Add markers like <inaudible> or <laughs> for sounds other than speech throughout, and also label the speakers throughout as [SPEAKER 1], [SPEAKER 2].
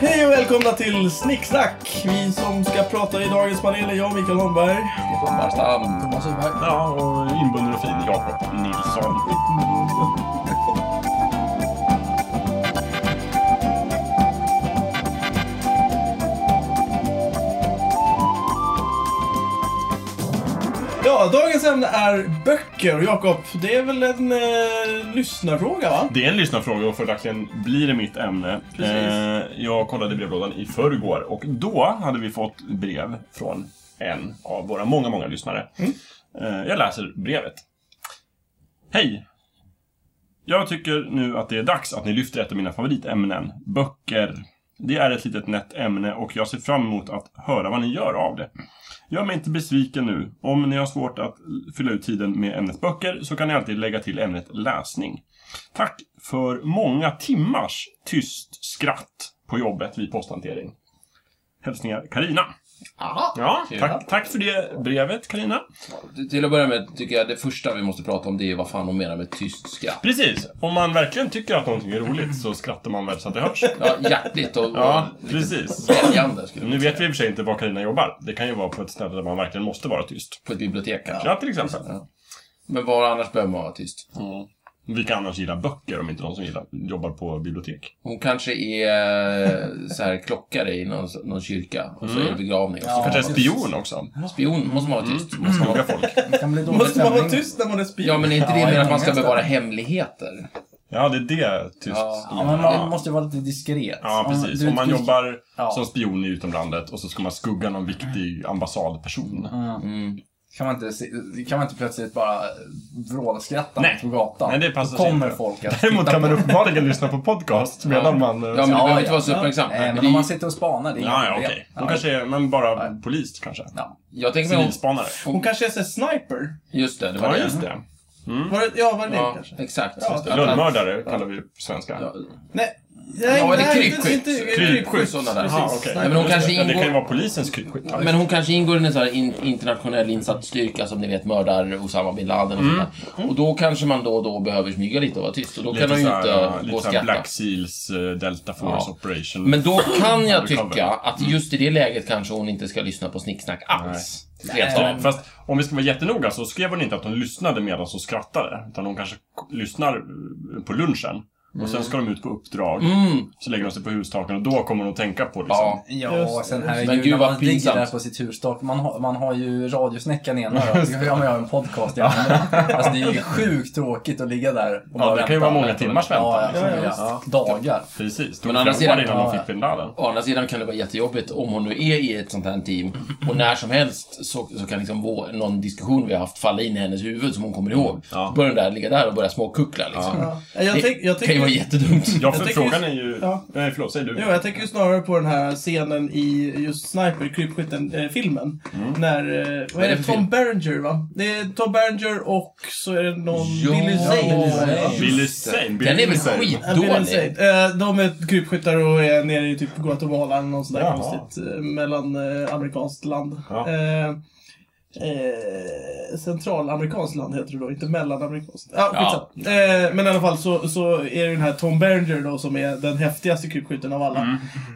[SPEAKER 1] Hej och välkomna till Snicksnack! Vi som ska prata i dagens panel är jag, Mikael Holmberg.
[SPEAKER 2] Stefan Barstam.
[SPEAKER 3] Thomas Uberg.
[SPEAKER 4] Ja, och inbunden och fin Jakob Nilsson.
[SPEAKER 1] Ja, dagens ämne är böcker. Och Jakob, det är väl en eh, lyssnarfråga va?
[SPEAKER 4] Det är en lyssnarfråga och följaktligen blir det mitt ämne. Eh,
[SPEAKER 1] Precis.
[SPEAKER 4] jag kollade brevlådan i förrgår och då hade vi fått brev från en av våra många, många lyssnare. Eh, jag läser brevet. Hej! Jag tycker nu att det är dags att ni lyfter ett av mina favoritämnen, böcker. Det är ett litet nätt ämne och jag ser fram emot att höra vad ni gör av det. Gör mig inte besviken nu. Om ni har svårt att fylla ut tiden med ämnet böcker så kan ni alltid lägga till ämnet läsning. Tack för många timmars tyst skratt på jobbet vid posthantering. Hälsningar Karina.
[SPEAKER 1] Aha.
[SPEAKER 4] Ja,
[SPEAKER 2] Karina.
[SPEAKER 4] tack, tack för det brevet Karina.
[SPEAKER 2] Till att börja med tycker jag det första vi måste prata om det är vad fan de menar med tyst skratt.
[SPEAKER 4] Precis, om man verkligen tycker att någonting är roligt så skrattar man väl så att det hörs.
[SPEAKER 2] Ja, hjärtligt och, och
[SPEAKER 4] Ja, precis.
[SPEAKER 2] väljande skulle
[SPEAKER 4] Nu
[SPEAKER 2] jag
[SPEAKER 4] vet vi i och för sig inte var Karina jobbar. Det kan ju vara på ett ställe där man verkligen måste vara tyst.
[SPEAKER 2] På ett bibliotek kanske.
[SPEAKER 4] Ja, till exempel.
[SPEAKER 2] Men var annars behöver man vara tyst?
[SPEAKER 4] Vilka annars gillar böcker om inte de som gillar, jobbar på bibliotek?
[SPEAKER 2] Hon kanske är så här klockare i någon, någon kyrka och så
[SPEAKER 4] Mm.
[SPEAKER 2] är det begravning. Och så
[SPEAKER 3] Ja.
[SPEAKER 4] Kanske en spion också.
[SPEAKER 2] Spion måste man vara
[SPEAKER 4] Mm.
[SPEAKER 2] tyst. Måste man
[SPEAKER 4] Skoga
[SPEAKER 2] vara...
[SPEAKER 4] folk.
[SPEAKER 3] Det kan bli dålig
[SPEAKER 1] Måste man vara
[SPEAKER 3] stämning.
[SPEAKER 1] tyst när man är spion?
[SPEAKER 2] Ja, men är inte det
[SPEAKER 3] Ja,
[SPEAKER 2] mer att
[SPEAKER 3] jag
[SPEAKER 2] man ska
[SPEAKER 3] minns det.
[SPEAKER 2] bevara hemligheter?
[SPEAKER 4] Ja, det är det tyst.
[SPEAKER 2] Ja,
[SPEAKER 3] Ja, men man måste vara lite diskret.
[SPEAKER 4] Ja, precis.
[SPEAKER 3] du
[SPEAKER 4] Om man
[SPEAKER 3] inte-
[SPEAKER 4] jobbar
[SPEAKER 3] Ja.
[SPEAKER 4] som spion i utomlandet och så ska man skugga någon viktig ambassadperson.
[SPEAKER 2] Mm.
[SPEAKER 3] Kan man inte, se- kan man inte plötsligt bara vrålskratta
[SPEAKER 4] Nej.
[SPEAKER 3] på gatan?
[SPEAKER 4] Nej, det passar
[SPEAKER 3] Då kommer
[SPEAKER 4] inte.
[SPEAKER 3] folk att
[SPEAKER 4] Däremot
[SPEAKER 3] titta
[SPEAKER 4] kan man
[SPEAKER 3] på.
[SPEAKER 4] uppenbarligen lyssna på podcast medan man... eh,
[SPEAKER 2] Ja, men du behöver inte vara så
[SPEAKER 3] ja.
[SPEAKER 2] uppmärksam.
[SPEAKER 3] Nej,
[SPEAKER 2] Men
[SPEAKER 3] men
[SPEAKER 2] det-
[SPEAKER 3] om man sitter och spanar, det är
[SPEAKER 4] ja, ja
[SPEAKER 3] inget
[SPEAKER 4] okej.
[SPEAKER 3] problem.
[SPEAKER 4] De kanske är, men bara polis kanske.
[SPEAKER 3] Ja.
[SPEAKER 2] Jag tänker mig om...
[SPEAKER 4] Civilspanare.
[SPEAKER 1] Hon kanske är så här sniper?
[SPEAKER 2] Just det, det var
[SPEAKER 4] Ja,
[SPEAKER 2] det.
[SPEAKER 4] just det.
[SPEAKER 1] Var det, ja, var det det
[SPEAKER 2] Ja,
[SPEAKER 1] kanske?
[SPEAKER 2] exakt.
[SPEAKER 1] Ja,
[SPEAKER 2] Just det.
[SPEAKER 4] Lönnmördare kallar vi på svenska.
[SPEAKER 2] Ja,
[SPEAKER 1] Nej.
[SPEAKER 2] Ja, eller
[SPEAKER 1] nej,
[SPEAKER 2] krypskytt.
[SPEAKER 1] inte- inte-
[SPEAKER 4] Krypskytt,
[SPEAKER 1] krypskytt,
[SPEAKER 2] sådana där.
[SPEAKER 1] precis.
[SPEAKER 4] Aha, okej.
[SPEAKER 1] Nej,
[SPEAKER 2] men de
[SPEAKER 4] Just
[SPEAKER 2] kanske
[SPEAKER 4] det. Ja, Det kan ju
[SPEAKER 2] ingår-
[SPEAKER 4] vara polisens krypskytt. Ja,
[SPEAKER 2] Men hon kanske ingår i en sån här in, internationell insatsstyrka som ni vet mördar Osama bin Laden och
[SPEAKER 4] Mm.
[SPEAKER 2] sådär. Och då kanske man då och då behöver smyga lite och vara tyst. Och då kan man ju
[SPEAKER 4] så här,
[SPEAKER 2] inte
[SPEAKER 4] ja,
[SPEAKER 2] gå
[SPEAKER 4] lite
[SPEAKER 2] och
[SPEAKER 4] så här
[SPEAKER 2] skratta.
[SPEAKER 4] Black Seals eh, Delta Force
[SPEAKER 2] Ja.
[SPEAKER 4] Operation.
[SPEAKER 2] Men då kan jag
[SPEAKER 4] Undercover. Mm.
[SPEAKER 2] tycka att just i det läget kanske hon inte ska lyssna på snicksnack alls. Rent
[SPEAKER 4] Ja,
[SPEAKER 1] Ehm.
[SPEAKER 2] av.
[SPEAKER 4] fast om vi ska vara jättenoga så skrev hon inte att hon lyssnade medan hon skrattade. Utan hon kanske k- lyssnar eh, på lunchen. Och sen ska de ut på uppdrag.
[SPEAKER 2] Mm.
[SPEAKER 4] Så lägger de sig på hustaken och då kommer hon att tänka på liksom.
[SPEAKER 2] Ja.
[SPEAKER 3] Ja, och sen här är
[SPEAKER 2] Men
[SPEAKER 3] ju
[SPEAKER 2] gud,
[SPEAKER 3] när
[SPEAKER 2] vad
[SPEAKER 3] man ligger
[SPEAKER 2] pinsamt.
[SPEAKER 3] där på sitt hustak. Man har, man har ju radiosnäckan i ena örat. Ja, men jag har en podcast i andra.
[SPEAKER 4] <laughs>
[SPEAKER 3] Alltså det är ju sjukt tråkigt att ligga där och bara
[SPEAKER 4] det kan ju
[SPEAKER 3] vänta.
[SPEAKER 4] vara många timmars
[SPEAKER 3] Ja,
[SPEAKER 4] väntan. liksom.
[SPEAKER 3] ja,
[SPEAKER 1] Ja, ja,
[SPEAKER 3] ja, Dagar.
[SPEAKER 4] Precis. Det
[SPEAKER 2] Men å
[SPEAKER 4] tog
[SPEAKER 2] andra
[SPEAKER 4] flera år
[SPEAKER 2] sidan-
[SPEAKER 4] innan hon
[SPEAKER 3] ja,
[SPEAKER 4] fick bin Laden.
[SPEAKER 2] Å andra sidan kan det vara jättejobbigt om hon nu är i ett sånt här team och när som helst så, så kan liksom vår, någon diskussion vi har haft falla in i hennes huvud som hon kommer ihåg.
[SPEAKER 4] Mm. Ja.
[SPEAKER 2] Börjar den där ligga där och börja småkuckla liksom.
[SPEAKER 1] ja. Jag
[SPEAKER 2] Det
[SPEAKER 1] tänk- jag
[SPEAKER 2] kan ju vara
[SPEAKER 1] tänker-
[SPEAKER 2] jättedumt.
[SPEAKER 4] Ja, för
[SPEAKER 1] Jag tänker
[SPEAKER 4] frågan
[SPEAKER 1] just-
[SPEAKER 4] är ju...
[SPEAKER 1] ja.
[SPEAKER 4] Nej, förlåt. Säg du.
[SPEAKER 1] Jo, jag tänker ju snarare på den här scenen i just Sniper, krypskytten-filmen. När, eh, vad
[SPEAKER 2] Vad
[SPEAKER 1] är det,
[SPEAKER 2] är det för
[SPEAKER 1] Tom
[SPEAKER 2] film?
[SPEAKER 1] Berenger va? Det är Tom Berenger och så är det någon
[SPEAKER 2] Ja,
[SPEAKER 1] Billy Zane.
[SPEAKER 2] Billy
[SPEAKER 1] va?
[SPEAKER 2] Zane.
[SPEAKER 4] Billy
[SPEAKER 2] Just det.
[SPEAKER 4] Zane. Billy
[SPEAKER 2] Den är väl
[SPEAKER 4] Zane.
[SPEAKER 1] Ja, Billy Zane.
[SPEAKER 2] skitdålig?
[SPEAKER 1] Eh, De är krypskyttar och är nere i typ Guatemala eller något sånt där
[SPEAKER 4] Jaha.
[SPEAKER 1] konstigt eh, mellan eh, amerikanskt land.
[SPEAKER 4] Ja.
[SPEAKER 1] Eh, Eh, centralamerikanskt land heter det då, inte mellanamerikanskt. Ah,
[SPEAKER 2] Ja.
[SPEAKER 1] skitsamma. eh, men i alla fall så, så är det den här Tom Berenger då som är den häftigaste krypskytten av alla.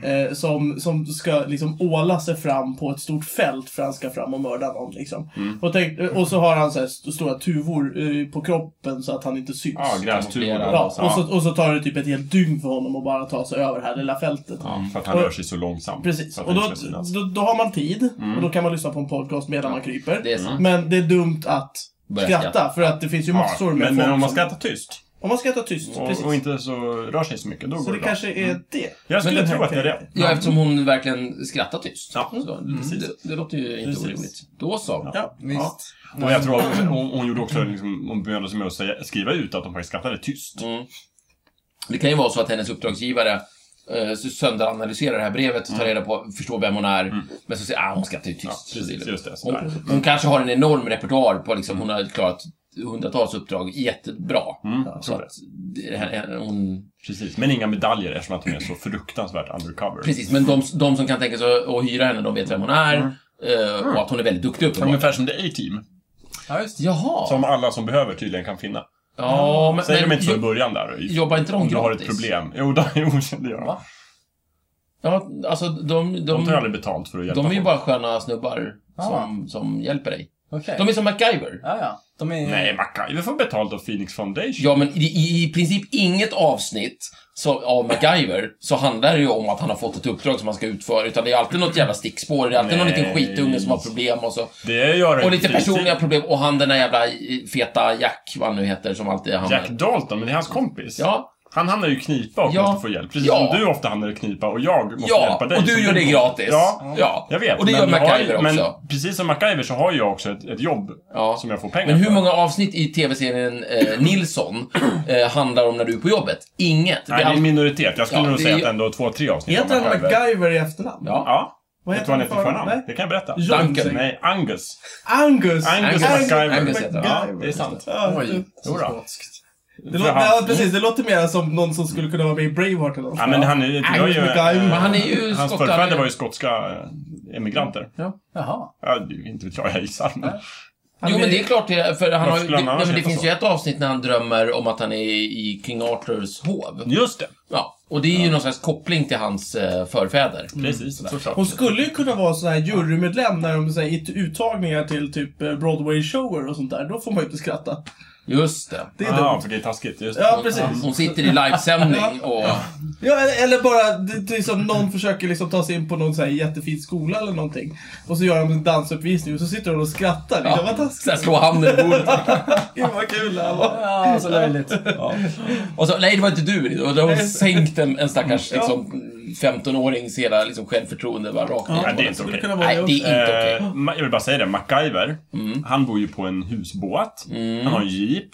[SPEAKER 4] Mm.
[SPEAKER 1] Eh, som, som ska liksom åla sig fram på ett stort fält för han ska fram och mörda någon liksom.
[SPEAKER 4] Mm.
[SPEAKER 1] Och, tänk, och så har han så här st- stora tuvor eh, på kroppen så att han inte syns.
[SPEAKER 4] Ja, grästuvor.
[SPEAKER 2] Ja,
[SPEAKER 1] Ja, och så, och så tar det typ ett helt dygn för honom att bara ta sig över det här lilla fältet.
[SPEAKER 4] Ja, för att han
[SPEAKER 1] Och-
[SPEAKER 4] rör sig så långsamt.
[SPEAKER 1] Precis,
[SPEAKER 4] För att
[SPEAKER 1] och
[SPEAKER 4] han
[SPEAKER 1] då,
[SPEAKER 4] inte ska synas.
[SPEAKER 1] då, då har man tid
[SPEAKER 4] Mm.
[SPEAKER 1] och då kan man lyssna på en podcast medan man kryper.
[SPEAKER 2] Det är sant.
[SPEAKER 1] Men det är dumt att
[SPEAKER 2] Börja
[SPEAKER 1] skratta
[SPEAKER 2] skratta.
[SPEAKER 1] för att det finns ju massor
[SPEAKER 4] ja,
[SPEAKER 1] med
[SPEAKER 4] men,
[SPEAKER 1] folk
[SPEAKER 4] men om man
[SPEAKER 1] som-
[SPEAKER 4] skrattar tyst
[SPEAKER 1] Om man skrattar tyst, precis.
[SPEAKER 4] och, och inte Mm. så rör sig så mycket, då
[SPEAKER 1] så
[SPEAKER 4] går
[SPEAKER 1] det
[SPEAKER 4] det bra.
[SPEAKER 1] kanske är det.
[SPEAKER 4] Jag skulle
[SPEAKER 1] Men den
[SPEAKER 4] tro
[SPEAKER 1] här
[SPEAKER 4] att det är
[SPEAKER 1] kan-
[SPEAKER 4] det.
[SPEAKER 2] Ja, eftersom hon verkligen skrattar tyst.
[SPEAKER 4] Ja,
[SPEAKER 2] Så, mm,
[SPEAKER 4] precis.
[SPEAKER 2] Det, det låter ju inte
[SPEAKER 1] Precis.
[SPEAKER 2] orimligt. Då så.
[SPEAKER 1] Ja,
[SPEAKER 3] Visst.
[SPEAKER 4] Och jag tror att hon, hon, hon gjorde också, liksom, hon bemödade sig med att säga, skriva ut att de faktiskt skrattade tyst.
[SPEAKER 2] Mm. Det kan ju vara så att hennes uppdragsgivare eh, sönderanalyserar det här brevet och tar reda på, förstår vem hon är, men så säger ah, hon skrattar ju tyst.
[SPEAKER 4] Mm. Ja,
[SPEAKER 2] så det är
[SPEAKER 4] precis,
[SPEAKER 2] lugnt.
[SPEAKER 4] just det.
[SPEAKER 2] hon,
[SPEAKER 4] Sådär.
[SPEAKER 2] hon kanske har en enorm repertoar på liksom, hon har klarat hundratals uppdrag jättebra.
[SPEAKER 4] Mm, jag
[SPEAKER 2] Så
[SPEAKER 4] tror det.
[SPEAKER 2] att, det, hon,
[SPEAKER 4] Precis, men inga medaljer eftersom att hon är så fruktansvärt undercover.
[SPEAKER 2] precis, men
[SPEAKER 4] Mm.
[SPEAKER 2] de, de som kan tänka sig att- att hyra henne, de vet vem hon är. eh, Och att hon är väldigt duktig uppenbarligen.
[SPEAKER 4] Ungefär som The A-Team,
[SPEAKER 3] Ja, just det.
[SPEAKER 2] Jaha!
[SPEAKER 4] som alla som behöver tydligen kan finna.
[SPEAKER 2] ja, men,
[SPEAKER 4] Säger de
[SPEAKER 2] men
[SPEAKER 4] inte så i
[SPEAKER 2] jo-
[SPEAKER 4] början där? i-
[SPEAKER 2] jobbar inte
[SPEAKER 4] <laughs>
[SPEAKER 2] de
[SPEAKER 4] Om du har ett
[SPEAKER 2] gratis?
[SPEAKER 4] problem. Jo, då, jo det gör de.
[SPEAKER 3] Va?
[SPEAKER 2] Ja, alltså de...
[SPEAKER 4] De
[SPEAKER 2] De,
[SPEAKER 4] tar ju
[SPEAKER 2] de,
[SPEAKER 4] aldrig betalt för att hjälpa
[SPEAKER 2] de är ju
[SPEAKER 4] folk.
[SPEAKER 2] bara sköna snubbar som, som hjälper dig.
[SPEAKER 3] Okej.
[SPEAKER 2] De är som MacGyver.
[SPEAKER 3] Ja, ja. De är...
[SPEAKER 4] Nej, MacGyver får betalt av Phoenix Foundation.
[SPEAKER 2] Ja, men i, i, i princip inget avsnitt så, av MacGyver så handlar det ju om att han har fått ett uppdrag som han ska utföra. Utan det är alltid något jävla stickspår. Det är alltid någon liten
[SPEAKER 4] Nej.
[SPEAKER 2] skitunge som har problem och så.
[SPEAKER 4] Det gör det
[SPEAKER 2] Och lite
[SPEAKER 4] precis.
[SPEAKER 2] personliga problem. Och han den där jävla eh, feta Jack, vad han nu heter, som alltid hamnar...
[SPEAKER 4] Jack Dalton, men det är hans kompis.
[SPEAKER 2] Ja,
[SPEAKER 4] Han hamnar ju i knipa och
[SPEAKER 2] Ja.
[SPEAKER 4] måste få hjälp. Precis
[SPEAKER 2] Ja.
[SPEAKER 4] som du ofta hamnar i knipa och jag måste
[SPEAKER 2] ja.
[SPEAKER 4] hjälpa dig.
[SPEAKER 2] Och du
[SPEAKER 4] som
[SPEAKER 2] gör det gratis.
[SPEAKER 4] Ja,
[SPEAKER 2] ja.
[SPEAKER 4] jag vet.
[SPEAKER 2] Och det gör
[SPEAKER 4] men jag har
[SPEAKER 2] MacGyver
[SPEAKER 4] ju-
[SPEAKER 2] också.
[SPEAKER 4] Men precis som MacGyver så har jag också ett, ett jobb
[SPEAKER 2] Ja.
[SPEAKER 4] som jag får pengar
[SPEAKER 2] Men hur
[SPEAKER 4] för.
[SPEAKER 2] många avsnitt i tv-serien eh, Nilsson eh, handlar om när du är på jobbet? Inget. Det är
[SPEAKER 4] Nej, det är en
[SPEAKER 2] all-
[SPEAKER 4] minoritet. Jag skulle
[SPEAKER 2] Ja,
[SPEAKER 4] nog
[SPEAKER 2] det är
[SPEAKER 4] säga
[SPEAKER 2] ju-
[SPEAKER 4] att ändå två, tre avsnitt
[SPEAKER 1] Heter han MacGyver i efternamn?
[SPEAKER 2] Ja.
[SPEAKER 4] Ja.
[SPEAKER 1] Vad
[SPEAKER 4] Vet du vad han heter i förnamn?
[SPEAKER 1] Nej.
[SPEAKER 4] Det kan jag berätta.
[SPEAKER 1] John,
[SPEAKER 2] Duncan.
[SPEAKER 1] säger-
[SPEAKER 4] Nej, Angus.
[SPEAKER 1] Angus!
[SPEAKER 4] Angus,
[SPEAKER 2] Angus.
[SPEAKER 4] MacGyver.
[SPEAKER 2] Angus heter
[SPEAKER 4] ja,
[SPEAKER 1] han.
[SPEAKER 4] det är sant.
[SPEAKER 1] Ja,
[SPEAKER 3] Oj, så
[SPEAKER 4] Jodå.
[SPEAKER 3] skotskt.
[SPEAKER 1] Det låter, ja, precis. Det låter mer som någon som skulle kunna vara med i Braveheart eller något.
[SPEAKER 4] Ja, men han är, det var
[SPEAKER 1] Angus
[SPEAKER 4] ju...
[SPEAKER 1] MacGyver.
[SPEAKER 4] eh,
[SPEAKER 1] Men
[SPEAKER 2] han är ju
[SPEAKER 4] Hans
[SPEAKER 2] skottare.
[SPEAKER 4] förfäder var ju skotska eh, emigranter.
[SPEAKER 3] Jaha.
[SPEAKER 4] Ja, det är ju inte vet jag, jag gissar. men-
[SPEAKER 1] Han
[SPEAKER 2] Jo,
[SPEAKER 1] är-
[SPEAKER 2] men det är klart det, för han har ju,
[SPEAKER 4] skulle
[SPEAKER 2] det,
[SPEAKER 4] han
[SPEAKER 2] nej,
[SPEAKER 4] annars
[SPEAKER 2] men det
[SPEAKER 4] heta
[SPEAKER 2] finns
[SPEAKER 4] så?
[SPEAKER 2] ju ett avsnitt när han drömmer om att han är i King Arthurs hov.
[SPEAKER 4] Just det.
[SPEAKER 2] Ja, och det är ju någon slags koppling till hans eh, förfäder.
[SPEAKER 4] Precis. såklart.
[SPEAKER 1] Hon skulle ju kunna vara sån här jurymedlem när de säger i uttagningar till typ eh, Broadway-shower och sånt där. Då får man ju inte skratta.
[SPEAKER 2] Just det.
[SPEAKER 1] Det är
[SPEAKER 4] Ja,
[SPEAKER 1] dumt.
[SPEAKER 4] för det är Ah, taskigt. Just det.
[SPEAKER 1] Ja, precis.
[SPEAKER 2] Hon sitter i livesändning och...
[SPEAKER 1] Ja, eller, eller bara det, det är som någon försöker liksom ta sig in på någon så här jättefin skola eller någonting. Och så gör de en dansuppvisning och så sitter hon och skrattar. Liksom. Vad
[SPEAKER 2] Såhär
[SPEAKER 1] taskigt.
[SPEAKER 2] slå handen i bordet.
[SPEAKER 1] Gud vad kul det här var.
[SPEAKER 3] Ja, så löjligt.
[SPEAKER 2] Och så, nej det var inte du. Och då har hon sänkt en, en stackars liksom, 15-årings hela liksom, självförtroende bara rakt
[SPEAKER 4] Ja, det är
[SPEAKER 2] ner.
[SPEAKER 4] inte
[SPEAKER 1] Skulle
[SPEAKER 4] okej.
[SPEAKER 1] kunna vara
[SPEAKER 2] Nej,
[SPEAKER 1] det
[SPEAKER 2] det är
[SPEAKER 1] också.
[SPEAKER 2] inte okej.
[SPEAKER 4] Eh, ma- jag vill bara säga det, MacGyver, han bor ju på en husbåt, han har en jeep,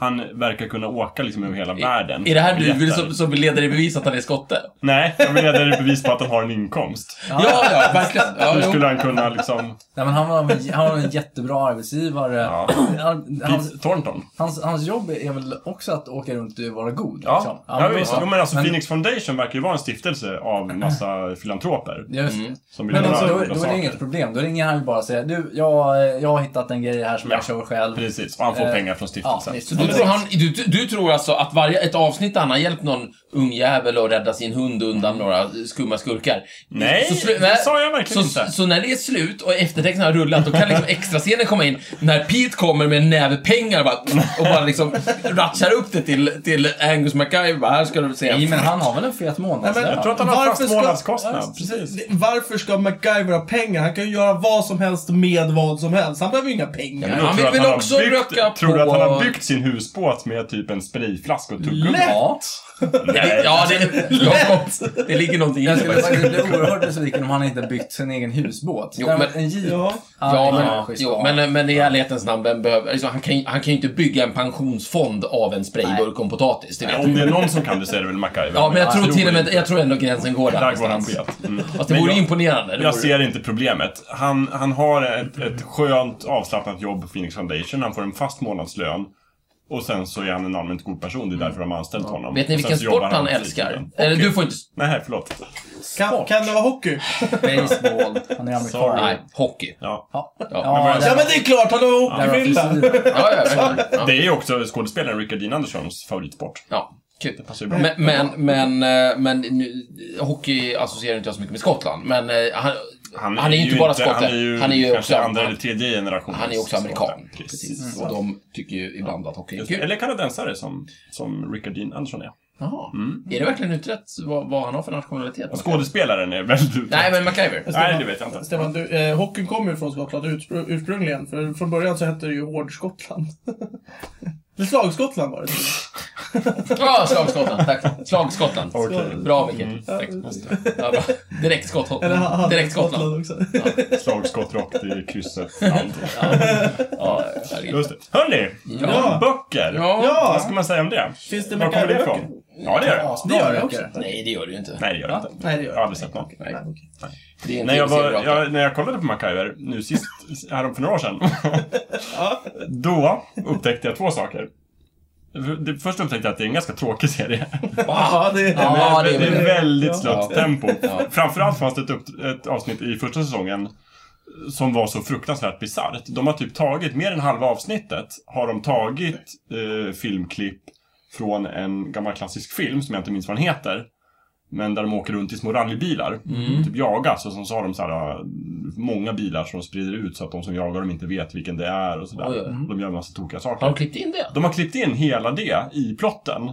[SPEAKER 4] han verkar kunna åka liksom över hela världen.
[SPEAKER 2] Är det här du vill
[SPEAKER 4] Biljetter.
[SPEAKER 2] som, som leder i bevis att han är skotte?
[SPEAKER 4] Nej, jag vill leda dig bevis på att han har en inkomst.
[SPEAKER 2] Ja, ja, verkligen. Ja,
[SPEAKER 4] Hur
[SPEAKER 2] jo.
[SPEAKER 4] skulle han kunna liksom...
[SPEAKER 3] Nej, men han var, han var en jättebra arbetsgivare.
[SPEAKER 4] Ja.
[SPEAKER 3] <clears throat> Han, hans,
[SPEAKER 4] Pete Thornton?
[SPEAKER 3] hans, hans jobb är väl också att åka runt och vara god. liksom.
[SPEAKER 4] Ja, ja
[SPEAKER 3] men
[SPEAKER 4] visst.
[SPEAKER 3] då-
[SPEAKER 4] Jo, men alltså
[SPEAKER 3] men-
[SPEAKER 4] Phoenix Foundation verkar ju vara en stiftelse av massa filantroper.
[SPEAKER 3] Just det.
[SPEAKER 4] Som Mm. vill
[SPEAKER 3] Men
[SPEAKER 4] göra
[SPEAKER 3] alltså, då,
[SPEAKER 4] goda
[SPEAKER 3] då är
[SPEAKER 4] saker.
[SPEAKER 3] det inget problem. Då ringer han ju bara och säger du, jag, eh, jag har hittat en grej här som
[SPEAKER 4] Ja,
[SPEAKER 3] jag kör själv.
[SPEAKER 4] Precis, och han får
[SPEAKER 3] Eh,
[SPEAKER 4] pengar från
[SPEAKER 3] Ja,
[SPEAKER 4] stiftelsen.
[SPEAKER 3] visst.
[SPEAKER 2] Så du, tror han, du, du tror alltså att varje, ett avsnitt där han har hjälpt någon ung jävel att rädda sin hund undan några skumma skurkar.
[SPEAKER 4] Mm. Nej,
[SPEAKER 2] Så slu-
[SPEAKER 4] det sa jag verkligen
[SPEAKER 2] så,
[SPEAKER 4] inte.
[SPEAKER 2] Så när det är slut och eftertexten har rullat, då kan liksom extrascenen komma in. När Pete kommer med en näve pengar bara, och bara liksom ratchar upp det till, till Angus MacGyver. Bara, Här ska du se.
[SPEAKER 3] Nej, men han har väl en fet månadslön?
[SPEAKER 1] Nej, men
[SPEAKER 4] Jag tror att han har
[SPEAKER 1] Varför
[SPEAKER 4] fast
[SPEAKER 1] ska-
[SPEAKER 4] månadskostnad. Precis.
[SPEAKER 1] Det- Varför ska MacGyver ha pengar? Han kan ju göra vad som helst med vad som helst. Han behöver ju inga pengar.
[SPEAKER 2] Ja,
[SPEAKER 4] Tror
[SPEAKER 2] Han vill
[SPEAKER 4] att
[SPEAKER 2] väl
[SPEAKER 4] har
[SPEAKER 2] också
[SPEAKER 4] byggt,
[SPEAKER 2] röka
[SPEAKER 4] Tror du
[SPEAKER 2] på-
[SPEAKER 4] att han har byggt sin husbåt med typ en sprayflaska och tuggummi?
[SPEAKER 1] Lätt!
[SPEAKER 3] Ja.
[SPEAKER 4] Nej.
[SPEAKER 2] Ja, det, Jakob, det ligger någonting i
[SPEAKER 3] Jag skulle
[SPEAKER 2] det.
[SPEAKER 3] faktiskt bli oerhört besviken om han inte byggt sin egen husbåt.
[SPEAKER 2] Jo,
[SPEAKER 3] Nej,
[SPEAKER 2] men-
[SPEAKER 3] en jeep.
[SPEAKER 1] Ja.
[SPEAKER 3] Ah,
[SPEAKER 2] Ja,
[SPEAKER 3] det är
[SPEAKER 2] men,
[SPEAKER 3] en schysst
[SPEAKER 2] jo,
[SPEAKER 3] val.
[SPEAKER 2] men, men i ärlighetens namn, vem behöver... Alltså, han, kan, ju- han kan ju inte bygga en pensionsfond av en sprayburk och en potatis, det vet
[SPEAKER 4] Om det är någon som kan det så är det väl MacGyver.
[SPEAKER 2] Ja, men jag tror till och med...
[SPEAKER 4] inte-
[SPEAKER 2] Jag tror ändå gränsen går där
[SPEAKER 4] Där går han
[SPEAKER 2] någonstans.
[SPEAKER 4] bet. Mm.
[SPEAKER 2] Fast det
[SPEAKER 4] Men
[SPEAKER 2] vore
[SPEAKER 4] jag-
[SPEAKER 2] imponerande. Det
[SPEAKER 4] Jag
[SPEAKER 2] vore...
[SPEAKER 4] ser inte problemet. Han, han har ett, ett skönt avslappnat jobb på Phoenix Foundation, han får en fast månadslön. Och sen så är han en allmänt god person, det är därför de har anställt honom.
[SPEAKER 2] Mm. Vet ni
[SPEAKER 4] Och sen
[SPEAKER 2] vilken
[SPEAKER 4] så jobbar
[SPEAKER 2] sport han
[SPEAKER 4] på
[SPEAKER 2] älskar?
[SPEAKER 4] fritiden.
[SPEAKER 2] Eller du får inte...
[SPEAKER 4] Nej, förlåt.
[SPEAKER 1] Kan, kan det vara hockey?
[SPEAKER 3] Baseball. Han är amerikan.
[SPEAKER 4] Sorry.
[SPEAKER 2] Nej, hockey.
[SPEAKER 4] Ja.
[SPEAKER 3] Ja, ja,
[SPEAKER 2] Ja,
[SPEAKER 1] Ja, men det är klart. Han har
[SPEAKER 3] där var
[SPEAKER 1] hockeyfrilla.
[SPEAKER 3] frisyren.
[SPEAKER 2] Ja, ja, verkligen. ja.
[SPEAKER 4] Det är ju också skådespelaren Rickard Dean Andersons favoritsport.
[SPEAKER 2] ja. Kul.
[SPEAKER 4] Passar ju bra.
[SPEAKER 2] Men, men, men, eh, men nu, hockey associerar inte jag så mycket med Skottland, men eh, han, han, är ju inte bara skotte.
[SPEAKER 4] Han är ju, kanske
[SPEAKER 2] också...
[SPEAKER 4] andra eller tredje generationen.
[SPEAKER 2] han är ju också amerikan.
[SPEAKER 4] skotte.
[SPEAKER 2] Precis.
[SPEAKER 4] Mm.
[SPEAKER 2] Och de tycker ju ibland att hockey är kul.
[SPEAKER 4] Eller kanadensare som, som Rickard Dean Anderson är.
[SPEAKER 2] Jaha.
[SPEAKER 4] Mm.
[SPEAKER 2] Är det verkligen utrett vad, vad han har för nationalitet?
[SPEAKER 4] Alltså, Skådespelaren är väldigt uttagen.
[SPEAKER 2] Nej, men MacGyver.
[SPEAKER 4] Nej, det vet jag inte.
[SPEAKER 1] Stefan, du, eh, hockeyn kommer ju från Skottland utspr- ursprungligen. För från början så hette det ju Hårdskottland. <laughs> Eller Slagskottland var det.
[SPEAKER 2] Ja, slagskottland. Tack. Slagskottland.
[SPEAKER 4] Okej.
[SPEAKER 2] Bra, Micke.
[SPEAKER 4] Mm.
[SPEAKER 2] Tack. Ja, bra. Direkt skott.
[SPEAKER 1] Mm. Eller ha- hade
[SPEAKER 2] Direkt Skottland.
[SPEAKER 1] också.
[SPEAKER 4] Slagskott rakt i krysset. land.
[SPEAKER 2] Ja, herregud.
[SPEAKER 4] Just det. Hörni!
[SPEAKER 1] Ja.
[SPEAKER 4] Böcker!
[SPEAKER 2] Ja.
[SPEAKER 1] Ja,
[SPEAKER 4] Vad ska man säga om det?
[SPEAKER 1] Finns det
[SPEAKER 4] Var kommer det
[SPEAKER 1] MacGyver-böcker?
[SPEAKER 4] ifrån? Ja, det gör det.
[SPEAKER 1] Det gör jag också.
[SPEAKER 3] Böcker.
[SPEAKER 2] Nej, det gör du ju inte.
[SPEAKER 4] Nej, det gör det inte.
[SPEAKER 1] Nej, det gör
[SPEAKER 4] Jag har aldrig sett någon.
[SPEAKER 2] Nej.
[SPEAKER 1] Nej, okej.
[SPEAKER 2] Det är en
[SPEAKER 4] Nej, jag var,
[SPEAKER 2] tv-serie.
[SPEAKER 4] jag, när jag kollade på MacGyver nu sist, härom för några år sedan. då upptäckte jag två saker. Det- Först upptäckte jag att det är en ganska tråkig serie.
[SPEAKER 1] Ja, det är...
[SPEAKER 2] Ja, det
[SPEAKER 4] det,
[SPEAKER 2] är
[SPEAKER 4] är
[SPEAKER 2] väl det.
[SPEAKER 4] väldigt
[SPEAKER 2] Ja.
[SPEAKER 4] slött tempo.
[SPEAKER 2] Ja.
[SPEAKER 4] Framförallt fanns det ett, upp, ett avsnitt i första säsongen som var så fruktansvärt bisarrt. De har typ tagit, mer än halva avsnittet, har de tagit eh, filmklipp från en gammal klassisk film som jag inte minns vad den heter. Men där de åker runt i små rallybilar.
[SPEAKER 2] Mm.
[SPEAKER 4] Typ jagas och sen så har de så här, äh, många bilar som de sprider ut så att de som jagar dem inte vet vilken det är och
[SPEAKER 2] Oj,
[SPEAKER 4] sådär.
[SPEAKER 2] oj.
[SPEAKER 4] De gör massa tokiga saker.
[SPEAKER 2] Har de klippt in det?
[SPEAKER 4] De har klippt in hela det i plotten.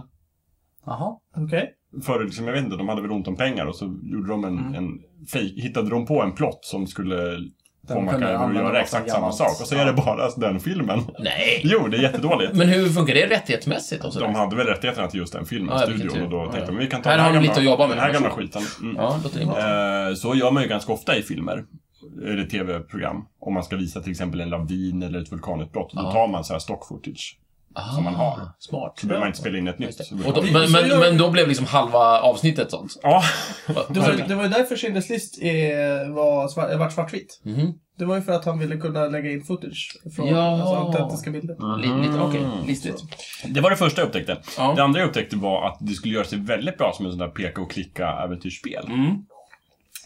[SPEAKER 3] Jaha.
[SPEAKER 1] Okej.
[SPEAKER 4] För liksom, jag vet inte, de hade väl ont om pengar och så gjorde de
[SPEAKER 2] Mm.
[SPEAKER 4] en, en fake, hittade de på en plott som skulle få
[SPEAKER 3] kunde
[SPEAKER 4] Macabre att
[SPEAKER 3] använda
[SPEAKER 4] göra
[SPEAKER 3] massa
[SPEAKER 4] exakt samma
[SPEAKER 3] gammalt.
[SPEAKER 4] sak. Och så är det bara alltså den
[SPEAKER 2] <laughs>
[SPEAKER 4] filmen.
[SPEAKER 2] Nej!
[SPEAKER 4] Jo, det är jättedåligt.
[SPEAKER 2] Men hur funkar det rättighetsmässigt? Och <laughs> sådär?
[SPEAKER 4] De hade väl rättigheterna till just den filmen,
[SPEAKER 2] Ja, vilken
[SPEAKER 4] studion,
[SPEAKER 2] tur.
[SPEAKER 4] och då
[SPEAKER 2] Ja,
[SPEAKER 4] tänkte
[SPEAKER 2] ja.
[SPEAKER 4] de vi kan ta
[SPEAKER 2] Här
[SPEAKER 4] den
[SPEAKER 2] har de lite att jobba med,
[SPEAKER 4] Den här gamla
[SPEAKER 2] kanske.
[SPEAKER 4] skiten. Mm.
[SPEAKER 2] Ja, låter det bra.
[SPEAKER 4] Eh, Så gör man ju ganska ofta i filmer. Eller tv-program. Om man ska visa till exempel en lavin eller ett vulkanutbrott. Då
[SPEAKER 2] Ja.
[SPEAKER 4] tar man så här stock footage.
[SPEAKER 2] Ah,
[SPEAKER 4] man har.
[SPEAKER 2] Smart.
[SPEAKER 4] Så behöver man inte spela in ett nytt.
[SPEAKER 2] Just det. Och då,
[SPEAKER 4] vulkan.
[SPEAKER 2] men, men, men då blev liksom halva avsnittet sånt?
[SPEAKER 4] Ja,
[SPEAKER 1] Det var, det var ju därför Schindler's list eh, var svart, vart svartvit.
[SPEAKER 2] Mhm.
[SPEAKER 1] Det var ju för att han ville kunna lägga in footage från
[SPEAKER 2] Ja. Mm.
[SPEAKER 1] alltså, autentiska bilder.
[SPEAKER 2] Li- lite- Okej,
[SPEAKER 4] Mm.
[SPEAKER 2] listigt.
[SPEAKER 4] det var det första jag upptäckte.
[SPEAKER 2] Ja.
[SPEAKER 4] Det andra jag upptäckte var att det skulle göra sig väldigt bra som en sån där peka och klicka äventyrsspel.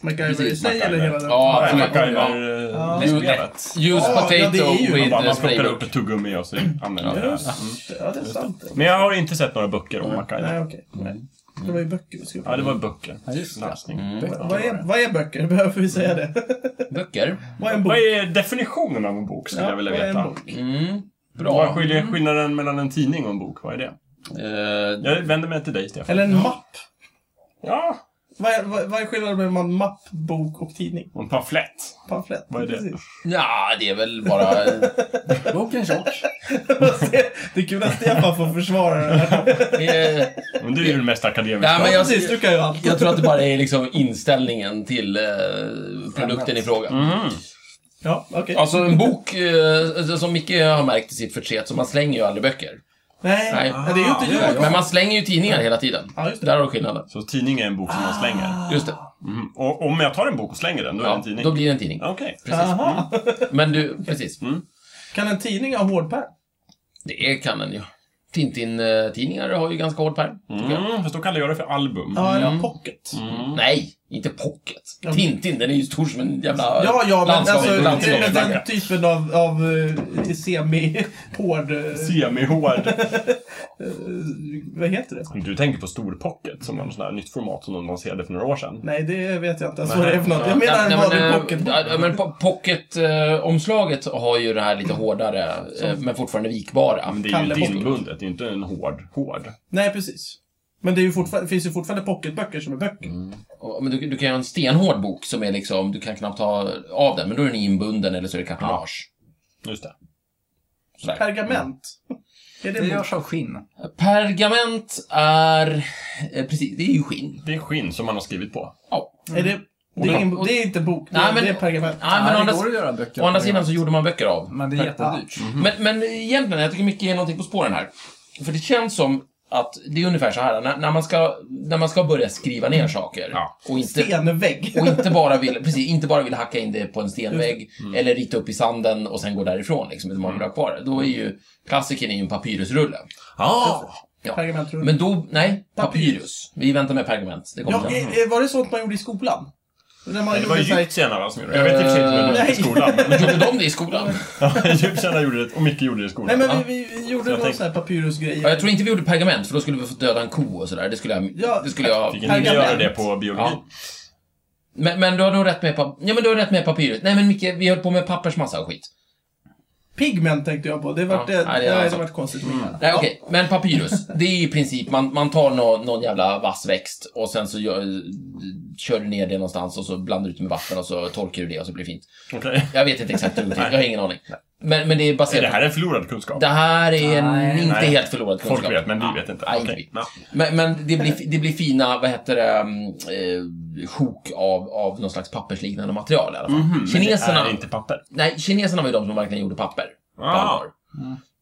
[SPEAKER 1] MacGyver i
[SPEAKER 4] Precis,
[SPEAKER 1] sig eller
[SPEAKER 4] MacGyver.
[SPEAKER 1] hela den?
[SPEAKER 2] Ja,
[SPEAKER 4] Ja,
[SPEAKER 2] absolut.
[SPEAKER 4] MacGyver-spelet.
[SPEAKER 2] Use
[SPEAKER 1] Ja,
[SPEAKER 2] potato
[SPEAKER 1] ja, det är ju-
[SPEAKER 4] Ja, Där man
[SPEAKER 2] with uh,
[SPEAKER 4] plockar
[SPEAKER 2] sprayburk.
[SPEAKER 4] upp ett tuggummi och så använder man det. Mm.
[SPEAKER 1] Just det, ja det är sant.
[SPEAKER 4] Men jag har inte sett några böcker om
[SPEAKER 1] Nej,
[SPEAKER 4] MacGyver.
[SPEAKER 1] okej. Nej. Det var ju böcker vi skulle
[SPEAKER 4] Ja, det var böcker.
[SPEAKER 3] Ja, just det.
[SPEAKER 4] Läsning.
[SPEAKER 1] vad, är, vad är böcker? <laughs> Behöver vi säga det?
[SPEAKER 2] Böcker.
[SPEAKER 1] vad är en bok?
[SPEAKER 4] Vad är definitionen av en bok, skulle jag vilja
[SPEAKER 1] vad är en
[SPEAKER 4] veta.
[SPEAKER 1] bok?
[SPEAKER 2] Mm.
[SPEAKER 4] Vad
[SPEAKER 2] Bra.
[SPEAKER 4] skiljer skillnaden mellan en tidning och en bok? Vad är det?
[SPEAKER 2] Eh,
[SPEAKER 4] Jag vänder mig till dig, Stefan.
[SPEAKER 1] Eller en mapp?
[SPEAKER 4] Ja,
[SPEAKER 1] Vad är, vad, vad är skillnaden mellan mapp, bok och tidning?
[SPEAKER 4] och en pamflett.
[SPEAKER 1] Pamflett?
[SPEAKER 4] Vad är det?
[SPEAKER 1] Precis. <laughs>
[SPEAKER 2] ja, det är väl bara...
[SPEAKER 3] Boken tjock.
[SPEAKER 1] det är kul att Stefan får försvara det här.
[SPEAKER 2] Eh,
[SPEAKER 4] Men du är ju den mest akademiska.
[SPEAKER 2] Nej, men jag,
[SPEAKER 1] Precis, du kan ju allt.
[SPEAKER 2] jag tror att det bara är liksom inställningen till eh, produkten i fråga.
[SPEAKER 4] Mm.
[SPEAKER 1] Ja, okej.
[SPEAKER 2] Alltså en bok, eh, som Micke har märkt i sitt förtret, så man slänger ju aldrig böcker.
[SPEAKER 1] Nej,
[SPEAKER 2] Nej.
[SPEAKER 1] det är ju inte jag.
[SPEAKER 2] Men man slänger ju tidningar hela tiden.
[SPEAKER 1] Ja, just det.
[SPEAKER 2] Där har du skillnaden.
[SPEAKER 4] Så tidning är en bok som man slänger.
[SPEAKER 2] Just det.
[SPEAKER 4] Mm. Och om jag tar en bok och slänger den, då är det en
[SPEAKER 2] Ah. Ja,
[SPEAKER 4] tidning?
[SPEAKER 2] då blir det en tidning.
[SPEAKER 4] Okej.
[SPEAKER 1] Aha.
[SPEAKER 2] Men du, precis.
[SPEAKER 1] Kan en tidning ha hårdpärm?
[SPEAKER 2] Det kan den ju. Tintin-tidningar har ju ganska hård pärm. tycker jag.
[SPEAKER 4] Mm, fast då kallar jag det för album. Mm.
[SPEAKER 1] Ja, eller pocket?
[SPEAKER 2] Nej, inte pocket. Tintin, den är ju stor som en jävla
[SPEAKER 1] Ja, ja, men
[SPEAKER 2] landslags-
[SPEAKER 1] alltså
[SPEAKER 2] landslags-
[SPEAKER 1] den, den
[SPEAKER 4] landslagsflagga.
[SPEAKER 1] typen av, av eh, semi-hård... eh,
[SPEAKER 4] Semihård.
[SPEAKER 1] Vad heter det?
[SPEAKER 4] Du tänker på Storpocket som var något sånt där nytt format som de lanserade för några år sedan.
[SPEAKER 1] Nej, det vet jag inte ens vad det är för något. Jag
[SPEAKER 2] Ja,
[SPEAKER 1] menar en
[SPEAKER 2] nej,
[SPEAKER 1] vanlig
[SPEAKER 2] eh,
[SPEAKER 1] pocket.
[SPEAKER 2] ja, men po- pocket-omslaget har ju det här lite hårdare, eh, men fortfarande vikbara.
[SPEAKER 4] Men det är ju
[SPEAKER 1] Kalle
[SPEAKER 4] inte
[SPEAKER 1] Pocket.
[SPEAKER 4] inbundet, det är ju inte en hård, hård.
[SPEAKER 1] Nej, precis. Men det, är ju fortfar- det finns ju fortfarande pocketböcker som är böcker.
[SPEAKER 4] Mm.
[SPEAKER 2] Och- Men du, du kan ju ha en stenhård bok som är liksom, du kan knappt ta av den, men då är den inbunden eller så är det kartonage.
[SPEAKER 4] Just det.
[SPEAKER 2] Sådär.
[SPEAKER 1] Pergament. Är det,
[SPEAKER 3] Det
[SPEAKER 1] bok?
[SPEAKER 3] görs av skinn.
[SPEAKER 2] Pergament är, eh, precis, det är ju skinn.
[SPEAKER 4] Det är skinn som man har skrivit på.
[SPEAKER 2] Ja.
[SPEAKER 1] är det, det, är ingen, det är inte bok, det,
[SPEAKER 2] Mm. Nej, men-
[SPEAKER 1] det är pergament.
[SPEAKER 2] Nej, men å
[SPEAKER 3] det
[SPEAKER 2] andra,
[SPEAKER 3] går att göra böcker.
[SPEAKER 2] å andra
[SPEAKER 3] på
[SPEAKER 2] sidan så
[SPEAKER 3] det.
[SPEAKER 2] gjorde man böcker av. Mm.
[SPEAKER 3] Men det är jättedyrt.
[SPEAKER 2] Men, men egentligen, jag tycker mycket är någonting på spåren här. För det känns som att det är ungefär så här, när, när, man, ska, när man ska börja skriva ner saker
[SPEAKER 4] Ja.
[SPEAKER 2] och inte
[SPEAKER 1] Stenvägg.
[SPEAKER 2] och inte bara, vill, precis, inte bara vill hacka in det på en stenvägg eller rita upp i sanden och sen gå därifrån, liksom, utan man vill ha kvar det. Då är ju klassikern är ju en papyrusrulle.
[SPEAKER 4] Ah!
[SPEAKER 2] Ja.
[SPEAKER 1] Pergamentrulle.
[SPEAKER 2] Men då, nej,
[SPEAKER 1] Papyrus.
[SPEAKER 2] papyrus. Vi väntar med pergament. Det kommer
[SPEAKER 1] Ja,
[SPEAKER 2] sen.
[SPEAKER 1] eh, eh, var det sånt man gjorde i skolan? När man
[SPEAKER 4] Det var
[SPEAKER 1] gjorde så här-
[SPEAKER 4] egyptierna va, som gjorde det? Jag vet i och för sig inte om det var i skolan.
[SPEAKER 1] <laughs>
[SPEAKER 2] Men gjorde de det i skolan?
[SPEAKER 4] Ja, Egyptierna gjorde det, och Micke gjorde det i skolan.
[SPEAKER 1] Nej, men vi, vi, vi gjorde någon
[SPEAKER 4] tänkte-
[SPEAKER 1] sån här papyrusgrej.
[SPEAKER 2] Ja, jag tror inte vi gjorde pergament, för då skulle vi få döda en ko och sådär. Det skulle jag...
[SPEAKER 1] Ja,
[SPEAKER 2] det skulle jag...
[SPEAKER 4] Fick inte ni
[SPEAKER 1] Pergament.
[SPEAKER 4] göra det på biologi?
[SPEAKER 2] Ja. Men, men du har nog rätt med, pap- ja, men du har rätt med papyrus. Nej, men Micke, vi höll på med pappersmassa och skit.
[SPEAKER 1] Pigment tänkte jag på. Det vart,
[SPEAKER 2] Ja,
[SPEAKER 1] det,
[SPEAKER 2] nej,
[SPEAKER 1] nej,
[SPEAKER 2] det är
[SPEAKER 1] det,
[SPEAKER 2] alltså-
[SPEAKER 1] vart konstigt.
[SPEAKER 4] Mm.
[SPEAKER 2] Nej, okej. Men papyrus, det är i princip, man, man tar nå någon jävla vass växt och sen så gör, kör du ner det någonstans och så blandar du ut det med vatten och så torkar du det och så blir det fint.
[SPEAKER 4] Okej.
[SPEAKER 2] Jag vet inte exakt hur det går till, jag har ingen aning. Men, men det är
[SPEAKER 4] Är
[SPEAKER 2] baserat
[SPEAKER 4] det här en förlorad kunskap?
[SPEAKER 2] Det här är en
[SPEAKER 3] Nej,
[SPEAKER 2] inte
[SPEAKER 4] nej.
[SPEAKER 2] helt förlorad kunskap.
[SPEAKER 4] Folk vet, men vi vet inte.
[SPEAKER 2] Nej,
[SPEAKER 4] Okej.
[SPEAKER 2] inte vi.
[SPEAKER 4] Ja.
[SPEAKER 2] Men, men det, blir, det blir fina, vad heter det, mm, eh, sjok av, av någon slags pappersliknande material i alla fall.
[SPEAKER 4] Mhm, Mm, Men
[SPEAKER 2] Kineserna,
[SPEAKER 4] det är inte papper.
[SPEAKER 2] nej, kineserna var ju de som verkligen gjorde papper. på
[SPEAKER 4] Ah.
[SPEAKER 2] allvar.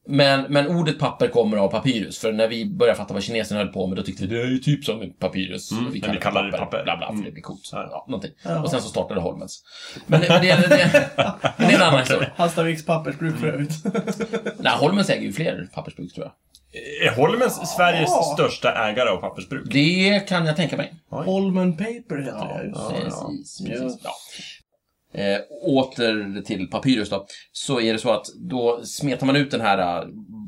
[SPEAKER 2] Men, men ordet papper kommer av papyrus, för när vi började fatta vad kineserna höll på med, då tyckte vi det är ju typ som en papyrus.
[SPEAKER 4] Mm,
[SPEAKER 2] och
[SPEAKER 4] men vi kallar det papper.
[SPEAKER 2] Bla, bla, för
[SPEAKER 4] Mm.
[SPEAKER 2] det blir coolt.
[SPEAKER 4] Ja.
[SPEAKER 2] Ja, någonting. Och sen så startade Holmens. Men, men det, det, det, men
[SPEAKER 4] <laughs>
[SPEAKER 2] det är en annan historia.
[SPEAKER 1] Hallstaviks pappersbruk
[SPEAKER 2] Mm.
[SPEAKER 1] för övrigt.
[SPEAKER 2] Nej, Holmens äger ju fler pappersbruk, tror jag.
[SPEAKER 4] Är Holmens Sveriges
[SPEAKER 1] Ja.
[SPEAKER 4] största ägare av pappersbruk?
[SPEAKER 2] Det kan jag tänka mig.
[SPEAKER 1] Holman Paper heter det, just det.
[SPEAKER 2] Precis, precis. Ja. Eh, åter till Papyrus då. Så är det så att då smetar man ut den här, eh,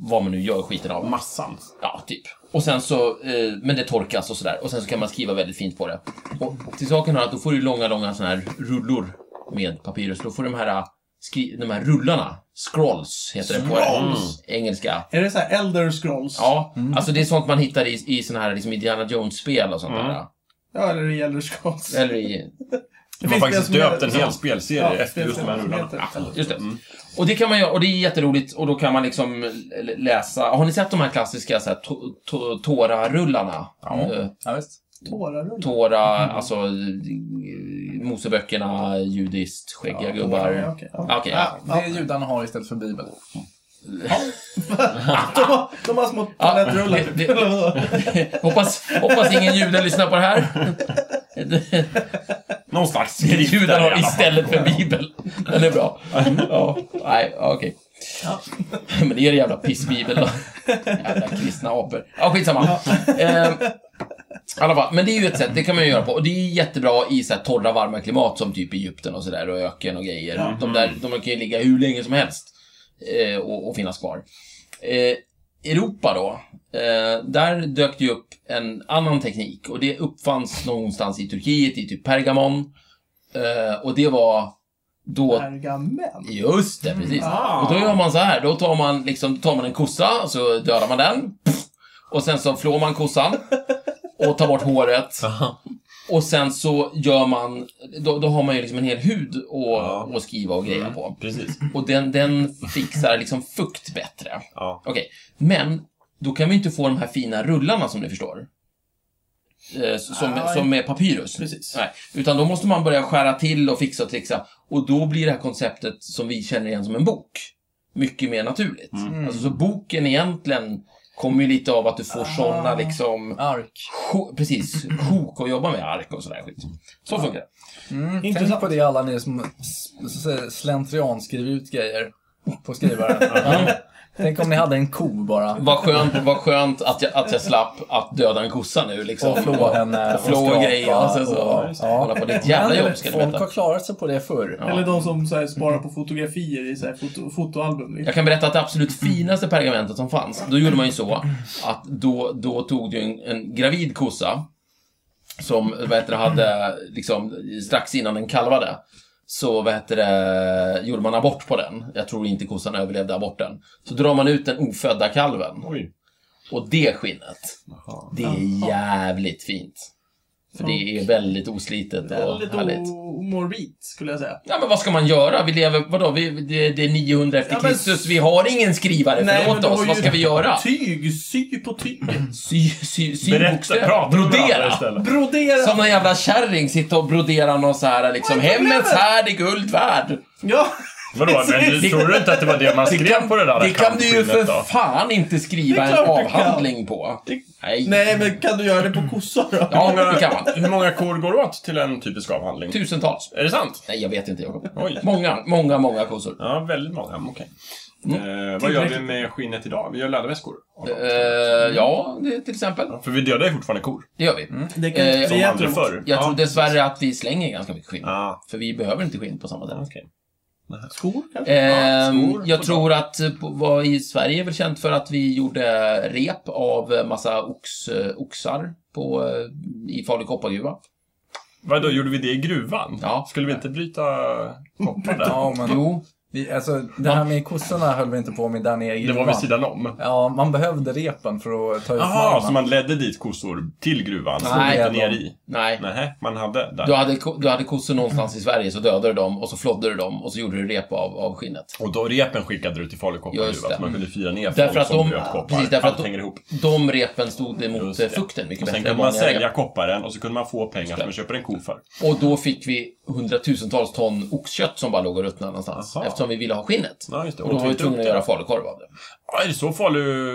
[SPEAKER 2] vad man nu gör skiten av.
[SPEAKER 4] Massan.
[SPEAKER 2] Ja, typ. Och sen så, eh, men det torkas och sådär. Och sen så kan man skriva väldigt fint på det. Och till saken hör att då får du långa, långa sådana här rullor med papyrus. Då får du de här, eh, skri- de här rullarna, scrolls heter det på
[SPEAKER 1] Scrolls?
[SPEAKER 2] engelska.
[SPEAKER 1] Är det så här Elder Scrolls?
[SPEAKER 2] Ja, alltså det är sånt man hittar i, i såna här liksom Indiana Jones-spel och sånt där.
[SPEAKER 1] Ja, eller i Elder Scrolls.
[SPEAKER 2] Eller i...
[SPEAKER 1] Det
[SPEAKER 4] De har
[SPEAKER 1] finns det
[SPEAKER 4] faktiskt
[SPEAKER 1] som
[SPEAKER 4] döpt en
[SPEAKER 1] heter-
[SPEAKER 4] hel spelserie
[SPEAKER 1] Ja,
[SPEAKER 4] efter just de här
[SPEAKER 1] spelserie
[SPEAKER 4] rullarna.
[SPEAKER 1] som
[SPEAKER 4] Ja,
[SPEAKER 1] heter-
[SPEAKER 4] förlåt.
[SPEAKER 2] Just det. Och det kan man göra, och det är jätteroligt och då kan man liksom l- läsa. Har ni sett de här klassiska så här, to- to- Tora-rullarna?
[SPEAKER 4] Ja.
[SPEAKER 2] Eh,
[SPEAKER 3] Ja, visst.
[SPEAKER 1] Tårarullar.
[SPEAKER 2] Tora, alltså eh, Moseböckerna, judiskt, skäggiga gubbar.
[SPEAKER 1] Ja, okej, ja.
[SPEAKER 2] Ah, okej, ja.
[SPEAKER 1] Ja,
[SPEAKER 3] Det är judarna har istället för Bibeln.
[SPEAKER 1] De har, de har små
[SPEAKER 2] Ja,
[SPEAKER 1] toalettrullar.
[SPEAKER 2] det- det-
[SPEAKER 1] Eller vadå?
[SPEAKER 2] <laughs> hoppas, hoppas ingen jude lyssnar på det här.
[SPEAKER 4] Någon slags skrift där i alla
[SPEAKER 2] Judarna
[SPEAKER 4] fall.
[SPEAKER 2] istället för Bibeln. Den är bra. Ja, nej, ja, okej. Men det är en jävla pissbibel då. Jävla kristna apor. Ja, skitsamma. Ehm, I alla fall, men det är ju ett sätt, det kan man ju göra på. Och det är ju jättebra i så här torra, varma klimat som typ Egypten och sådär och öken och grejer. De där, de kan ju ligga hur länge som helst eh, och, och finnas kvar. Eh, Europa då, eh, där dök det ju upp en annan teknik och det uppfanns någonstans i Turkiet, i typ Pergamon. Eh, och det var
[SPEAKER 1] <laughs>
[SPEAKER 2] då...
[SPEAKER 1] Pergament.
[SPEAKER 2] Just det, precis.
[SPEAKER 1] Ah.
[SPEAKER 2] Och då gör man så här. Då tar man, liksom, tar man en kossa, så dödar man den. Pff. Och sen så flår man kossan. Och tar bort håret. Och sen så gör man, då, då har man ju liksom en hel hud
[SPEAKER 4] Ja.
[SPEAKER 2] att, att skriva och greja på.
[SPEAKER 4] Precis.
[SPEAKER 2] Och den, den fixar liksom fukt bättre.
[SPEAKER 4] Ja.
[SPEAKER 2] Okej, men då kan vi inte få de här fina rullarna som ni förstår. Eh, s- som,
[SPEAKER 1] Nej.
[SPEAKER 2] som är papyrus.
[SPEAKER 1] Precis.
[SPEAKER 2] Nej, utan då måste man börja skära till och fixa och trixa. Och då blir det här konceptet som vi känner igen som en bok mycket mer naturligt. Alltså, så boken egentligen kommer ju lite av att du får såna liksom...
[SPEAKER 3] Ark.
[SPEAKER 2] sjo- Precis, sjok att jobba med, ark och sådär skit. Så funkar det.
[SPEAKER 3] Mm. Tänk
[SPEAKER 1] Intressant.
[SPEAKER 3] på det alla ni som s- s- slentrian skriver ut grejer
[SPEAKER 2] <laughs>
[SPEAKER 3] på skrivaren. ja. Tänk om ni hade en ko bara.
[SPEAKER 2] Vad skönt, vad skönt att, jag, att jag slapp att döda en kossa nu liksom.
[SPEAKER 3] Och flå henne.
[SPEAKER 2] Och flå
[SPEAKER 3] skrapa
[SPEAKER 2] grejer och sen så... Hålla
[SPEAKER 3] ja.
[SPEAKER 2] på. Det är ett jävla
[SPEAKER 3] Men
[SPEAKER 2] jobb ska du
[SPEAKER 3] Folk har
[SPEAKER 2] veta.
[SPEAKER 3] klarat sig på det förr.
[SPEAKER 2] Ja.
[SPEAKER 1] Eller de som så här, sparar på fotografier i så här, foto, fotoalbum. Liksom.
[SPEAKER 2] Jag kan berätta att det absolut finaste pergamentet som fanns, då gjorde man ju så att då, då tog du en, en gravid kossa som vad heter det, hade liksom strax innan den kalvade. Så vad heter det, gjorde man abort på den. Jag tror inte kossan överlevde aborten. Så drar man ut den ofödda kalven
[SPEAKER 4] Oj.
[SPEAKER 2] och det skinnet, det är jävligt fint. För det är väldigt oslitet och
[SPEAKER 1] Väldigt
[SPEAKER 2] härligt.
[SPEAKER 1] o- morbid, skulle jag säga.
[SPEAKER 2] Ja, men vad ska man göra? Vi lever, vadå, vi, det, det är 900 efter
[SPEAKER 1] Ja, men-
[SPEAKER 2] Kristus, vi har ingen skrivare, förlåt
[SPEAKER 1] det var
[SPEAKER 2] oss,
[SPEAKER 1] ju typ-
[SPEAKER 2] vad ska vi göra?
[SPEAKER 1] Tyg, sy på tyget.
[SPEAKER 2] Sy, sy, sy
[SPEAKER 4] Berätta,
[SPEAKER 2] bokstäver.
[SPEAKER 4] prata med varandra
[SPEAKER 2] brodera!
[SPEAKER 4] istället.
[SPEAKER 1] Brodera.
[SPEAKER 2] Som en jävla kärring sitta och brodera någon så här liksom,
[SPEAKER 1] Vad är
[SPEAKER 2] hemmets
[SPEAKER 1] problemet?
[SPEAKER 2] härd är guld värd.
[SPEAKER 1] Ja.
[SPEAKER 2] <laughs>
[SPEAKER 4] Vadå, men du,
[SPEAKER 1] Det-
[SPEAKER 4] tror du inte att det var det man
[SPEAKER 2] Det
[SPEAKER 4] skrev
[SPEAKER 2] kan,
[SPEAKER 4] på det där
[SPEAKER 2] det kan du ju för
[SPEAKER 4] kantskinnet då?
[SPEAKER 2] fan inte skriva
[SPEAKER 1] Det är
[SPEAKER 2] en
[SPEAKER 1] klart du kan.
[SPEAKER 2] avhandling på. Nej.
[SPEAKER 1] Nej, men kan du göra det på kossor då?
[SPEAKER 2] Ja, det kan man.
[SPEAKER 4] Hur många kor går åt till en typisk avhandling?
[SPEAKER 2] Tusentals.
[SPEAKER 4] Är det sant?
[SPEAKER 2] Nej, jag vet inte, Jakob.
[SPEAKER 4] Oj.
[SPEAKER 2] Många, många, många kossor.
[SPEAKER 4] Ja, väldigt många. Mm, Okej. Eh, vad gör vi med skinnet idag? Vi gör läderväskor. av dem.
[SPEAKER 2] Eh, ja, det, till exempel.
[SPEAKER 4] För vi dödar ju fortfarande kor.
[SPEAKER 2] Det gör vi.
[SPEAKER 1] Det kan
[SPEAKER 2] Eh,
[SPEAKER 1] vi
[SPEAKER 4] Som
[SPEAKER 1] äter
[SPEAKER 4] aldrig
[SPEAKER 1] dem
[SPEAKER 4] förr.
[SPEAKER 2] Jag
[SPEAKER 4] Ja.
[SPEAKER 2] tror dessvärre att vi slänger ganska mycket skinn.
[SPEAKER 4] Ah,
[SPEAKER 2] För vi behöver inte skinn på samma sätt.
[SPEAKER 4] okej.
[SPEAKER 1] också. Skor kanske?
[SPEAKER 2] Ehm,
[SPEAKER 4] skor
[SPEAKER 2] jag
[SPEAKER 4] på
[SPEAKER 2] tror att eh, på- vad i Sverige är väl känt för att vi gjorde rep av eh, massa ox, eh, oxar på, eh, i Falu koppargruva.
[SPEAKER 4] Vadå, gjorde vi det i gruvan?
[SPEAKER 2] Ja.
[SPEAKER 4] Skulle vi inte bryta koppar där?
[SPEAKER 3] Ja, men
[SPEAKER 2] Jo,
[SPEAKER 3] vi, alltså, det här med kossorna höll vi inte på med där nere i
[SPEAKER 4] Det var vid
[SPEAKER 3] gruvan.
[SPEAKER 4] sidan om.
[SPEAKER 3] Ja, man behövde repen för att ta ut
[SPEAKER 4] Jaha,
[SPEAKER 3] malmen.
[SPEAKER 4] så man ledde dit kossor till gruvan? Så
[SPEAKER 2] Nej.
[SPEAKER 4] inte ner i?
[SPEAKER 2] nej.
[SPEAKER 4] Nej, man hade där.
[SPEAKER 2] Du hade, ko- du hade kossor någonstans i Sverige, så dödade du dem och så flodde du dem och så gjorde du rep av, av skinnet.
[SPEAKER 4] Och då repen skickade du till Falu koppargruva,
[SPEAKER 2] Just det.
[SPEAKER 4] så man kunde fira ner
[SPEAKER 2] Därför
[SPEAKER 4] folk
[SPEAKER 2] att
[SPEAKER 4] som
[SPEAKER 2] de-
[SPEAKER 4] bröt koppar.
[SPEAKER 2] precis, därför att
[SPEAKER 4] Allt
[SPEAKER 2] de-
[SPEAKER 4] hänger ihop.
[SPEAKER 2] De repen stod emot
[SPEAKER 4] Just
[SPEAKER 2] eh,
[SPEAKER 4] det.
[SPEAKER 2] fukten mycket
[SPEAKER 4] Och sen
[SPEAKER 2] bättre
[SPEAKER 4] kunde
[SPEAKER 2] än
[SPEAKER 4] man
[SPEAKER 2] vanliga
[SPEAKER 4] sälja
[SPEAKER 2] rep.
[SPEAKER 4] kopparen och så kunde man få pengar som man köper en ko för.
[SPEAKER 2] Och då fick vi hundratusentals ton oxkött som bara låg och ruttnade någonstans.
[SPEAKER 4] Aha.
[SPEAKER 2] Eftersom som vi ville ha skinnet.
[SPEAKER 4] Ja, just det.
[SPEAKER 2] Och då var vi
[SPEAKER 4] tryckte
[SPEAKER 2] tvungna att
[SPEAKER 4] upp det.
[SPEAKER 2] göra falukorv av det.
[SPEAKER 4] Ja, är det så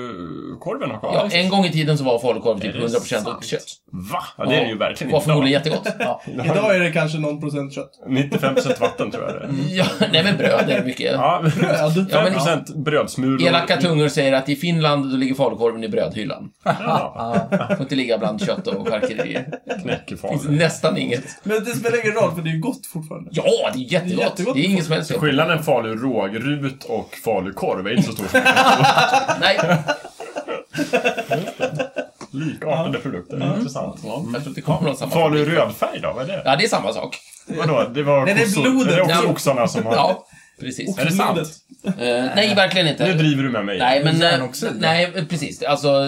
[SPEAKER 4] falukorven har kvar?
[SPEAKER 2] Ja, en gång i tiden så var falukorv
[SPEAKER 4] Är
[SPEAKER 2] typ
[SPEAKER 4] det
[SPEAKER 2] 100%
[SPEAKER 4] sant?
[SPEAKER 2] oxkött.
[SPEAKER 4] Va? Ja, det är det ju verkligen
[SPEAKER 2] Var förmodligen
[SPEAKER 4] inte. <laughs>
[SPEAKER 2] jättegott. Ja.
[SPEAKER 1] Idag är det kanske någon procent kött.
[SPEAKER 4] 95% vatten tror jag
[SPEAKER 2] <laughs>
[SPEAKER 4] det är.
[SPEAKER 2] ja, nej men bröd är det mycket.
[SPEAKER 4] Ja,
[SPEAKER 1] Ja, du-
[SPEAKER 4] 5% brödsmulor.
[SPEAKER 2] Elaka tungor säger att i Finland då ligger falukorven i brödhyllan.
[SPEAKER 4] Ja,
[SPEAKER 2] Får inte ligga bland kött och charkuterier. Finns
[SPEAKER 4] knäckefalu.
[SPEAKER 2] nästan inget.
[SPEAKER 1] Men det spelar ingen roll, för det är ju gott fortfarande.
[SPEAKER 2] Ja, det är jättegott.
[SPEAKER 1] Jättegott.
[SPEAKER 2] Det är inget som helst fel.
[SPEAKER 4] Skillnaden falu rågrut och falukorv är inte så stor som
[SPEAKER 2] Nej,
[SPEAKER 4] likartade produkter. Intressant.
[SPEAKER 2] jag tror inte det kommer någon samma.
[SPEAKER 4] Falu rödfärg då? Vad är det?
[SPEAKER 2] Ja, det är samma sak.
[SPEAKER 4] Vadå? Det var
[SPEAKER 1] Nej, det är
[SPEAKER 4] kossor-
[SPEAKER 1] blodet.
[SPEAKER 4] Är det också
[SPEAKER 2] Ja.
[SPEAKER 4] oxarna som har...
[SPEAKER 2] Ja, precis.
[SPEAKER 4] Är det sant?
[SPEAKER 1] Blodet.
[SPEAKER 2] Eh, nej, verkligen
[SPEAKER 4] Nu
[SPEAKER 2] inte.
[SPEAKER 4] driver du med mig.
[SPEAKER 2] Nej, men... eh,
[SPEAKER 3] Järnoxid.
[SPEAKER 2] Nej, precis. Alltså,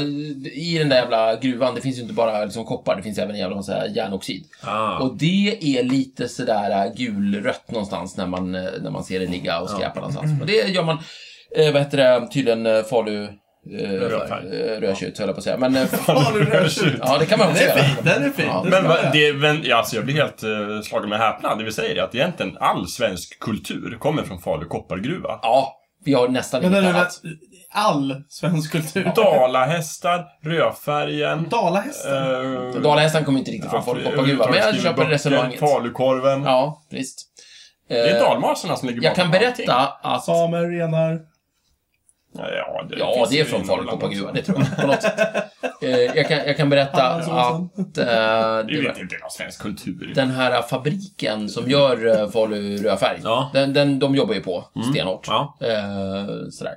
[SPEAKER 2] i den där jävla gruvan, det finns ju inte bara liksom koppar, det finns även en jävla massa järnoxid.
[SPEAKER 4] Ah.
[SPEAKER 2] Och det är lite sådär äh, gulrött någonstans när man, eh, när man ser det ligga och skräpa någonstans. Men det gör man, eh, vad heter det, tydligen eh, falu... eh,
[SPEAKER 4] Rödfärg.
[SPEAKER 2] eh, Rödtjut höll jag på att säga.
[SPEAKER 4] <laughs>
[SPEAKER 2] Men eh,
[SPEAKER 4] Falu-rödtjut.
[SPEAKER 2] ja, det kan man
[SPEAKER 1] Den
[SPEAKER 2] också
[SPEAKER 1] är
[SPEAKER 2] göra.
[SPEAKER 1] fin, den är fin.
[SPEAKER 2] Ja.
[SPEAKER 1] Den
[SPEAKER 4] Men,
[SPEAKER 1] ska
[SPEAKER 4] va,
[SPEAKER 1] jag.
[SPEAKER 4] det, men ja, alltså jag blir helt eh, slagen med häpnad. Det vill säga det att egentligen all svensk kultur kommer från Falu koppargruva.
[SPEAKER 2] Ja, vi har nästan
[SPEAKER 1] Men
[SPEAKER 2] inget
[SPEAKER 1] den är
[SPEAKER 2] annat.
[SPEAKER 1] väl all svensk kultur.
[SPEAKER 4] Dalahästar, rödfärgen...
[SPEAKER 1] Dalahästen.
[SPEAKER 4] eh,
[SPEAKER 2] Dalahästen kommer inte riktigt från
[SPEAKER 4] ja,
[SPEAKER 2] Folkoppargruvan, men jag köper resonemanget.
[SPEAKER 4] Falukorven.
[SPEAKER 2] Ja, visst.
[SPEAKER 4] Det är
[SPEAKER 2] Eh,
[SPEAKER 4] dalmasarna som ligger
[SPEAKER 2] Jag kan
[SPEAKER 4] bakom
[SPEAKER 2] berätta
[SPEAKER 4] allting.
[SPEAKER 2] att...
[SPEAKER 1] Eh, Samer, renar.
[SPEAKER 4] Ja, det,
[SPEAKER 2] Ja,
[SPEAKER 4] finns
[SPEAKER 2] det är
[SPEAKER 4] ju
[SPEAKER 2] från
[SPEAKER 4] i
[SPEAKER 2] Falukorp och
[SPEAKER 4] Norrland
[SPEAKER 2] gruvan,
[SPEAKER 4] också.
[SPEAKER 2] det tror jag. På något sätt. Eh, jag, kan, jag kan berätta
[SPEAKER 1] Hallandsåsen.
[SPEAKER 2] att eh,
[SPEAKER 4] Det är
[SPEAKER 2] det
[SPEAKER 4] ju
[SPEAKER 2] var-
[SPEAKER 4] inte en del av svensk kultur.
[SPEAKER 2] den här fabriken som gör eh, Falu rödfärg,
[SPEAKER 4] Ja.
[SPEAKER 2] den, den, de jobbar ju på stenhårt.
[SPEAKER 4] Ja.
[SPEAKER 2] Eh, sådär.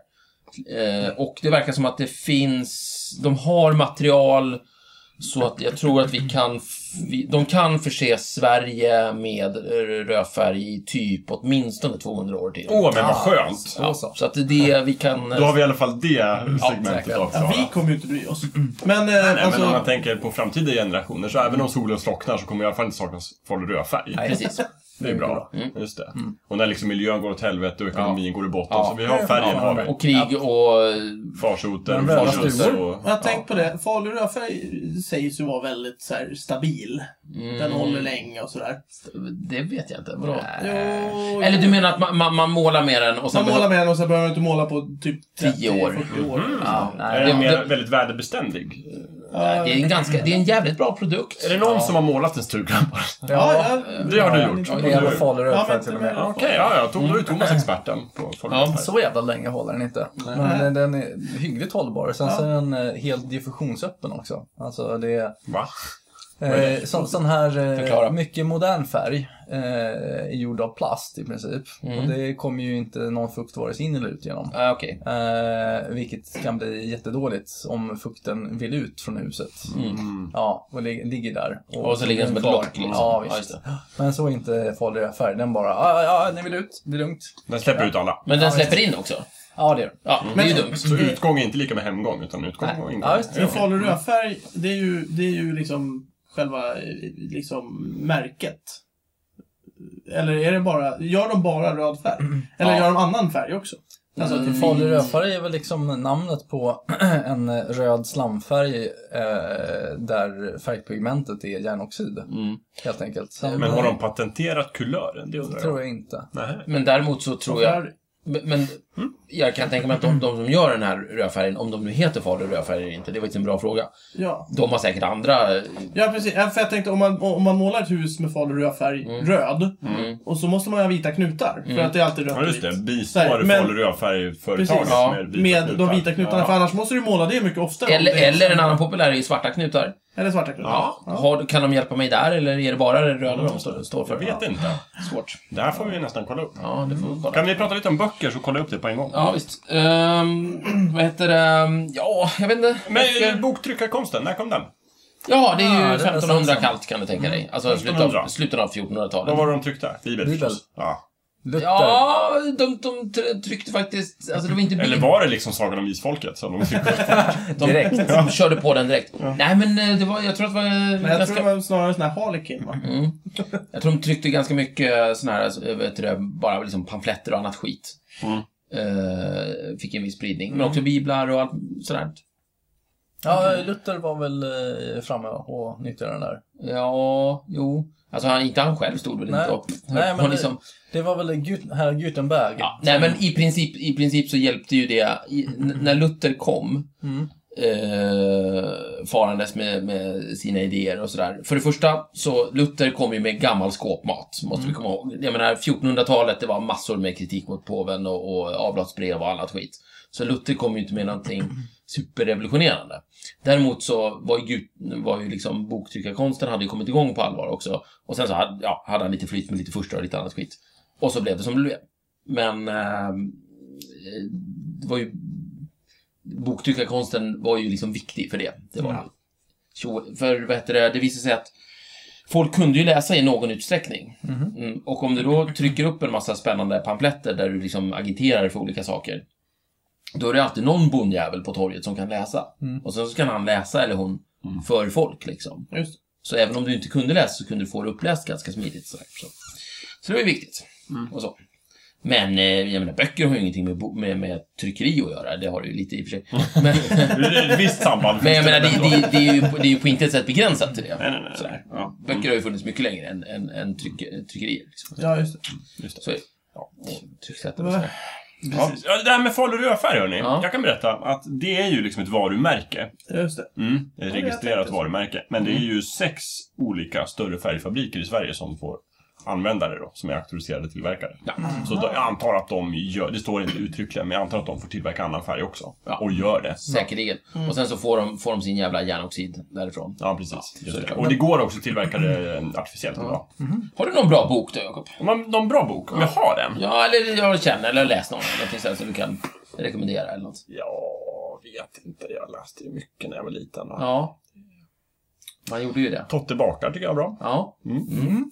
[SPEAKER 2] Eh, och det verkar som att det finns, de har material så att jag tror att vi kan, f- vi, de kan förse Sverige med eh, rödfärg i typ åtminstone 200 år till.
[SPEAKER 4] Åh, men vad skönt!
[SPEAKER 2] ja,
[SPEAKER 3] alltså.
[SPEAKER 2] så att det är det vi kan...
[SPEAKER 4] Oh,
[SPEAKER 2] eh,
[SPEAKER 4] Då har vi i alla fall det segmentet
[SPEAKER 2] säkert.
[SPEAKER 1] Ja,
[SPEAKER 4] avklarat.
[SPEAKER 1] vi kommer ju inte bry oss. Men, eh,
[SPEAKER 4] Nej,
[SPEAKER 1] alltså,
[SPEAKER 4] men om man tänker på framtida generationer så även om solen slocknar så kommer i alla fall inte saknas folk rödfärg.
[SPEAKER 2] Precis.
[SPEAKER 4] Det är bra. Just det. Och när liksom miljön går åt helvete och ekonomin går i botten
[SPEAKER 2] Mm. Ja.
[SPEAKER 4] så vi har färgen har vi.
[SPEAKER 2] Och krig och... eh,
[SPEAKER 4] Farsoter,
[SPEAKER 3] Den röda
[SPEAKER 4] farsoter
[SPEAKER 3] stugor.
[SPEAKER 4] och...
[SPEAKER 1] jag har tänkt på det. Falu rödfärg sägs ju vara väldigt så här, stabil. Den håller länge och sådär.
[SPEAKER 2] Det vet jag inte. Vadå?
[SPEAKER 1] Jo,
[SPEAKER 2] Eller du menar att man, man, man målar med den och sen...
[SPEAKER 1] man målar med den och sen behöver man inte måla på typ
[SPEAKER 2] 10 år.
[SPEAKER 1] 40 år. Mm.
[SPEAKER 2] Ja, nej,
[SPEAKER 4] Är den
[SPEAKER 2] det,
[SPEAKER 4] mer
[SPEAKER 2] det,
[SPEAKER 4] väldigt värdebeständig?
[SPEAKER 2] nej, det, är en ganska, det är en jävligt bra produkt.
[SPEAKER 4] Är det någon som har målat en stuga?
[SPEAKER 1] Ja,
[SPEAKER 4] Det har du gjort.
[SPEAKER 1] Ja,
[SPEAKER 4] Och
[SPEAKER 3] Det
[SPEAKER 4] du-
[SPEAKER 3] är jävla farlig
[SPEAKER 1] Ja,
[SPEAKER 3] rödfärg
[SPEAKER 1] men-
[SPEAKER 3] till och med.
[SPEAKER 4] Ja, Okej, ja, ja. Tom, då är Thomas experten på folk.
[SPEAKER 2] Ja.
[SPEAKER 3] Så jävla länge håller den inte. Men den, den är hyggligt hållbar. Sen så är den eh, helt diffusionsöppen också. Alltså det är...
[SPEAKER 4] Va?
[SPEAKER 3] Eh, sån, sån här eh,
[SPEAKER 2] Förklara.
[SPEAKER 3] mycket modern färg eh, är gjord av plast i princip.
[SPEAKER 2] Mm.
[SPEAKER 3] Och det kommer ju inte någon fukt vare sig in eller ut genom.
[SPEAKER 2] Ah, Okej.
[SPEAKER 3] Eh, vilket kan bli jättedåligt om fukten vill ut från huset. Ja, och lig- ligger där.
[SPEAKER 2] Mm. Och så ligger den som ett
[SPEAKER 3] kvar.
[SPEAKER 2] lock, liksom.
[SPEAKER 3] Ja,
[SPEAKER 2] Ja,
[SPEAKER 3] visst.
[SPEAKER 2] just
[SPEAKER 3] Men så är inte farlig rödfärg. Den bara, "Ah, ja, ja, den vill ut. Det är lugnt.
[SPEAKER 4] Den släpper ut alla.
[SPEAKER 2] Men den släpper in också.
[SPEAKER 3] Ja, det gör den.
[SPEAKER 2] Ja,
[SPEAKER 4] Mm.
[SPEAKER 2] det är ju dumt.
[SPEAKER 4] Så utgång är inte lika med hemgång, utan utgång och ingång.
[SPEAKER 3] Ja, just det.
[SPEAKER 1] Men falu rödfärg, det är ju, det är ju liksom själva eh, liksom, märket. Eller är det bara, gör de bara röd färg? Eller
[SPEAKER 2] Ja.
[SPEAKER 1] gör de annan färg också? Alltså,
[SPEAKER 4] Mm.
[SPEAKER 1] att det är
[SPEAKER 3] Farlig rödfärg är väl liksom namnet på <clears throat> en röd slamfärg eh, där färgpigmentet är järnoxid. Helt enkelt. Sen,
[SPEAKER 4] Mm. Men har de patenterat kulören? Det undrar jag.
[SPEAKER 3] tror jag inte.
[SPEAKER 4] Nej.
[SPEAKER 2] Men däremot så tror jag...
[SPEAKER 1] Varför?
[SPEAKER 2] Men men
[SPEAKER 4] Mm.
[SPEAKER 2] jag kan tänka mig att de, de som gör den här rödfärgen, om de nu heter Falu rödfärg eller inte, det var inte en bra fråga.
[SPEAKER 1] Ja.
[SPEAKER 2] De har säkert andra... eh,
[SPEAKER 1] ja, precis. Ja, För jag tänkte om man, om man målar ett hus med falu rödfärg röd och så måste man ha vita knutar för att det är alltid rött
[SPEAKER 4] Ja,
[SPEAKER 1] och
[SPEAKER 4] just det.
[SPEAKER 1] vitt.
[SPEAKER 4] Bistår
[SPEAKER 1] Men-
[SPEAKER 4] men... rödfärgföretaget
[SPEAKER 1] Precis. Ja,
[SPEAKER 4] med vita
[SPEAKER 1] Med de vita knutarna, för
[SPEAKER 4] Ja.
[SPEAKER 1] annars måste du måla det mycket oftare. om
[SPEAKER 2] Eller,
[SPEAKER 1] det är-
[SPEAKER 2] eller en annan populär är ju svarta knutar.
[SPEAKER 1] eller svarta knutar.
[SPEAKER 4] Ja.
[SPEAKER 2] Har, kan de hjälpa mig där, eller är det bara det röda de står, står för?
[SPEAKER 4] Jag vet inte.
[SPEAKER 2] Svårt.
[SPEAKER 4] Det här får vi nästan kolla upp.
[SPEAKER 2] Ja, det får vi kolla.
[SPEAKER 4] Kan vi prata lite om böcker så kollar jag upp det på en gång?
[SPEAKER 2] Ja, visst. Ehm, vad heter det? Ja, jag vet inte.
[SPEAKER 4] Men eh, boktryckarkonsten, när kom den?
[SPEAKER 2] Ja, det är ju
[SPEAKER 3] Ah, det är
[SPEAKER 2] 1500
[SPEAKER 3] sant.
[SPEAKER 2] kallt kan du tänka dig. Alltså slutet av,
[SPEAKER 4] 1500.
[SPEAKER 2] slutet av 1400-talet.
[SPEAKER 4] Vad var det de tryckte? Bibeln
[SPEAKER 3] Bibel.
[SPEAKER 4] förstås. Ja.
[SPEAKER 3] Luther.
[SPEAKER 2] Ja, de, de tr- tryckte faktiskt... Alltså det var inte
[SPEAKER 4] Eller
[SPEAKER 2] bil.
[SPEAKER 4] var det liksom Sagan om Isfolket som de tryckte?
[SPEAKER 2] De,
[SPEAKER 3] Direkt.
[SPEAKER 2] de körde på den direkt. Nej, men eh, det var, jag tror att det var... eh,
[SPEAKER 1] Men jag
[SPEAKER 2] ganska,
[SPEAKER 1] tror det var snarare sån här Harlequin va?
[SPEAKER 2] jag tror de tryckte ganska mycket sån här, alltså, eh, vet du, det, bara liksom pamfletter och annat skit.
[SPEAKER 4] Mm.
[SPEAKER 2] Eh, fick en viss spridning. Men också biblar och allt sådär.
[SPEAKER 3] Ja, Luther var väl eh, framme och nyttjade den där.
[SPEAKER 2] Ja, jo. Alltså han, inte han själv stod väl
[SPEAKER 3] Nej.
[SPEAKER 2] inte upp.
[SPEAKER 3] Nej,
[SPEAKER 2] Hon
[SPEAKER 3] men det-
[SPEAKER 2] liksom,
[SPEAKER 3] Det var väl Gut- herr Gutenberg?
[SPEAKER 2] ja, nej, men i princip, i princip så hjälpte ju det, i, n- när Luther kom,
[SPEAKER 3] Mm.
[SPEAKER 2] eh, farandes med, med sina idéer och sådär. För det första, så Luther kom ju med gammal skåpmat, måste vi komma ihåg. Jag menar, 1400-talet, det var massor med kritik mot påven och, och avlatsbrev och annat skit. Så Luther kom ju inte med någonting superrevolutionerande. Däremot så var ju, Gut- var ju liksom boktryckarkonsten hade ju kommit igång på allvar också. Och sen så hade, ja, hade han lite flyt med lite första och lite annat skit. Och så blev det som det blev. Men ehm, eh, det var ju boktryckarkonsten var ju liksom viktig för det. Det var
[SPEAKER 3] Ja.
[SPEAKER 2] Tjo- För vad heter det, det visade sig att folk kunde ju läsa i någon utsträckning. Mm. Och om du då trycker upp en massa spännande pamfletter där du liksom agiterar för olika saker. Då är det alltid någon bondjävel på torget som kan läsa. Och sen så kan han läsa, eller hon, för folk liksom.
[SPEAKER 1] Just
[SPEAKER 2] Så även om du inte kunde läsa så kunde du få det uppläst ganska smidigt. Så, så. så det var ju viktigt. Och så. Men eh, jag menar, böcker har ju ingenting med, bo- med, med tryckeri att göra. Det har det ju lite i och för
[SPEAKER 4] <laughs>
[SPEAKER 2] sig. Men,
[SPEAKER 4] Det är ett visst samband.
[SPEAKER 2] men jag menar, det, det, det, är ju, på- det är ju på intet sätt begränsat till det.
[SPEAKER 4] Nej, nej, nej. Mm.
[SPEAKER 2] Sådär.
[SPEAKER 4] Ja.
[SPEAKER 2] Böcker har ju funnits mycket längre än, än, än tryck, tryckerier. Liksom.
[SPEAKER 1] Ja, just det.
[SPEAKER 2] Så, är det. ja, och trycksättare
[SPEAKER 1] Det
[SPEAKER 2] och
[SPEAKER 1] var-
[SPEAKER 2] sådär.
[SPEAKER 4] Ja. Ja, det här med Falu rödfärg, hörni.
[SPEAKER 2] Ja.
[SPEAKER 4] Jag kan berätta att det är ju liksom ett varumärke.
[SPEAKER 1] Just det.
[SPEAKER 4] Mm, ett
[SPEAKER 1] jag
[SPEAKER 4] registrerat
[SPEAKER 1] tänkte så.
[SPEAKER 4] varumärke. Men det är ju sex olika större färgfabriker i Sverige som får använda det då, som är auktoriserade tillverkare. Så då, jag antar att de gör, det står inte uttryckligen, men jag antar att de får tillverka annan färg också.
[SPEAKER 2] Ja.
[SPEAKER 4] Och gör det.
[SPEAKER 2] Säkerligen. Och sen så får de, får de sin jävla järnoxid därifrån.
[SPEAKER 4] Mm. Ja, precis. Just det. Och det går också att tillverka det eh, artificiellt idag.
[SPEAKER 2] Har du någon bra bok då, Jakob?
[SPEAKER 4] Om man- Någon bra bok, om jag har den?
[SPEAKER 2] Ja, eller jag känner eller har läst någon. Någonting sånt som du kan rekommendera eller något.
[SPEAKER 4] Jag vet inte, jag läste ju mycket när jag var liten. Ja.
[SPEAKER 2] Ja. Man gjorde ju det.
[SPEAKER 4] Totte bakar tycker jag är bra.
[SPEAKER 2] Ja.
[SPEAKER 4] Mm.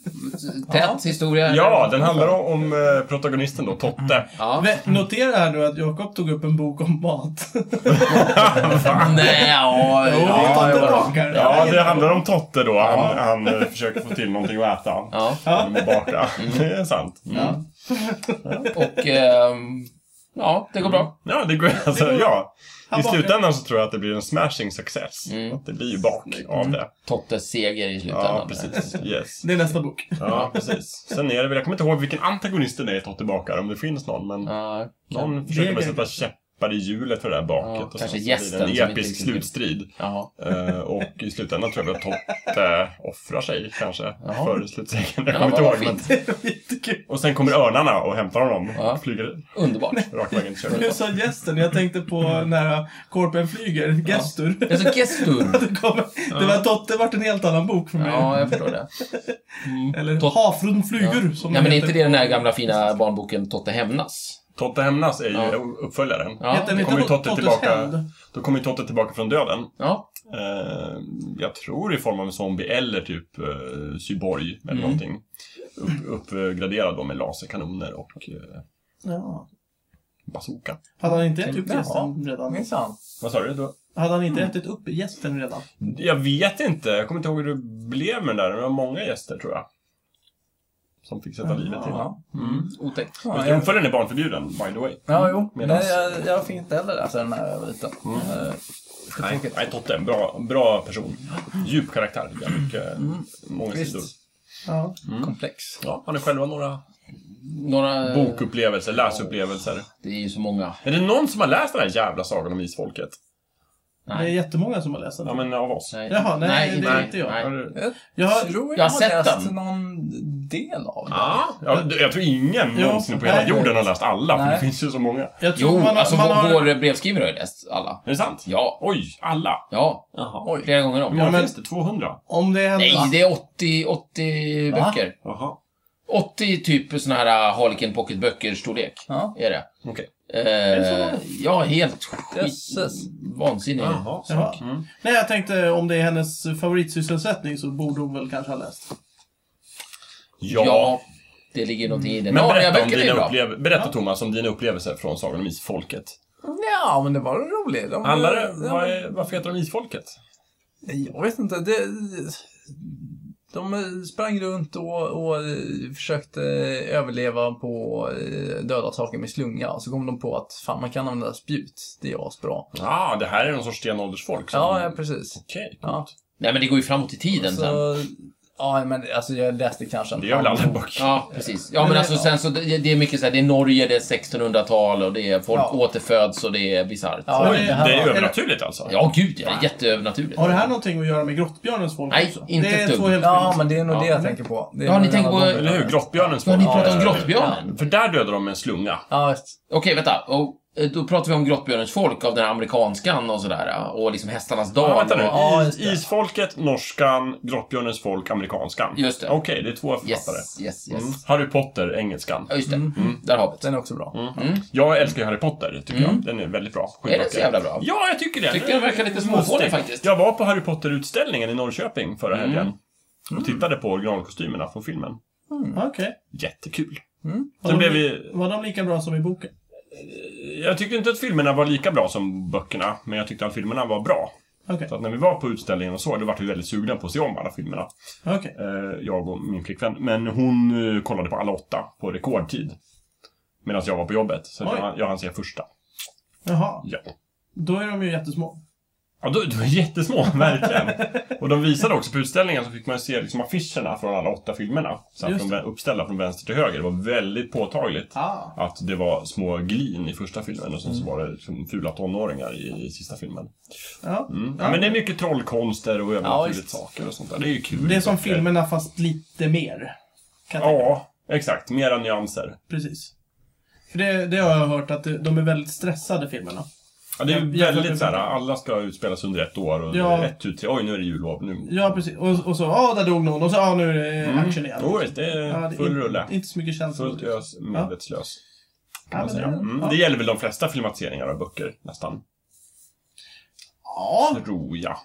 [SPEAKER 2] Tät historia.
[SPEAKER 4] Ja, den handlar om, om eh, protagonisten då, Totte.
[SPEAKER 2] Ja.
[SPEAKER 1] Vä- Notera här nu att Jakob tog upp en bok om mat.
[SPEAKER 2] Nej, ja,
[SPEAKER 1] Jo,
[SPEAKER 2] ja,
[SPEAKER 1] det är
[SPEAKER 2] ja,
[SPEAKER 1] bakare.
[SPEAKER 4] Ja, det handlar om Totte då. Han, han eh, försöker få till någonting att äta.
[SPEAKER 2] ja.
[SPEAKER 4] Genom att baka. <laughs> Det är sant. Mm.
[SPEAKER 1] Ja.
[SPEAKER 2] Och... ehm, ja, det går bra.
[SPEAKER 4] Ja, det går alltså, ja.
[SPEAKER 1] Han
[SPEAKER 4] I
[SPEAKER 1] bakar.
[SPEAKER 4] slutändan så tror jag att det blir en smashing success. Att det blir ju bak av det.
[SPEAKER 2] Tottes seger i slutändan.
[SPEAKER 4] Ja, precis.
[SPEAKER 1] <laughs>
[SPEAKER 4] Yes.
[SPEAKER 1] Det är nästa bok.
[SPEAKER 4] Ja, precis. Sen är det väl, jag kommer inte ihåg vilken antagonist det är i Totte bakar, om det finns någon, men
[SPEAKER 2] Ja,
[SPEAKER 4] någon försöker väl
[SPEAKER 1] det-
[SPEAKER 4] sätta käppar i hjulet för det där baket.
[SPEAKER 2] Ja,
[SPEAKER 4] och
[SPEAKER 2] kanske
[SPEAKER 4] sen så blir det
[SPEAKER 2] gästen
[SPEAKER 4] en
[SPEAKER 2] som inte
[SPEAKER 4] episk
[SPEAKER 2] riktigt-
[SPEAKER 4] slutstrid.
[SPEAKER 2] ja.
[SPEAKER 4] Eh, och i slutändan tror jag att Totte offrar sig kanske
[SPEAKER 2] Jaha.
[SPEAKER 4] för slutsegern. Jag
[SPEAKER 2] Ja,
[SPEAKER 4] kommer inte
[SPEAKER 2] vad
[SPEAKER 4] ihåg. Men...
[SPEAKER 2] fint.
[SPEAKER 1] Det är jättekul.
[SPEAKER 4] Och sen kommer örnarna och hämtar honom.
[SPEAKER 2] Ja.
[SPEAKER 4] Och flyger
[SPEAKER 2] Underbart.
[SPEAKER 4] rakt vägen till
[SPEAKER 1] Nu
[SPEAKER 2] <laughs>
[SPEAKER 4] köket.
[SPEAKER 1] sa gästen, jag tänkte på den här Korpen flyger, Gestur. <laughs>
[SPEAKER 2] Det är så gestur.
[SPEAKER 1] Det, kom, det var Totte vart en helt annan bok för mig.
[SPEAKER 2] Ja, jag förstår det.
[SPEAKER 1] Eller
[SPEAKER 2] Tot-
[SPEAKER 1] Hafrun flyger, som
[SPEAKER 2] Nej,
[SPEAKER 1] den
[SPEAKER 2] men är inte
[SPEAKER 1] heter.
[SPEAKER 2] det den här gamla fina barnboken Totte hämnas?
[SPEAKER 4] Totte hämnas är ju
[SPEAKER 2] Ja.
[SPEAKER 4] uppföljaren.
[SPEAKER 2] Ja,
[SPEAKER 1] Heter den
[SPEAKER 4] Då kommer ju
[SPEAKER 1] inte Tot-
[SPEAKER 4] Totte
[SPEAKER 1] Tottes
[SPEAKER 4] tillbaka,
[SPEAKER 1] hämnd?
[SPEAKER 4] då kommer ju Totte tillbaka från döden.
[SPEAKER 2] ja.
[SPEAKER 4] Eh, jag tror i form av en zombie eller typ eh, cyborg eller
[SPEAKER 2] Mm.
[SPEAKER 4] någonting. Upp, uppgraderad då med laserkanoner och eh,
[SPEAKER 1] Ja.
[SPEAKER 4] bazooka.
[SPEAKER 1] Hade han inte ätit upp
[SPEAKER 3] Jaha.
[SPEAKER 1] gästen redan?
[SPEAKER 3] Minsann.
[SPEAKER 4] Vad sa du? Då?
[SPEAKER 1] Hade han inte ätit upp gästen redan?
[SPEAKER 4] Jag vet inte. Jag kommer inte ihåg hur det blev med den där. Det var många gäster tror jag. Som fick sätta livet till Mm. den.
[SPEAKER 3] Ja.
[SPEAKER 2] Otäckt.
[SPEAKER 3] Ja,
[SPEAKER 4] Just det,
[SPEAKER 3] jag,
[SPEAKER 4] Uppföljaren är barnförbjuden, by the way.
[SPEAKER 3] ja, jo.
[SPEAKER 4] Medans-
[SPEAKER 3] Nej, jag, jag fick inte heller läsa den när jag var liten. Eh, för
[SPEAKER 4] Mm. Nej,
[SPEAKER 3] tråkigt.
[SPEAKER 4] nej Totte, en bra, bra person. Djup karaktär. Det är mycket, mm. många
[SPEAKER 3] Visst.
[SPEAKER 4] sidor.
[SPEAKER 1] Ja.
[SPEAKER 3] Komplex.
[SPEAKER 4] Ja, har ni själva några eh,
[SPEAKER 2] Några...
[SPEAKER 4] bokupplevelser, läsupplevelser?
[SPEAKER 2] Det är ju så många.
[SPEAKER 4] Är det någon som har läst den här jävla sagan om isfolket?
[SPEAKER 1] Det är jättemånga som har läst den.
[SPEAKER 4] Ja, men av oss.
[SPEAKER 2] Nej.
[SPEAKER 1] Jaha, nej, det är inte jag.
[SPEAKER 4] Har
[SPEAKER 2] Nej.
[SPEAKER 4] du-
[SPEAKER 3] Jag
[SPEAKER 1] Jag-
[SPEAKER 3] tror
[SPEAKER 2] jag
[SPEAKER 3] jag,
[SPEAKER 2] har
[SPEAKER 3] har
[SPEAKER 2] sett
[SPEAKER 3] läst
[SPEAKER 2] den.
[SPEAKER 3] någon del av den.
[SPEAKER 4] Ja, ja, du- jag tror ingen
[SPEAKER 1] Ja.
[SPEAKER 4] någonsin på hela
[SPEAKER 1] Nej.
[SPEAKER 4] jorden har läst alla, för det
[SPEAKER 3] Nej.
[SPEAKER 4] finns ju så många.
[SPEAKER 1] Jag tror
[SPEAKER 2] Jo,
[SPEAKER 1] man har,
[SPEAKER 2] alltså
[SPEAKER 1] man
[SPEAKER 2] vår,
[SPEAKER 1] har,
[SPEAKER 2] vår brevskrivare har ju läst alla.
[SPEAKER 4] Är det sant?
[SPEAKER 2] Ja.
[SPEAKER 4] Oj, alla?
[SPEAKER 2] Ja.
[SPEAKER 4] Jaha.
[SPEAKER 3] Oj.
[SPEAKER 2] Flera gånger
[SPEAKER 4] Hur
[SPEAKER 2] om.
[SPEAKER 4] många
[SPEAKER 1] Ja, men-
[SPEAKER 4] finns det? 200?
[SPEAKER 1] Om det händer...
[SPEAKER 2] Nej, det är 80, 80
[SPEAKER 3] Va?
[SPEAKER 2] böcker.
[SPEAKER 4] Jaha.
[SPEAKER 2] 80 typ såna här Harlequin Pocket-böcker storlek.
[SPEAKER 3] Ja.
[SPEAKER 2] Är det.
[SPEAKER 4] Okej.
[SPEAKER 2] Eh, ja, helt skit...
[SPEAKER 3] Jösses.
[SPEAKER 2] Vansinnig.
[SPEAKER 4] Jaha.
[SPEAKER 1] Jaha.
[SPEAKER 2] Mm.
[SPEAKER 1] Nej, jag tänkte om det är hennes favoritsysselsättning så borde hon väl kanske ha läst.
[SPEAKER 2] Ja.
[SPEAKER 4] ja.
[SPEAKER 2] det ligger någonting i det.
[SPEAKER 4] Men berätta, om
[SPEAKER 2] Narnia-böcker
[SPEAKER 4] dina
[SPEAKER 2] är bra.
[SPEAKER 4] upplev- berätta Thomas om dina upplevelser från Sagan om Isfolket.
[SPEAKER 3] Ja, men det var roligt. De,
[SPEAKER 4] Handlar det,
[SPEAKER 3] ja,
[SPEAKER 4] vad är, varför heter de Isfolket?
[SPEAKER 3] Jag vet inte. Det, de sprang runt och, och eh, försökte överleva på eh, döda saker med slunga. Och så kom de på att fan, man kan använda spjut. Det är asbra.
[SPEAKER 4] Ja, ah, det här är någon sorts stenåldersfolk. som-
[SPEAKER 3] Ja, ja precis.
[SPEAKER 4] Okej.
[SPEAKER 3] Ja. Alltså-
[SPEAKER 2] Nej, men det går ju framåt i tiden sen.
[SPEAKER 3] Så, Ja, men alltså jag läste kanske en
[SPEAKER 4] Det gör väl alla
[SPEAKER 3] halv bok.
[SPEAKER 4] böcker?
[SPEAKER 2] Ja, precis. Ja, men alltså sen så, det det är mycket så här, det är Norge, det är 1600-tal och det är folk
[SPEAKER 3] Ja.
[SPEAKER 2] återföds och det är bisarrt. Ja.
[SPEAKER 3] Ja,
[SPEAKER 1] Oj,
[SPEAKER 3] det här
[SPEAKER 4] Det är
[SPEAKER 3] var-
[SPEAKER 4] ju övernaturligt alltså.
[SPEAKER 2] ja, gud ja. det är Jätteövernaturligt.
[SPEAKER 1] Har det här någonting att göra med grottbjörnens folk
[SPEAKER 2] Nej,
[SPEAKER 1] också?
[SPEAKER 2] inte
[SPEAKER 1] det
[SPEAKER 2] ett
[SPEAKER 1] är
[SPEAKER 2] dugg.
[SPEAKER 1] två helt
[SPEAKER 3] Ja,
[SPEAKER 1] skilda
[SPEAKER 3] men det är nog
[SPEAKER 2] Ja.
[SPEAKER 3] det jag tänker på. Det är
[SPEAKER 2] Ja,
[SPEAKER 3] nog
[SPEAKER 2] ni tänker
[SPEAKER 3] en
[SPEAKER 2] på-
[SPEAKER 3] annan
[SPEAKER 4] Eller hur? Grottbjörnens
[SPEAKER 2] Ja, ni
[SPEAKER 4] folk.
[SPEAKER 2] pratar om
[SPEAKER 4] Ja, ja, ja.
[SPEAKER 2] grottbjörnen.
[SPEAKER 4] För där dödar de en slunga.
[SPEAKER 3] Ja, just.
[SPEAKER 2] Okej, vänta. Och, eh, då pratar vi om Grottbjörnens folk av den här amerikanskan och sådär. ja. Och liksom hästarnas
[SPEAKER 4] Ja,
[SPEAKER 2] dal.
[SPEAKER 4] vänta nu.
[SPEAKER 2] och,
[SPEAKER 3] Ja,
[SPEAKER 4] Is-
[SPEAKER 3] just det.
[SPEAKER 4] Isfolket, norskan, grottbjörnens folk, amerikanskan.
[SPEAKER 2] Just det.
[SPEAKER 4] Okej, det är två
[SPEAKER 2] yes,
[SPEAKER 4] författare.
[SPEAKER 2] yes, yes.
[SPEAKER 4] Mm. Harry Potter, engelskan.
[SPEAKER 2] Ja, just det. Mm. Där har vi det.
[SPEAKER 3] Den är också bra.
[SPEAKER 4] Mm. Jag älskar ju Harry Potter, tycker jag. Den är väldigt bra.
[SPEAKER 2] Mm. Är den så jävla bra?
[SPEAKER 4] Ja, jag tycker det.
[SPEAKER 2] Tycker den verkar lite småfånig
[SPEAKER 4] Måste.
[SPEAKER 2] faktiskt.
[SPEAKER 4] Jag var på Harry Potter-utställningen i Norrköping förra helgen. Och tittade på originalkostymerna från filmen.
[SPEAKER 1] Ja, Okej.
[SPEAKER 4] Jättekul.
[SPEAKER 1] Var
[SPEAKER 4] Sen blev
[SPEAKER 1] de-
[SPEAKER 4] vi...
[SPEAKER 1] Var de lika bra som i boken?
[SPEAKER 4] Jag tyckte inte att filmerna var lika bra som böckerna, men jag tyckte att filmerna var bra.
[SPEAKER 1] Okej.
[SPEAKER 4] Så att när vi var på utställningen och så, då var vi väldigt sugna på att se om alla filmerna.
[SPEAKER 1] Okej.
[SPEAKER 4] Eh, jag och min flickvän. Men hon eh, kollade på alla åtta på rekordtid. Medan jag var på jobbet. Så att
[SPEAKER 1] Oj.
[SPEAKER 4] jag, jag hann se första.
[SPEAKER 1] Jaha.
[SPEAKER 4] Ja.
[SPEAKER 1] Då är de ju jättesmå.
[SPEAKER 4] Ja, du, du är jättesmå, <laughs> verkligen. Och de visade också på utställningen så fick man se liksom affischerna från alla åtta filmerna. Så att
[SPEAKER 1] Just
[SPEAKER 4] de var uppställda från vänster till höger. Det var väldigt påtagligt
[SPEAKER 1] Ah. Mm.
[SPEAKER 4] att det var små glin i första filmen och sen så var det liksom fula tonåringar i, i sista filmen.
[SPEAKER 1] Ja.
[SPEAKER 4] Mm. Ja, men det är mycket trollkonster och övernaturligt
[SPEAKER 3] visst.
[SPEAKER 4] saker och sånt där. Det är ju kul.
[SPEAKER 1] Det är som filmerna fast lite mer. Kan jag tänka.
[SPEAKER 4] Ja, exakt. Mera nyanser.
[SPEAKER 1] Precis. För det, det har jag hört att det- de är väldigt stressade filmerna.
[SPEAKER 4] Ja, det är ju
[SPEAKER 1] Jag- jag-
[SPEAKER 4] väldigt så här, alla ska utspelas under ett år och
[SPEAKER 1] Ja.
[SPEAKER 4] ett, tu, tre, oj nu är det jullov nu.
[SPEAKER 1] Ja, precis. Och, och så, ja, där dog någon. Och så, ja, nu är det action igen.
[SPEAKER 4] Mm. Jo, visst, det
[SPEAKER 1] Ja,
[SPEAKER 4] är
[SPEAKER 1] det är
[SPEAKER 4] full
[SPEAKER 1] in-
[SPEAKER 4] rulle.
[SPEAKER 1] Inte så mycket känslor.
[SPEAKER 4] Fullt ös, medvetslös.
[SPEAKER 1] Ja, men det-
[SPEAKER 4] Mm.
[SPEAKER 1] ja.
[SPEAKER 4] Det gäller väl de flesta filmatiseringar av böcker, nästan.
[SPEAKER 1] Ja,
[SPEAKER 4] Tror jag.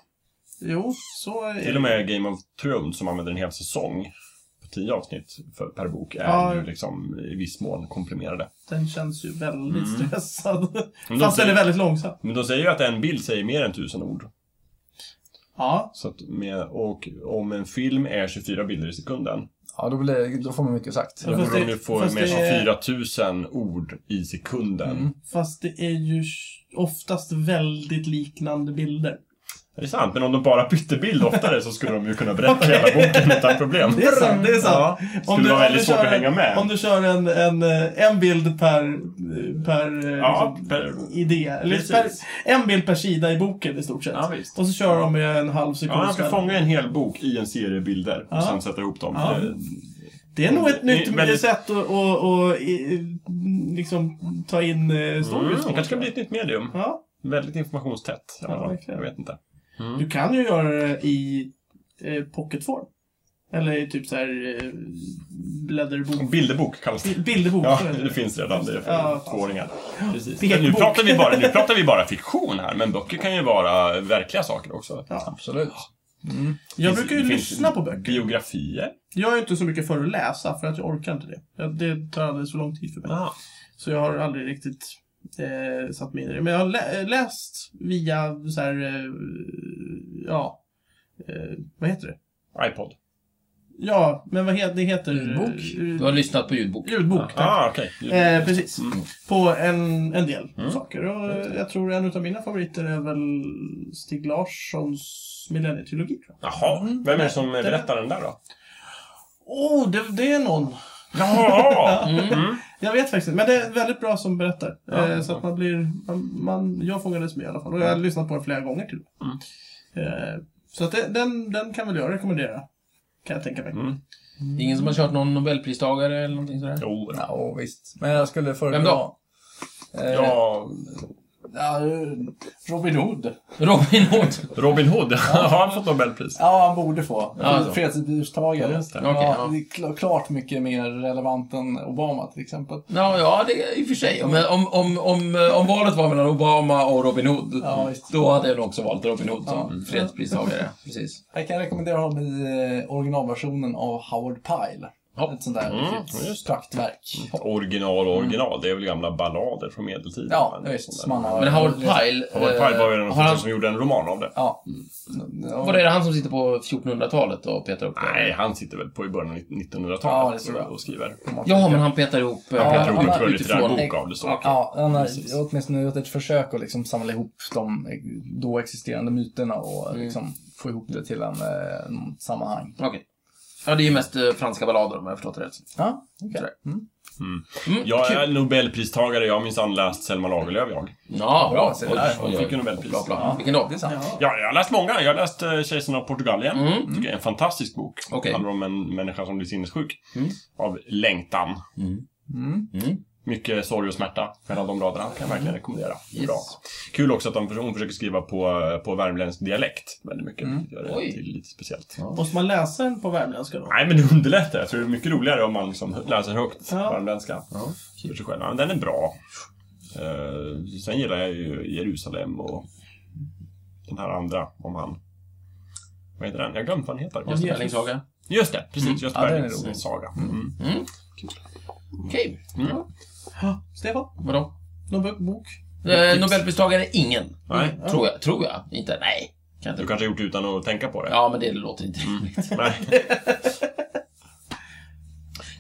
[SPEAKER 1] jo, så är
[SPEAKER 4] Till och med Game of Thrones som använder en hel säsong på tio avsnitt för, per bok är
[SPEAKER 1] Ja.
[SPEAKER 4] ju liksom i viss mån komprimerade.
[SPEAKER 1] Den känns ju väldigt stressad.
[SPEAKER 4] Mm. Men de
[SPEAKER 1] Fast den är
[SPEAKER 4] säger-
[SPEAKER 1] väldigt långsam.
[SPEAKER 4] Men de säger ju att en bild säger mer än tusen ord.
[SPEAKER 1] Ja,
[SPEAKER 4] Så att med, och om en film är 24 bilder i sekunden,
[SPEAKER 3] Ja, då, blir, då får man mycket sagt.
[SPEAKER 1] Ja,
[SPEAKER 4] då
[SPEAKER 1] fast
[SPEAKER 4] borde de
[SPEAKER 1] det-
[SPEAKER 4] ju få
[SPEAKER 1] fast det
[SPEAKER 4] med
[SPEAKER 1] är- Mm.
[SPEAKER 4] 24 000 ord i sekunden.
[SPEAKER 1] fast det är ju sh- oftast väldigt liknande bilder.
[SPEAKER 4] Det är sant, men om de bara bytte bild oftare så skulle de ju kunna berätta hela boken utan problem.
[SPEAKER 1] Det är sant, det är sant.
[SPEAKER 4] Skulle vara väldigt svårt
[SPEAKER 1] kör
[SPEAKER 4] att hänga med.
[SPEAKER 1] Om du kör en, en, eh, en bild per, per, eh,
[SPEAKER 4] Ja,
[SPEAKER 1] liksom,
[SPEAKER 4] per-
[SPEAKER 1] idé. Eller
[SPEAKER 4] precis.
[SPEAKER 1] per, en bild per sida i boken i stort sett.
[SPEAKER 4] Ja, visst.
[SPEAKER 1] Och så kör de med en halv sekund.
[SPEAKER 4] Ja, han ska
[SPEAKER 1] mellan.
[SPEAKER 4] fånga en hel bok i en serie bilder och
[SPEAKER 1] Ja.
[SPEAKER 4] sen sätta ihop dem.
[SPEAKER 1] Ja.
[SPEAKER 4] Eh,
[SPEAKER 1] Det är nog ett
[SPEAKER 4] Det är
[SPEAKER 1] nytt
[SPEAKER 4] väldigt-
[SPEAKER 1] sätt att och, och, i- liksom, ta in eh,
[SPEAKER 4] Mm,
[SPEAKER 1] stories.
[SPEAKER 4] det kanske kan bli ett nytt medium.
[SPEAKER 1] Ja,
[SPEAKER 4] Väldigt informationstätt. i alla
[SPEAKER 1] Ja,
[SPEAKER 4] fall.
[SPEAKER 1] verkligen.
[SPEAKER 4] jag vet inte.
[SPEAKER 1] du kan ju göra det i eh, pocketform. Eller i typ så här eh, blädderbok.
[SPEAKER 4] Bilderbok kallas det.
[SPEAKER 1] Bi- Bilderbok.
[SPEAKER 4] Ja,
[SPEAKER 1] så heter
[SPEAKER 4] det finns redan. Det är för
[SPEAKER 1] Ja, fan.
[SPEAKER 4] tvååringar. Precis.
[SPEAKER 1] Pekbok.
[SPEAKER 4] Men nu, pratar vi bara, nu pratar vi bara fiktion här, men böcker kan ju vara verkliga saker också.
[SPEAKER 1] Ja.
[SPEAKER 3] Absolut.
[SPEAKER 1] Jag
[SPEAKER 4] Det finns-
[SPEAKER 1] brukar ju
[SPEAKER 4] det finns
[SPEAKER 1] lyssna på böcker.
[SPEAKER 4] Biografier.
[SPEAKER 1] Jag är inte så mycket för att läsa för att jag orkar inte det. Jag, det tar alldeles för lång tid för mig. Så jag har aldrig riktigt eh, satt mig in i det. Men jag har lä- eh, läst via så här, eh, ja, eh, vad heter det?
[SPEAKER 4] Ipod.
[SPEAKER 1] Ja, men vad heter det? Heter,
[SPEAKER 3] Ljudbok?
[SPEAKER 2] Du
[SPEAKER 1] Eh,
[SPEAKER 2] har lyssnat på ljudbok.
[SPEAKER 1] ljudbok, tack.
[SPEAKER 4] Ah, okej.
[SPEAKER 1] Eh, precis.
[SPEAKER 4] Mm.
[SPEAKER 1] På en, en del saker. Och eh, jag tror en av mina favoriter är väl Stig Larssons Millennietrilogi. tror jag.
[SPEAKER 4] Jaha. Vem är det som berättar den där då?
[SPEAKER 1] Åh, oh, det, det är någon.
[SPEAKER 4] Jaha! Mm.
[SPEAKER 1] Jag vet faktiskt inte, men det är väldigt bra som berättar.
[SPEAKER 4] Ja,
[SPEAKER 1] eh, så att man blir... Man, man, jag fångades med i alla fall. Och jag har lyssnat på den flera gånger till och med.
[SPEAKER 4] Mm.
[SPEAKER 1] eh, Så att det, den, den kan väl jag rekommendera. Kan jag tänka mig.
[SPEAKER 4] Mm.
[SPEAKER 2] Det är Ingen som har kört någon nobelpristagare eller någonting sådär?
[SPEAKER 4] Jo,
[SPEAKER 3] Ja, och visst. Men jag skulle föredra...
[SPEAKER 2] Vem då?
[SPEAKER 3] Eh,
[SPEAKER 4] ja.
[SPEAKER 3] ja, Robin Hood.
[SPEAKER 2] Robin Hood. <laughs>
[SPEAKER 4] Robin Hood, har han fått Nobelpris?
[SPEAKER 3] Ja, han borde få.
[SPEAKER 2] Ja, alltså.
[SPEAKER 3] Fredspristagare.
[SPEAKER 4] Just det.
[SPEAKER 3] Ja,
[SPEAKER 2] Okej, ja.
[SPEAKER 3] det är kl- klart mycket mer relevant än Obama till exempel.
[SPEAKER 2] Ja, ja, det är i och för sig. Om, om, om, om, eh, om valet var mellan Obama och Robin Hood,
[SPEAKER 3] Ja, visst.
[SPEAKER 2] då hade jag nog också valt Robin Hood som
[SPEAKER 3] Ja.
[SPEAKER 2] fredspristagare. Precis.
[SPEAKER 3] Jag kan rekommendera honom i eh, originalversionen av Howard Pyle.
[SPEAKER 2] Ja. Mm.
[SPEAKER 3] Ett sånt där
[SPEAKER 4] Mm,
[SPEAKER 3] riktigt
[SPEAKER 4] just
[SPEAKER 3] praktverk.
[SPEAKER 4] Original och original, det är väl gamla ballader från medeltiden?
[SPEAKER 3] Ja,
[SPEAKER 4] Men
[SPEAKER 3] ja
[SPEAKER 4] sånt
[SPEAKER 3] visst.
[SPEAKER 4] där.
[SPEAKER 3] Som han har...
[SPEAKER 2] Men Howard Pyle... eh,
[SPEAKER 4] Howard Pyle var ju den
[SPEAKER 2] har han,
[SPEAKER 4] första som gjorde en roman av det.
[SPEAKER 3] Ja. Ja.
[SPEAKER 2] Mm. Var det han som sitter på 1400-talet och petar upp det?
[SPEAKER 4] Nej, han sitter väl på i början av 1900-talet
[SPEAKER 3] Ja, det
[SPEAKER 4] tror
[SPEAKER 3] tror
[SPEAKER 4] jag,
[SPEAKER 3] jag.
[SPEAKER 4] och skriver.
[SPEAKER 2] Ja, men han petar ihop... Ja,
[SPEAKER 4] Jag tror
[SPEAKER 3] han
[SPEAKER 4] en
[SPEAKER 3] har-
[SPEAKER 4] skönlitterär
[SPEAKER 2] utifrån...
[SPEAKER 4] bok av det. Så.
[SPEAKER 2] Okej.
[SPEAKER 3] Ja, han har åtminstone gjort ett försök att liksom samla ihop de
[SPEAKER 2] Mm.
[SPEAKER 3] då existerande myterna och liksom få ihop det till en, eh, en sammanhang.
[SPEAKER 2] Okej. Ja, det är ju mest eh, franska ballader om jag har förstått det rätt.
[SPEAKER 3] Ja, okej. Mm.
[SPEAKER 4] Jag är Nobelpristagare, jag har minsann läst Selma Lagerlöf jag.
[SPEAKER 2] Ja,
[SPEAKER 3] Bra, se där.
[SPEAKER 2] Oj, oj, oj.
[SPEAKER 4] Hon fick ju Nobelpris.
[SPEAKER 2] Bra, bra. Vilken då?
[SPEAKER 3] Det är sant.
[SPEAKER 4] Ja, jag har läst många. Jag har läst eh, Kejsaren av Portugalien. Mm. Tycker jag är en fantastisk bok.
[SPEAKER 2] Okej.
[SPEAKER 4] Handlar om en människa som blir sinnessjuk av längtan.
[SPEAKER 3] Mm.
[SPEAKER 4] Mycket sorg och smärta mellan de raderna. Kan jag verkligen rekommendera.
[SPEAKER 2] Yes.
[SPEAKER 4] Bra. Kul också att de, hon försöker skriva på, på värmländsk dialekt väldigt mycket. vilket Gör det
[SPEAKER 2] Oj.
[SPEAKER 4] till lite speciellt.
[SPEAKER 1] Måste man läsa den på värmländska då?
[SPEAKER 4] Nej, men det underlättar. Jag tror det är mycket roligare om man liksom läser högt
[SPEAKER 1] Ja.
[SPEAKER 4] värmländska. För sig själv. Ja, men den är bra. Eh, sen gillar jag ju Jerusalem och den här andra om han... Vad heter den? Jag har glömt vad den heter. Just det.
[SPEAKER 2] Lärlingssaga.
[SPEAKER 4] Just det, precis. Just
[SPEAKER 3] Ja, den är
[SPEAKER 4] Berglings
[SPEAKER 3] rolig.
[SPEAKER 4] saga. Mm.
[SPEAKER 2] Okej. Ja,
[SPEAKER 1] Ja. Stefan,
[SPEAKER 2] Vadå?
[SPEAKER 1] någon bok- bok?
[SPEAKER 2] Eh, Nobelpristagare, ingen.
[SPEAKER 4] Nej.
[SPEAKER 2] Tror jag. Tror jag. Inte? Nej. Kan
[SPEAKER 4] Du
[SPEAKER 2] inte.
[SPEAKER 4] kanske har gjort det utan att tänka på det?
[SPEAKER 2] Ja, men det låter inte rimligt.
[SPEAKER 4] <laughs> Nej.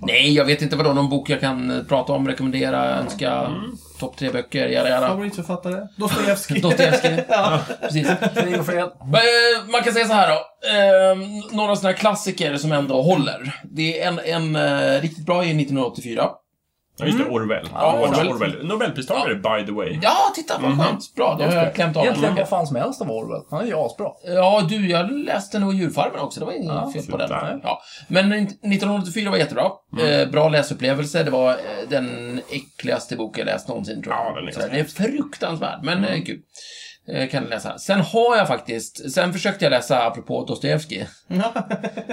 [SPEAKER 2] Nej, jag vet inte vadå. Någon bok jag kan eh, prata om, rekommendera, önska. Topp tre böcker, jada jada.
[SPEAKER 1] Favoritförfattare?
[SPEAKER 2] <laughs>
[SPEAKER 4] <laughs>
[SPEAKER 1] Dostojevskij.
[SPEAKER 2] Dostojevskij.
[SPEAKER 1] ja.
[SPEAKER 2] Precis.
[SPEAKER 3] Krig och fred.
[SPEAKER 2] Eh, Man kan säga så här då. Eh, Några sådana här klassiker som ändå håller. Det är en, en eh, riktigt bra är 1984.
[SPEAKER 4] Ja, just det. Orwell.
[SPEAKER 2] Ja,
[SPEAKER 4] Orwell.
[SPEAKER 2] Orwell.
[SPEAKER 4] Orwell. Nobelpristagare, by the way.
[SPEAKER 2] Ja, titta vad skönt. Bra, då har jag klämt av
[SPEAKER 3] Egentligen
[SPEAKER 2] den.
[SPEAKER 3] vad fan som helst av Orwell. Han är ju asbra.
[SPEAKER 2] Ja, du, jag läste nog Djurfarmen också. Det var inget
[SPEAKER 3] Ja,
[SPEAKER 2] fel på den.
[SPEAKER 4] där.
[SPEAKER 2] Ja. Men 1984 var jättebra. Eh, bra läsupplevelse. Det var eh, den äckligaste bok jag läst någonsin, tror jag.
[SPEAKER 4] Ja, den är
[SPEAKER 2] Så den är fruktansvärd, men eh, kul. Eh, kan läsa. Sen har jag faktiskt, sen försökte jag läsa, apropå Dostojevskij,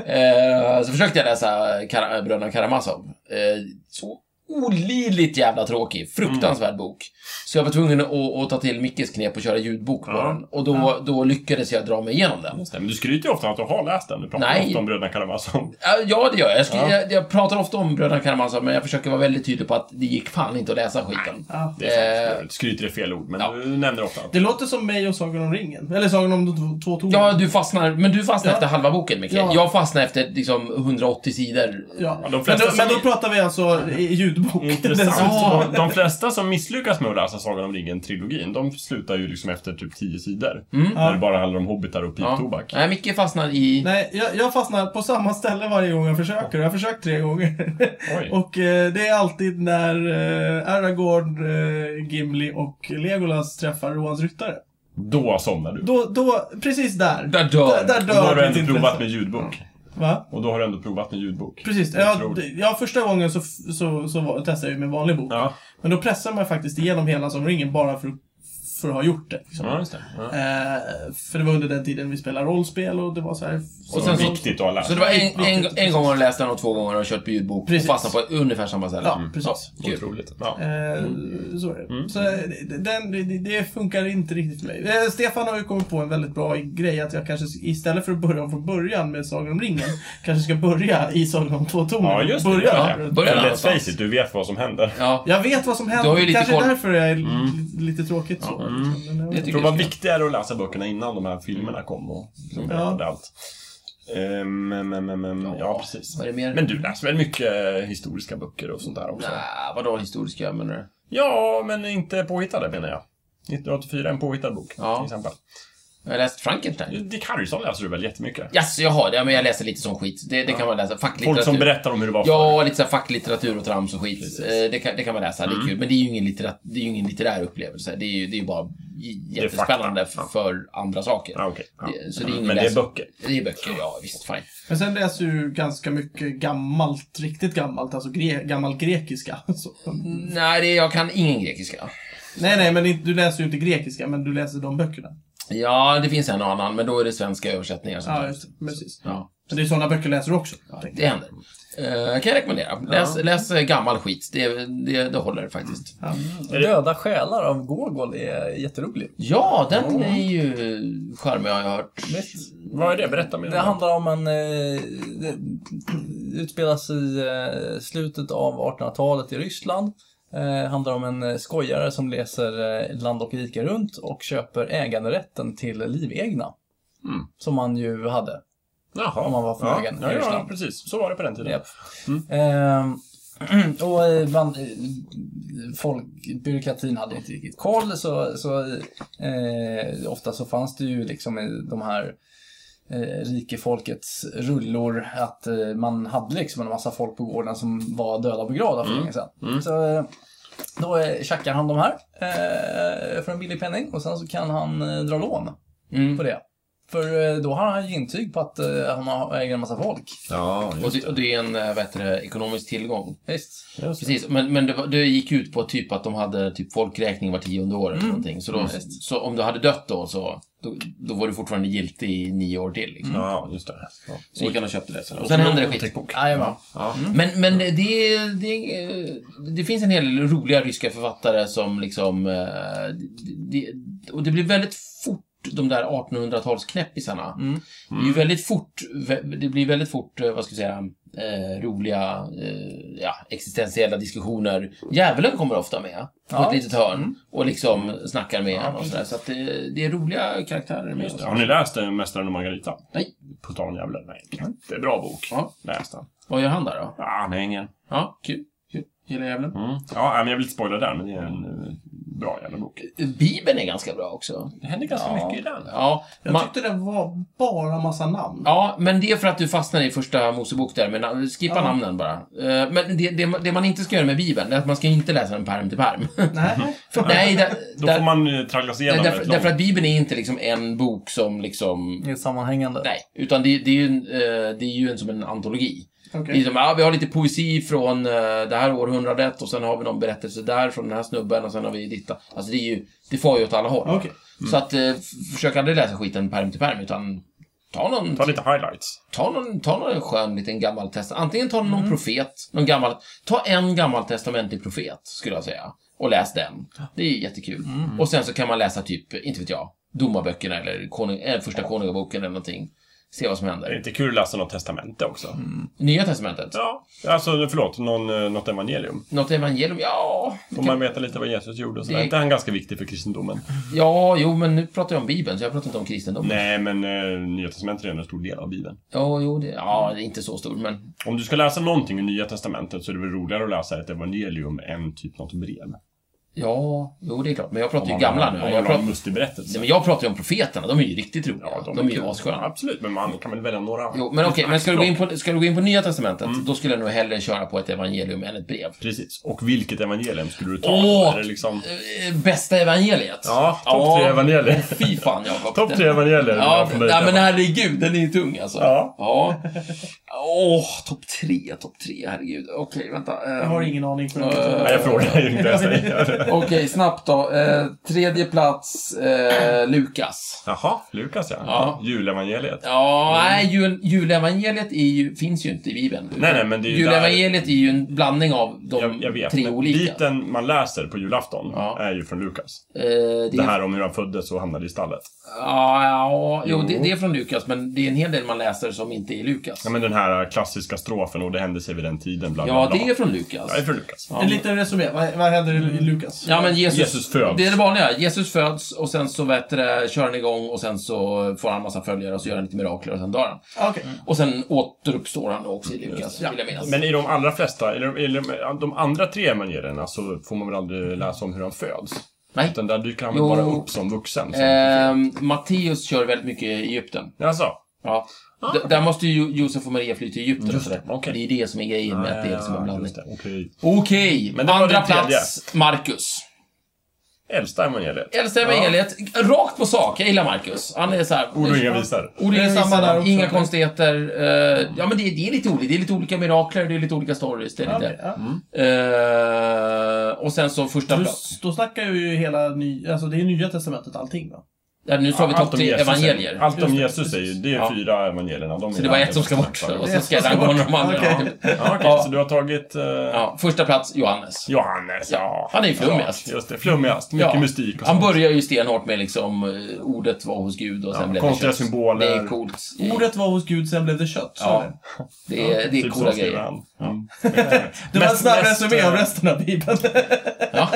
[SPEAKER 2] eh, så försökte jag läsa Kara, Bröderna Karamazov. Eh, så olidligt jävla tråkig. Fruktansvärd
[SPEAKER 1] Mm.
[SPEAKER 2] bok. Så jag var tvungen att, att ta till Mickes knep och köra ljudbok på
[SPEAKER 4] Ja.
[SPEAKER 2] den. Och då, då lyckades jag dra mig igenom den.
[SPEAKER 4] Just det. Men du skryter ju ofta om att du har läst den. Du pratar
[SPEAKER 2] Nej.
[SPEAKER 4] ofta om Bröderna Karamazov.
[SPEAKER 2] Ja, Ja, det gör jag. Jag, skri-
[SPEAKER 4] Ja.
[SPEAKER 2] jag. jag pratar ofta om Bröderna Karamazov, men jag försöker vara väldigt tydlig på att det gick fan inte att läsa skiten.
[SPEAKER 1] Ja.
[SPEAKER 4] Det är
[SPEAKER 2] Eh.
[SPEAKER 4] sant. Skryter är fel ord, men
[SPEAKER 2] Ja.
[SPEAKER 4] du nämner ofta.
[SPEAKER 1] <laughs> Det låter som mig och Sagan om ringen. Eller Sagan om de två- två tornen.
[SPEAKER 2] Ja, du fastnar, men du fastnar
[SPEAKER 1] Ja.
[SPEAKER 2] efter halva boken, Micke.
[SPEAKER 1] Ja.
[SPEAKER 2] Jag fastnar efter liksom 180 sidor.
[SPEAKER 1] Ja.
[SPEAKER 4] Ja, de
[SPEAKER 1] men,
[SPEAKER 4] flesta
[SPEAKER 1] då,
[SPEAKER 4] som
[SPEAKER 1] men då
[SPEAKER 4] är-
[SPEAKER 1] pratar vi alltså i i ljudbok. <laughs>
[SPEAKER 4] Intressant.
[SPEAKER 1] Dessutom.
[SPEAKER 4] Ja. De flesta som misslyckas med att läsa Sagan om ringen-trilogin, de slutar ju liksom efter typ tio sidor. När det bara handlar om hobbitar och
[SPEAKER 2] Ja.
[SPEAKER 4] piptobak.
[SPEAKER 2] Nej, Micke fastnar i...
[SPEAKER 1] Nej, jag, jag fastnar på samma ställe varje gång jag försöker. Jag har försökt tre gånger.
[SPEAKER 4] Oj.
[SPEAKER 1] <laughs> och eh, det är alltid när eh, Aragorn, eh, Gimli och Legolas träffar Rohans ryttare.
[SPEAKER 4] Då somnar du.
[SPEAKER 1] Då, då, precis där.
[SPEAKER 2] Där dör.
[SPEAKER 1] Där, där
[SPEAKER 4] Då
[SPEAKER 1] dör
[SPEAKER 4] har du
[SPEAKER 1] mitt
[SPEAKER 4] ändå
[SPEAKER 1] intresse.
[SPEAKER 4] provat med ljudbok.
[SPEAKER 1] Va?
[SPEAKER 4] Och då har du ändå provat med ljudbok.
[SPEAKER 1] Precis.
[SPEAKER 4] Jag
[SPEAKER 1] Ja,
[SPEAKER 4] tror-
[SPEAKER 1] det- ja, första gången så, f- så, så var, testade jag ju med vanlig bok.
[SPEAKER 4] Ja.
[SPEAKER 1] Men då pressar man faktiskt igenom hela som ringen bara för, att- för att ha gjort det. Liksom.
[SPEAKER 4] Ja, just det. Ja.
[SPEAKER 1] Eh, för det var under den tiden vi spelade rollspel och det var så här... Så
[SPEAKER 2] Och sen så-
[SPEAKER 4] viktigt att ha läst.
[SPEAKER 2] Så det var en, en, en gång har du läst den och två gånger har du kört på ljudbok
[SPEAKER 1] Precis.
[SPEAKER 2] och fastnat på ungefär samma ställe. Mm.
[SPEAKER 1] Ja, precis.
[SPEAKER 2] kul.
[SPEAKER 4] Otroligt. Ja.
[SPEAKER 1] Eh,
[SPEAKER 2] Mm.
[SPEAKER 1] Så är det. Så eh, det- den, det, det funkar inte riktigt för mig. Eh, Stefan har ju kommit på en väldigt bra grej att jag kanske istället för att börja från början med Sagan om
[SPEAKER 2] <laughs>
[SPEAKER 1] ringen kanske ska börja i Sagan om två toner.
[SPEAKER 4] Ja, just det.
[SPEAKER 1] börja
[SPEAKER 4] Börja.
[SPEAKER 1] där.
[SPEAKER 2] Börja.
[SPEAKER 4] Men Let's
[SPEAKER 2] någonstans.
[SPEAKER 4] face it, du vet vad som händer.
[SPEAKER 2] Ja.
[SPEAKER 1] Jag vet vad som
[SPEAKER 2] Du har ju
[SPEAKER 1] händer.
[SPEAKER 2] lite
[SPEAKER 1] Kanske
[SPEAKER 2] koll. Mm.
[SPEAKER 1] därför är jag li- lite tråkigt så. Men eh, jag vet
[SPEAKER 2] Det
[SPEAKER 1] inte.
[SPEAKER 4] Jag
[SPEAKER 2] tycker
[SPEAKER 4] tror det var
[SPEAKER 2] jag.
[SPEAKER 4] viktigare att läsa böckerna innan de här filmerna kom och liksom berättade allt. Ehm, men, men, men, men, ja, precis.
[SPEAKER 2] Vad är det mer?
[SPEAKER 4] Men du läser väl mycket eh, historiska böcker och sånt där också?
[SPEAKER 2] Nah, vadå historiska menar du?
[SPEAKER 4] Ja, men inte påhittade menar jag. 1984, en påhittad bok
[SPEAKER 2] Ja.
[SPEAKER 4] till exempel.
[SPEAKER 2] Jag har läst Frankenstein.
[SPEAKER 4] Dick Harrison läser du väl jättemycket?
[SPEAKER 2] Jaså, jaha. Ja, men jag läser lite sån skit. Det, det kan man läsa. Facklitteratur.
[SPEAKER 4] Folk som berättar om hur det var förr.
[SPEAKER 2] Ja, lite såhär facklitteratur och trams och skit. Eh, Det kan, det kan man läsa,
[SPEAKER 4] Mm.
[SPEAKER 2] det är kul. Men det är ju ingen, litterat, det är ju ingen litterär upplevelse. Det är ju, det är ju bara j-
[SPEAKER 4] är fakta.
[SPEAKER 2] jättespännande f- för andra saker.
[SPEAKER 4] Ja, okej. Ja.
[SPEAKER 2] Det- Så det är ingen
[SPEAKER 4] Men det är
[SPEAKER 2] läs-
[SPEAKER 4] böcker.
[SPEAKER 2] Det är böcker, ja visst. Fine.
[SPEAKER 1] Men sen läser jag ju ganska mycket gammalt, riktigt gammalt, alltså gre gammalt grekiska. <laughs> Så.
[SPEAKER 2] Nej, det, jag kan ingen grekiska.
[SPEAKER 1] Nej, nej, men inte- du läser ju inte grekiska, men du läser de böckerna.
[SPEAKER 2] Ja, det finns en och annan, men då är det svenska översättningar. som
[SPEAKER 1] Ja,
[SPEAKER 2] tar-
[SPEAKER 1] just det. Precis.
[SPEAKER 2] ja.
[SPEAKER 1] Men det är sådana böcker jag läser också. tänker
[SPEAKER 2] Det händer. Eh, kan jag rekommendera. Läs, läs eh, gammal skit. Det, det, det håller faktiskt.
[SPEAKER 3] Döda själar av Gogol är jätterolig.
[SPEAKER 2] Ja, den är ju charmig har jag hört.
[SPEAKER 4] Vad är det? Berätta mer. om
[SPEAKER 3] Det handlar om en... Eh, det utspelas i eh, slutet av 1800-talet i Ryssland. Eh, handlar om en eh, skojare som läser eh, Land och rike runt och köper äganderätten till livegna.
[SPEAKER 4] Mm.
[SPEAKER 3] Som man ju hade.
[SPEAKER 4] Jaha.
[SPEAKER 3] om man var förmögen
[SPEAKER 4] Ja, ja,
[SPEAKER 3] i
[SPEAKER 4] ja,
[SPEAKER 3] Ryssland.
[SPEAKER 4] precis. Så var det på den tiden.
[SPEAKER 3] Japp. Ehm, <clears throat> och eh, man, eh, folk, byråkratin hade inte riktigt koll så, så eh, ofta så fanns det ju liksom i de eh, här eh, rikefolkets rullor att eh, man hade liksom en massa folk på gården som var döda och begravda för länge sedan. Så, eh, då eh, tjackar han de här eh, för en billig penning och sen så kan han eh, dra lån
[SPEAKER 2] Mm.
[SPEAKER 3] på det. För eh, då har han ju intyg på att eh, han har- äger en massa folk.
[SPEAKER 4] Ja,
[SPEAKER 2] Och det, och det är en eh, vad heter det, ekonomisk tillgång.
[SPEAKER 3] Visst.
[SPEAKER 2] Precis, men, men det, var- det gick ut på typ att de hade typ folkräkning var tionde år eller någonting. Så, då, så om du hade dött då så då, då var du fortfarande giltig i nio år till. Liksom.
[SPEAKER 4] ja just det. Ja.
[SPEAKER 2] Så gick han och köpte det sen. Och sen hände det skit.
[SPEAKER 3] Jajamän.
[SPEAKER 2] Men, men det, det, det finns en hel del roliga ryska författare som liksom... eh, Det, det- och det blir väldigt fort de där 1800-talsknäppisarna. Det, är ju väldigt fort, det blir väldigt fort, eh, vad ska vi säga, eh, roliga eh, ja, existentiella diskussioner. Djävulen kommer ofta med på
[SPEAKER 3] Ja.
[SPEAKER 2] ett litet hörn och liksom snackar med en och sådär. Så att det, det är roliga karaktärer med.
[SPEAKER 4] Har ni läst eh, Mästaren och Margarita?
[SPEAKER 2] Nej.
[SPEAKER 4] På tal om djävulen? Nej. Det är bra bok.
[SPEAKER 2] Ja.
[SPEAKER 4] Läs den.
[SPEAKER 2] Vad gör han där då?
[SPEAKER 4] Ja, nej, ingen.
[SPEAKER 2] Ja, kul. kul. Gillar djävulen.
[SPEAKER 4] Mm. Ja, nej, men jag vill inte spoila den, men det är en eh, bra jävla bok.
[SPEAKER 2] Bibeln är ganska bra också.
[SPEAKER 4] Det händer ganska
[SPEAKER 3] Ja.
[SPEAKER 4] mycket i den.
[SPEAKER 2] Ja,
[SPEAKER 1] Jag
[SPEAKER 2] man-
[SPEAKER 1] tyckte det var bara massa namn.
[SPEAKER 2] Ja, men det är för att du fastnar i första Mosebok där, men na- skippa
[SPEAKER 1] Ja.
[SPEAKER 2] namnen bara. Eh, Men det, det, det man inte ska göra med Bibeln, det är att man ska inte läsa den pärm till pärm.
[SPEAKER 1] Nej.
[SPEAKER 2] För, nej, där,
[SPEAKER 4] Då
[SPEAKER 2] där,
[SPEAKER 4] får man eh, traggla sig igenom
[SPEAKER 2] där,
[SPEAKER 4] ett
[SPEAKER 2] därför,
[SPEAKER 4] långt-
[SPEAKER 2] därför att Bibeln är inte liksom en bok som liksom...
[SPEAKER 3] Det är sammanhängande.
[SPEAKER 2] Nej, utan det, det, är, ju en, eh, det är ju en, som en antologi. Det är
[SPEAKER 1] Okej.
[SPEAKER 2] som, ja, vi har lite poesi från eh, det här århundradet och sen har vi någon berättelse där från den här snubben och sen har vi ditta. Alltså det är ju, det far ju åt alla håll.
[SPEAKER 1] Okej.
[SPEAKER 2] Så att, eh, f- försök aldrig läsa skiten pärm till pärm utan ta någon
[SPEAKER 4] Ta lite highlights.
[SPEAKER 2] Ta någon, ta någon skön liten gammal test. Antingen ta
[SPEAKER 4] Mm.
[SPEAKER 2] någon profet, någon gammal, ta en gammal testamentlig profet, skulle jag säga. Och läs den. Det är jättekul.
[SPEAKER 4] Mm.
[SPEAKER 2] Och sen så kan man läsa typ, inte vet jag, domarböckerna eller konung, eh, första konungaboken eller någonting. Se vad som
[SPEAKER 4] Det är
[SPEAKER 2] händer.
[SPEAKER 4] lite kul att läsa något testamente också.
[SPEAKER 2] Mm. Nya testamentet.
[SPEAKER 4] Mm. Ja, alltså förlåt, någon, eh, något evangelium.
[SPEAKER 2] Något evangelium? Ja, det
[SPEAKER 4] Får
[SPEAKER 2] kan,
[SPEAKER 4] man veta lite vad Jesus gjorde och sådär.
[SPEAKER 2] Det-
[SPEAKER 4] Är inte han ganska viktig för kristendomen?
[SPEAKER 2] ja, jo, men nu pratar jag om Bibeln, så jag pratar inte om kristendomen.
[SPEAKER 4] Nej, men eh, Nya Testamentet är ändå en stor del av Bibeln.
[SPEAKER 2] Ja, jo, det, ja, det är inte så stor, men
[SPEAKER 4] Om du ska läsa någonting i Nya Testamentet så är det väl roligare att läsa ett evangelium än typ något brev.
[SPEAKER 2] ja, jo, det är klart. Men jag pratar
[SPEAKER 4] Om
[SPEAKER 2] ju
[SPEAKER 4] man-
[SPEAKER 2] gamla nu.
[SPEAKER 4] Om
[SPEAKER 2] Jag
[SPEAKER 4] man har
[SPEAKER 2] pratar,
[SPEAKER 4] en
[SPEAKER 2] nej,
[SPEAKER 4] mustig berättelse.
[SPEAKER 2] men jag pratar ju om profeterna, de är ju riktigt roliga.
[SPEAKER 4] Ja,
[SPEAKER 2] de, är ju
[SPEAKER 4] kul.
[SPEAKER 2] assköna.
[SPEAKER 4] Absolut, men man kan väl välja några.
[SPEAKER 2] Jo, men okej, men ska du, gå in på, ska du gå in på Nya Testamentet,
[SPEAKER 4] Mm.
[SPEAKER 2] då skulle jag nog hellre köra på ett evangelium än ett brev.
[SPEAKER 4] Precis. Och vilket evangelium skulle du ta?
[SPEAKER 2] Åh!
[SPEAKER 4] Är det liksom...
[SPEAKER 2] Eh, Bästa evangeliet?
[SPEAKER 4] Ja, topp tre evangelier.
[SPEAKER 2] Fy fan, Jakob.
[SPEAKER 4] Topp tre evangelier.
[SPEAKER 2] Ja,
[SPEAKER 4] för mig.
[SPEAKER 2] nej, men herregud, den är ju tung alltså.
[SPEAKER 4] Ja.
[SPEAKER 2] ja. Åh, topp tre, topp tre, herregud. Okej, vänta. eh,
[SPEAKER 1] Jag har ingen aning. För
[SPEAKER 4] Nej, jag frågar ju inte. Jag säger det.
[SPEAKER 2] Okej, snabbt då. Eh, tredje plats, eh, Lukas.
[SPEAKER 4] Jaha, Lukas ja.
[SPEAKER 2] Ja.
[SPEAKER 4] Julevangeliet.
[SPEAKER 2] Ja, nej, jul, julevangeliet är ju, finns ju inte i Bibeln.
[SPEAKER 4] Mm. Nej, nej, men det är ju
[SPEAKER 2] julevangeliet är ju en blandning av de
[SPEAKER 4] Jag, jag vet,
[SPEAKER 2] tre
[SPEAKER 4] men
[SPEAKER 2] olika.
[SPEAKER 4] biten man läser på julafton
[SPEAKER 2] Ja.
[SPEAKER 4] är ju från Lukas.
[SPEAKER 2] Eh, det,
[SPEAKER 4] Det här om hur han föddes och hamnade i stallet.
[SPEAKER 2] Ja, ja jo, det, det är från Lukas, men det är en hel del man läser som inte är Lukas.
[SPEAKER 4] Ja, men den här klassiska strofen och det hände sig vid den tiden, bla bla
[SPEAKER 2] Ja,
[SPEAKER 4] bla.
[SPEAKER 2] det är från Lukas.
[SPEAKER 4] Ja, det är från Lukas.
[SPEAKER 1] En liten resumé. Vad, vad händer i
[SPEAKER 2] Mm.
[SPEAKER 1] Lukas?
[SPEAKER 2] Ja, men Jesus,
[SPEAKER 4] Jesus föds.
[SPEAKER 2] Det är det vanliga. Jesus föds och sen så vet du, det, kör han igång och sen så får han massa följare och så gör han lite mirakler och sen dör han.
[SPEAKER 1] Ah, Okej.
[SPEAKER 2] Och sen återuppstår han också i Lukas, vill jag minnas.
[SPEAKER 4] Men i de allra flesta, eller, eller de andra tre evangelierna så får man väl aldrig läsa om hur han föds?
[SPEAKER 2] Nej.
[SPEAKER 4] Utan där dyker han väl
[SPEAKER 2] Jo.
[SPEAKER 4] bara upp som vuxen. Sen.
[SPEAKER 2] Ehm, Matteus kör väldigt mycket i Egypten.
[SPEAKER 4] Alltså,
[SPEAKER 2] Ja. D- Där måste ju Josef och Maria fly till Egypten och sådär.
[SPEAKER 4] Ah. okej. Ah,
[SPEAKER 2] Det är ju det som är grejen med att det är liksom en
[SPEAKER 4] ja,
[SPEAKER 2] blandning.
[SPEAKER 4] just det. Okej.
[SPEAKER 2] Okej,
[SPEAKER 4] Men det var
[SPEAKER 2] andra
[SPEAKER 4] det tredje.
[SPEAKER 2] plats, Markus.
[SPEAKER 4] Äldsta evangeliet.
[SPEAKER 2] Äldsta evangeliet, rakt på sak. Jag gillar Marcus. Han är så här...
[SPEAKER 4] Ord och inga visar.
[SPEAKER 2] Ord och
[SPEAKER 1] Det är
[SPEAKER 2] inga
[SPEAKER 1] samma där
[SPEAKER 2] visar,
[SPEAKER 1] också.
[SPEAKER 2] inga konstigheter. eh, ja, men det, det är lite olika. Det är lite olika mirakler, det är lite olika stories. Det är lite, Mm.
[SPEAKER 1] Okej, ja.
[SPEAKER 2] Eh, och sen så första
[SPEAKER 1] Du,
[SPEAKER 2] plats.
[SPEAKER 1] då snackar vi ju hela ny, alltså det är nya testamentet allting va?
[SPEAKER 2] Ja, nu tar vi topp
[SPEAKER 4] om
[SPEAKER 2] tre
[SPEAKER 4] Jesus är-
[SPEAKER 2] evangelier.
[SPEAKER 4] Allt om
[SPEAKER 1] Just det,
[SPEAKER 4] Jesus är ju, det är
[SPEAKER 2] Ja.
[SPEAKER 4] fyra evangelierna. De
[SPEAKER 2] Så
[SPEAKER 4] är
[SPEAKER 2] det var
[SPEAKER 4] ju
[SPEAKER 2] ett som ska bort.
[SPEAKER 4] alldeles-
[SPEAKER 2] <laughs> Och
[SPEAKER 1] Det är
[SPEAKER 2] så ska
[SPEAKER 1] ett som
[SPEAKER 2] jag gå
[SPEAKER 1] ska
[SPEAKER 2] de andra.
[SPEAKER 1] Okej.
[SPEAKER 4] Ja, okej,
[SPEAKER 2] Ja.
[SPEAKER 4] så du har tagit... eh,
[SPEAKER 2] Ja, första plats, Johannes.
[SPEAKER 4] Johannes,
[SPEAKER 2] Ja,
[SPEAKER 4] ja.
[SPEAKER 2] han är ju flummigast.
[SPEAKER 4] Ja, just det, flummigast. Mycket
[SPEAKER 2] Ja.
[SPEAKER 4] mystik och
[SPEAKER 2] Han
[SPEAKER 4] sånt.
[SPEAKER 2] börjar ju stenhårt med liksom eh, ordet var hos Gud och sen
[SPEAKER 4] Ja,
[SPEAKER 2] blev
[SPEAKER 4] konstiga
[SPEAKER 2] kött.
[SPEAKER 4] symboler.
[SPEAKER 2] Det är coolt.
[SPEAKER 1] Ordet var hos Gud, sen blev det kött. sa
[SPEAKER 2] Mm. Ja.
[SPEAKER 1] du.
[SPEAKER 2] Det är, det är
[SPEAKER 4] Typ så
[SPEAKER 2] coola
[SPEAKER 4] skriver
[SPEAKER 2] grejer.
[SPEAKER 4] han.
[SPEAKER 2] <laughs>
[SPEAKER 4] Mm.
[SPEAKER 1] Det var en
[SPEAKER 4] Mest-
[SPEAKER 1] snabb
[SPEAKER 4] mest,
[SPEAKER 1] resumé av
[SPEAKER 4] eh,
[SPEAKER 1] resten av Bibeln.
[SPEAKER 2] Alltså. Ja.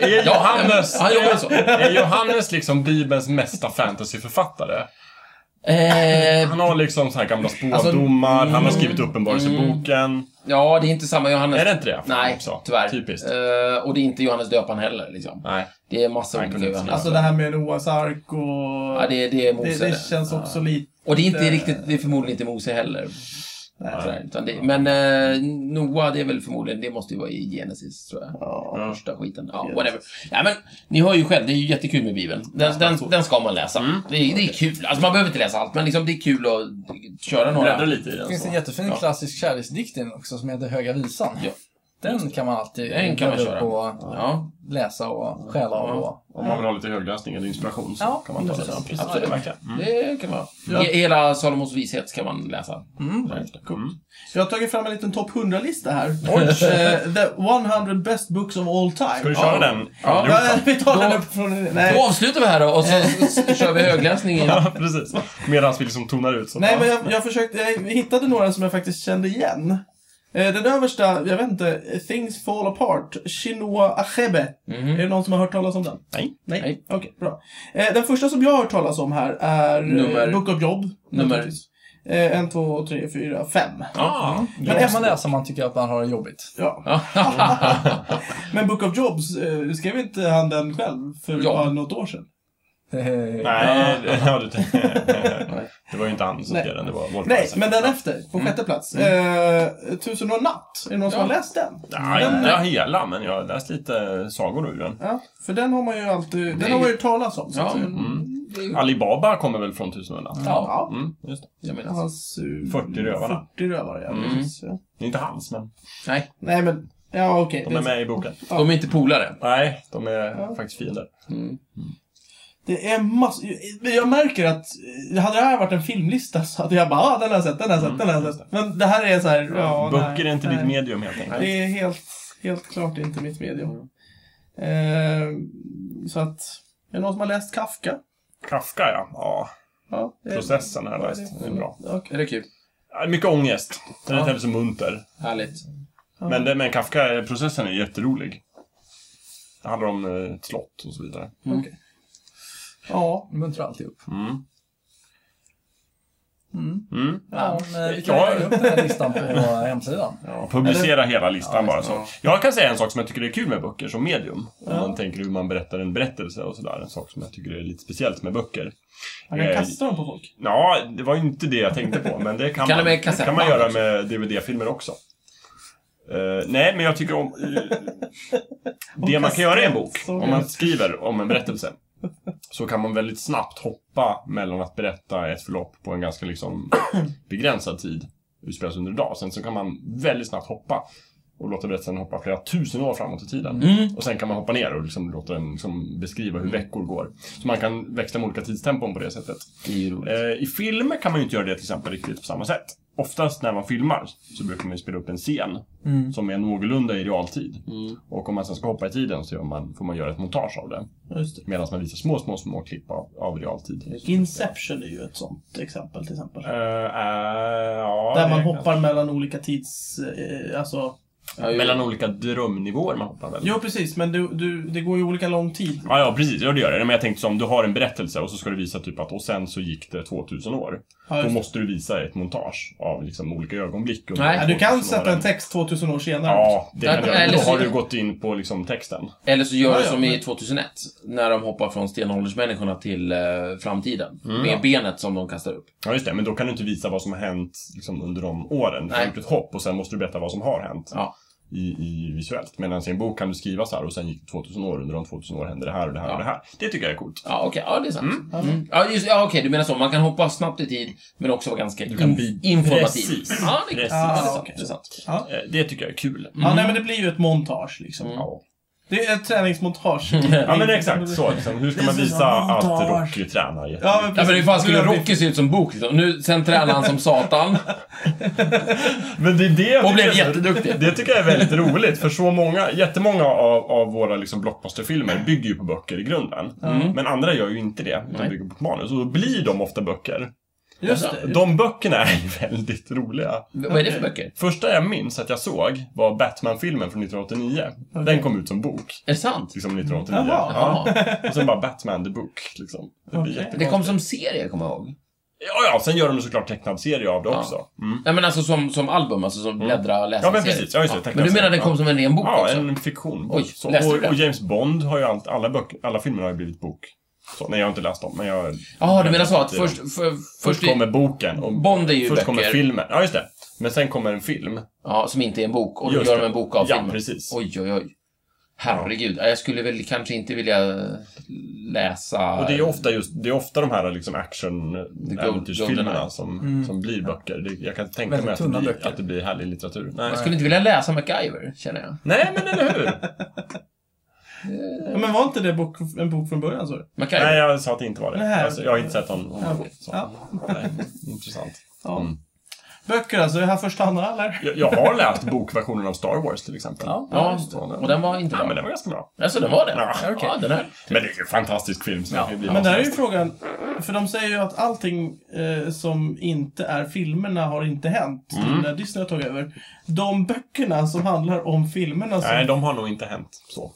[SPEAKER 4] Är
[SPEAKER 2] Ja, han-
[SPEAKER 4] Johannes,
[SPEAKER 2] han jobbar så.
[SPEAKER 4] är Johannes liksom Bibelns mesta fantasyförfattare?
[SPEAKER 2] Eh,
[SPEAKER 4] Han har liksom så här gamla spådomar, han har skrivit
[SPEAKER 2] Mm.
[SPEAKER 4] Uppenbarelseboken.
[SPEAKER 2] Ja, det är inte samma Johannes.
[SPEAKER 4] Är det inte det?
[SPEAKER 2] Nej,
[SPEAKER 4] Också.
[SPEAKER 2] tyvärr.
[SPEAKER 4] Typiskt.
[SPEAKER 2] Eh, och det är inte Johannes döparen heller. Liksom.
[SPEAKER 4] Nej.
[SPEAKER 2] Det är massor
[SPEAKER 4] Han
[SPEAKER 2] av
[SPEAKER 4] kunde
[SPEAKER 2] olika
[SPEAKER 4] inte
[SPEAKER 2] Johannes.
[SPEAKER 1] Alltså det här med Noas ark och...
[SPEAKER 2] ja, det, det är Mose.
[SPEAKER 1] det, det känns också lite...
[SPEAKER 2] Och det är inte riktigt, det är förmodligen inte Mose heller.
[SPEAKER 1] Nej.
[SPEAKER 2] Sådär, utan det, men eh, Noah, det är väl förmodligen, det måste ju vara i Genesis, tror jag.
[SPEAKER 1] Ja.
[SPEAKER 2] Första skiten. Ja, whatever. Ja, men, ni hör ju själv, det är ju jättekul med Bibeln. Den, den, den ska man
[SPEAKER 4] Mm.
[SPEAKER 2] läsa. Det, är, det är kul. Alltså, man behöver inte läsa allt, men liksom, det är kul att köra några...
[SPEAKER 4] Bläddra lite i
[SPEAKER 3] Det
[SPEAKER 4] den.
[SPEAKER 3] finns
[SPEAKER 4] Så.
[SPEAKER 3] en jättefin
[SPEAKER 2] Ja.
[SPEAKER 3] klassisk kärleksdikt i den också som heter Höga visan.
[SPEAKER 2] Ja.
[SPEAKER 3] Den kan man alltid
[SPEAKER 2] Den kan man
[SPEAKER 3] bläddra upp
[SPEAKER 2] köra.
[SPEAKER 3] och
[SPEAKER 2] Ja,
[SPEAKER 3] läsa och stjäla av. Och...
[SPEAKER 4] Om man vill ha lite högläsning eller inspiration så
[SPEAKER 3] Ja,
[SPEAKER 4] kan man ta
[SPEAKER 3] precis.
[SPEAKER 4] det.
[SPEAKER 3] Precis.
[SPEAKER 4] Absolut.
[SPEAKER 2] Ja,
[SPEAKER 4] Mm.
[SPEAKER 2] det kan man. He- Hela Salomos vishet ska man läsa. Sådär.
[SPEAKER 4] Mm.
[SPEAKER 1] Jag har tagit fram en liten topp 100-lista
[SPEAKER 2] <laughs>
[SPEAKER 1] här. Eh, The 100 best books of all time.
[SPEAKER 4] Ska du köra den?
[SPEAKER 2] Ja.
[SPEAKER 4] Rutan?
[SPEAKER 1] Ja, <laughs> vi tar den
[SPEAKER 2] Då-
[SPEAKER 1] upp från...
[SPEAKER 2] Då
[SPEAKER 1] Nej,
[SPEAKER 2] avslutar vi här då och så, så, så kör vi högläsning igen.
[SPEAKER 4] <laughs> Ja, precis. Medan vi liksom tonar ut. Så.
[SPEAKER 1] nej men jag, jag försökte... Jag hittade några som jag faktiskt kände igen. Eh, Den översta, jag vet inte, Things Fall Apart, Chinua Achebe. Är det någon som har hört talas om den?
[SPEAKER 4] Nej.
[SPEAKER 1] Nej.
[SPEAKER 2] Mhm. Nej.
[SPEAKER 1] Okej, bra. Eh, Den första som jag har hört talas om här är eh,
[SPEAKER 2] Nummer-
[SPEAKER 1] Book of Job.
[SPEAKER 2] Nummer-
[SPEAKER 1] naturligtvis. Eh, En, två, tre, fyra, fem.
[SPEAKER 4] Ah,
[SPEAKER 3] Men det kan man läsa om man tycker att man har det jobbigt.
[SPEAKER 1] Ja.
[SPEAKER 2] Ja.
[SPEAKER 1] <laughs> Men Book of Jobs, eh, skrev inte han den själv för
[SPEAKER 2] Ja.
[SPEAKER 1] bara något år sedan?
[SPEAKER 3] Eh,
[SPEAKER 4] Nej, det- ja,
[SPEAKER 2] <laughs>
[SPEAKER 4] du, det var ju inte han som skrev den, det var Wolf
[SPEAKER 1] Nej,
[SPEAKER 4] Eisen.
[SPEAKER 1] men den efter, på sjätte plats. Eh, Tusen och en natt, är det någon som
[SPEAKER 2] Mm. Ja.
[SPEAKER 1] har läst den?
[SPEAKER 4] Nej,
[SPEAKER 1] Den-
[SPEAKER 4] inte hela, men jag har läst lite sagor ur den.
[SPEAKER 1] Ja, för den har man ju alltid,
[SPEAKER 2] Nej.
[SPEAKER 1] den har man ju talat om. Så
[SPEAKER 2] Ja,
[SPEAKER 1] att,
[SPEAKER 2] men-
[SPEAKER 1] eh,
[SPEAKER 4] Mm. Alibaba kommer väl från Tusen och en natt?
[SPEAKER 2] ja,
[SPEAKER 1] ja.
[SPEAKER 4] Mm, just det.
[SPEAKER 2] jag menar.
[SPEAKER 1] Hans, eh,
[SPEAKER 4] 40 rövarna.
[SPEAKER 1] 40 rövare, ja.
[SPEAKER 2] Mm.
[SPEAKER 1] precis, ja.
[SPEAKER 4] Det är inte hans, men
[SPEAKER 2] Nej,
[SPEAKER 1] Nej, men, ja okej.
[SPEAKER 4] de är
[SPEAKER 1] Det,
[SPEAKER 4] med i boken.
[SPEAKER 2] de är inte polare.
[SPEAKER 4] Nej, de är faktiskt fiender.
[SPEAKER 2] Mm.
[SPEAKER 1] det är massor. Jag märker att, eh, hade det här varit en filmlista så hade jag bara, ah, den har jag sett, den har jag sett, den har jag sett. Men det här är så här, ja,
[SPEAKER 4] Böcker
[SPEAKER 1] nej,
[SPEAKER 4] Mm. är inte
[SPEAKER 1] nej.
[SPEAKER 4] ditt medium, helt enkelt.
[SPEAKER 1] Det är helt, helt klart inte mitt
[SPEAKER 4] Mm.
[SPEAKER 1] medium. Eh, så att, är det någon som har läst Kafka?
[SPEAKER 4] Kafka, ja. ja.
[SPEAKER 1] Ja, det är-
[SPEAKER 4] Processen har jag läst. Det är bra.
[SPEAKER 1] Okej.
[SPEAKER 2] Är det kul?
[SPEAKER 4] Ja, Mycket ångest. Den är inte heller så munter.
[SPEAKER 2] Härligt.
[SPEAKER 4] Men, det, men Kafka-processen är jätterolig. Det handlar om eh, ett slott och så vidare.
[SPEAKER 1] Ja,
[SPEAKER 3] Muntrar alltid upp.
[SPEAKER 4] Mm.
[SPEAKER 3] Mm.
[SPEAKER 4] Mm.
[SPEAKER 3] Ja, men vi kan
[SPEAKER 4] Ja.
[SPEAKER 3] lägga upp den här listan på hemsidan.
[SPEAKER 4] Ja, publicera hela listan
[SPEAKER 3] Ja,
[SPEAKER 4] bara
[SPEAKER 3] just
[SPEAKER 4] så. Jag kan säga en sak som jag tycker är kul med böcker som medium. Om
[SPEAKER 1] Ja.
[SPEAKER 4] man tänker hur man berättar en berättelse och sådär. En sak som jag tycker är lite speciellt med böcker.
[SPEAKER 1] man kan
[SPEAKER 4] Eh,
[SPEAKER 1] kasta dem på folk.
[SPEAKER 4] Ja, det var ju inte det jag tänkte på, men det kan,
[SPEAKER 2] Kan
[SPEAKER 4] man,
[SPEAKER 2] det med
[SPEAKER 4] det kan
[SPEAKER 2] kassettband
[SPEAKER 4] man göra
[SPEAKER 2] också?
[SPEAKER 4] med DVD-filmer också. Eh, nej, men jag tycker om... eh, det man kan göra i en bok,
[SPEAKER 1] så-
[SPEAKER 4] om man skriver om en berättelse, så kan man väldigt snabbt hoppa mellan att berätta ett förlopp på en ganska liksom begränsad tid, utspelas under en dag. Sen så kan man väldigt snabbt hoppa och låta berättelsen hoppa flera tusen år framåt i tiden.
[SPEAKER 2] Mm.
[SPEAKER 4] Och sen kan man hoppa ner och liksom låta den liksom beskriva hur veckor går. Så man kan växla med olika tidstempon på det sättet.
[SPEAKER 2] Det är ju roligt.
[SPEAKER 4] Eh, I film kan man ju inte göra det till exempel riktigt på samma sätt. Oftast när man filmar så brukar man ju spela upp en scen
[SPEAKER 1] Mm.
[SPEAKER 4] som är någorlunda i realtid. Och om man sen ska hoppa i tiden så gör man, får man göra ett montage av det.
[SPEAKER 1] Just det.
[SPEAKER 4] Medan man visar små, små, små klipp av, av realtid.
[SPEAKER 1] Inception är ju ett sånt exempel till exempel.
[SPEAKER 4] Eh, eh, ja,
[SPEAKER 1] Där man
[SPEAKER 4] det-
[SPEAKER 1] hoppar mellan olika tids... Eh, alltså...
[SPEAKER 2] Ja, ju-
[SPEAKER 4] Mellan olika drömnivåer man hoppar väl?
[SPEAKER 1] Jo, precis, men du, du, det går ju olika lång tid.
[SPEAKER 4] Ja, ja, precis. Ja, det gör det. Men jag tänkte som, du har en berättelse och så ska du visa typ att och sen så gick det 2000 år.
[SPEAKER 1] Ja,
[SPEAKER 4] Då
[SPEAKER 1] just det.
[SPEAKER 4] måste du visa ett montage av liksom olika ögonblick. under
[SPEAKER 2] Nej,
[SPEAKER 1] Ja, du kan
[SPEAKER 4] 2000
[SPEAKER 1] sätta en
[SPEAKER 4] åren.
[SPEAKER 1] text 2000 år senare.
[SPEAKER 4] Ja, det kan du göra.
[SPEAKER 2] Eller
[SPEAKER 4] Då
[SPEAKER 2] så-
[SPEAKER 4] har du gått in på liksom texten.
[SPEAKER 2] Eller så gör
[SPEAKER 1] Ja,
[SPEAKER 2] du
[SPEAKER 1] ja,
[SPEAKER 2] som i
[SPEAKER 1] men-
[SPEAKER 2] 2001, när de hoppar från stenåldersmänniskorna till eh, framtiden. Med benet som de kastar upp.
[SPEAKER 4] Ja, just det. Men då kan du inte visa vad som har hänt liksom, under de åren. Du har
[SPEAKER 2] Nej.
[SPEAKER 4] gjort ett hopp och sen måste du berätta vad som har hänt
[SPEAKER 2] Ja.
[SPEAKER 4] i, i visuellt. Medan i en bok kan du skriva så här och sen gick det 2000 år. Under de 2000 år hände det här och det här
[SPEAKER 2] Ja.
[SPEAKER 4] och det här. Det tycker jag är coolt.
[SPEAKER 2] Ja, okej. Ja, det är sant. Mm. Ja, just, ja, okej. Du menar så. Man kan hoppa snabbt i tid, men också vara ganska
[SPEAKER 4] kan
[SPEAKER 2] in,
[SPEAKER 4] bli-
[SPEAKER 2] informativ.
[SPEAKER 4] Precis.
[SPEAKER 2] Ja, det, är-
[SPEAKER 4] Precis.
[SPEAKER 2] Ja, det är
[SPEAKER 1] Ah,
[SPEAKER 2] sant.
[SPEAKER 1] okej.
[SPEAKER 2] Det är sant.
[SPEAKER 4] Eh, Det tycker jag är kul. Mm.
[SPEAKER 1] Ja, nej, men det blir ju ett montage liksom.
[SPEAKER 4] Ja.
[SPEAKER 1] Det är ett träningsmontage.
[SPEAKER 4] Mm. <laughs> ja, men exakt så. Liksom. Hur ska man
[SPEAKER 1] Visa
[SPEAKER 4] visa att
[SPEAKER 1] montage.
[SPEAKER 4] Rocky tränar jättemycket?
[SPEAKER 1] Ja, men
[SPEAKER 2] Ja, men hur fan skulle
[SPEAKER 1] Du har-
[SPEAKER 2] Rocky se ut som bok liksom? Nu, sen tränar han som satan.
[SPEAKER 4] Men det är det jag
[SPEAKER 2] Och blev
[SPEAKER 4] tycker är-
[SPEAKER 2] jätteduktig.
[SPEAKER 4] Det tycker jag är väldigt roligt, för så många, jättemånga av, av våra liksom blockbusterfilmer bygger ju på böcker i grunden. Men andra gör ju inte det, utan
[SPEAKER 2] Mm. Nej.
[SPEAKER 4] bygger på manus. Och då blir de ofta böcker.
[SPEAKER 1] Just det.
[SPEAKER 4] De böckerna är <laughs> ju väldigt roliga.
[SPEAKER 2] Vad är det för böcker?
[SPEAKER 4] Första jag minns att jag såg var Batman-filmen från 1989. Den kom ut som bok,
[SPEAKER 2] Är det sant?
[SPEAKER 4] liksom 1989.
[SPEAKER 1] Jaha.
[SPEAKER 4] Ja. Och sen bara Batman the Book, liksom. Det blir
[SPEAKER 1] Okej.
[SPEAKER 4] jätte...
[SPEAKER 2] Det kom som serie, kommer jag ihåg.
[SPEAKER 4] Ja, ja, sen gör de såklart tecknad serie av det
[SPEAKER 2] Ja.
[SPEAKER 4] också. Mm.
[SPEAKER 2] Nej, men alltså som, som album, alltså som bläddra och läsa
[SPEAKER 4] Ja, men
[SPEAKER 2] serie.
[SPEAKER 4] precis. Ja, just det.
[SPEAKER 2] Men
[SPEAKER 4] Tecknad
[SPEAKER 2] du menar
[SPEAKER 4] serie,
[SPEAKER 2] den kom
[SPEAKER 4] ja.
[SPEAKER 2] som en ren bok
[SPEAKER 4] Ja,
[SPEAKER 2] också?
[SPEAKER 4] en fiktion.
[SPEAKER 2] Oj,
[SPEAKER 4] så,
[SPEAKER 2] läste du
[SPEAKER 4] och,
[SPEAKER 2] den?
[SPEAKER 4] och James Bond har ju allt, alla, böcker, alla filmer har ju blivit bok. Så, nej, jag har inte läst dem, men jag...
[SPEAKER 2] Ja, du menar så att först, för,
[SPEAKER 4] Först
[SPEAKER 2] först,
[SPEAKER 4] kommer boken. Och
[SPEAKER 2] Bond är ju
[SPEAKER 4] först
[SPEAKER 2] böcker.
[SPEAKER 4] kommer filmen. Ja, just det. Men sen kommer en film.
[SPEAKER 2] Ja, som inte är en bok. Och då
[SPEAKER 4] Just
[SPEAKER 2] gör
[SPEAKER 4] det.
[SPEAKER 2] de en bok av
[SPEAKER 4] Ja,
[SPEAKER 2] filmen.
[SPEAKER 4] precis.
[SPEAKER 2] Oj, oj, oj. Herregud. Jag skulle väl kanske inte vilja läsa...
[SPEAKER 4] Och det är ofta just, det är ofta de här liksom action
[SPEAKER 2] The Gold-
[SPEAKER 4] äventyrsfilmerna
[SPEAKER 2] Goldeneye. Mm.
[SPEAKER 4] som, som blir böcker. Det, jag kan tänka
[SPEAKER 3] Väldigt
[SPEAKER 4] mig att det,
[SPEAKER 3] tunna
[SPEAKER 4] blir,
[SPEAKER 3] böcker.
[SPEAKER 4] att det blir härlig litteratur. Nej,
[SPEAKER 2] Jag skulle inte vilja läsa MacGyver, känner jag.
[SPEAKER 4] <laughs> Nej men eller hur?
[SPEAKER 1] Ja, men var inte det bok, en bok från början, sa du?
[SPEAKER 2] MacGyver.
[SPEAKER 4] Nej, jag sa att det inte var det.
[SPEAKER 1] Nej.
[SPEAKER 4] Alltså, jag har inte sett honom.
[SPEAKER 1] Ja.
[SPEAKER 4] Så.
[SPEAKER 1] Ja.
[SPEAKER 4] Nej, intressant.
[SPEAKER 1] ja.
[SPEAKER 4] Mm.
[SPEAKER 1] Böcker alltså, är det här första hand eller?
[SPEAKER 4] Jag, jag har läst bokversionen av Star Wars till exempel.
[SPEAKER 3] Ja.
[SPEAKER 2] Ja, och den var inte
[SPEAKER 4] Ja,
[SPEAKER 2] bra.
[SPEAKER 4] men den var ganska bra.
[SPEAKER 2] Alltså, den var det?
[SPEAKER 4] Ja,
[SPEAKER 3] okej.
[SPEAKER 2] Ja, den här.
[SPEAKER 4] Men det är ju en fantastisk film. Så
[SPEAKER 3] Ja.
[SPEAKER 4] det kan ju bli
[SPEAKER 1] Men
[SPEAKER 4] vad som
[SPEAKER 1] där är ju
[SPEAKER 4] helst.
[SPEAKER 1] frågan, för de säger ju att allting eh, som inte är filmerna har inte hänt
[SPEAKER 4] Mm.
[SPEAKER 1] nu när Disney har tagit över. De böckerna som handlar om filmerna som... Ah,
[SPEAKER 4] Nej, de har nog inte hänt så.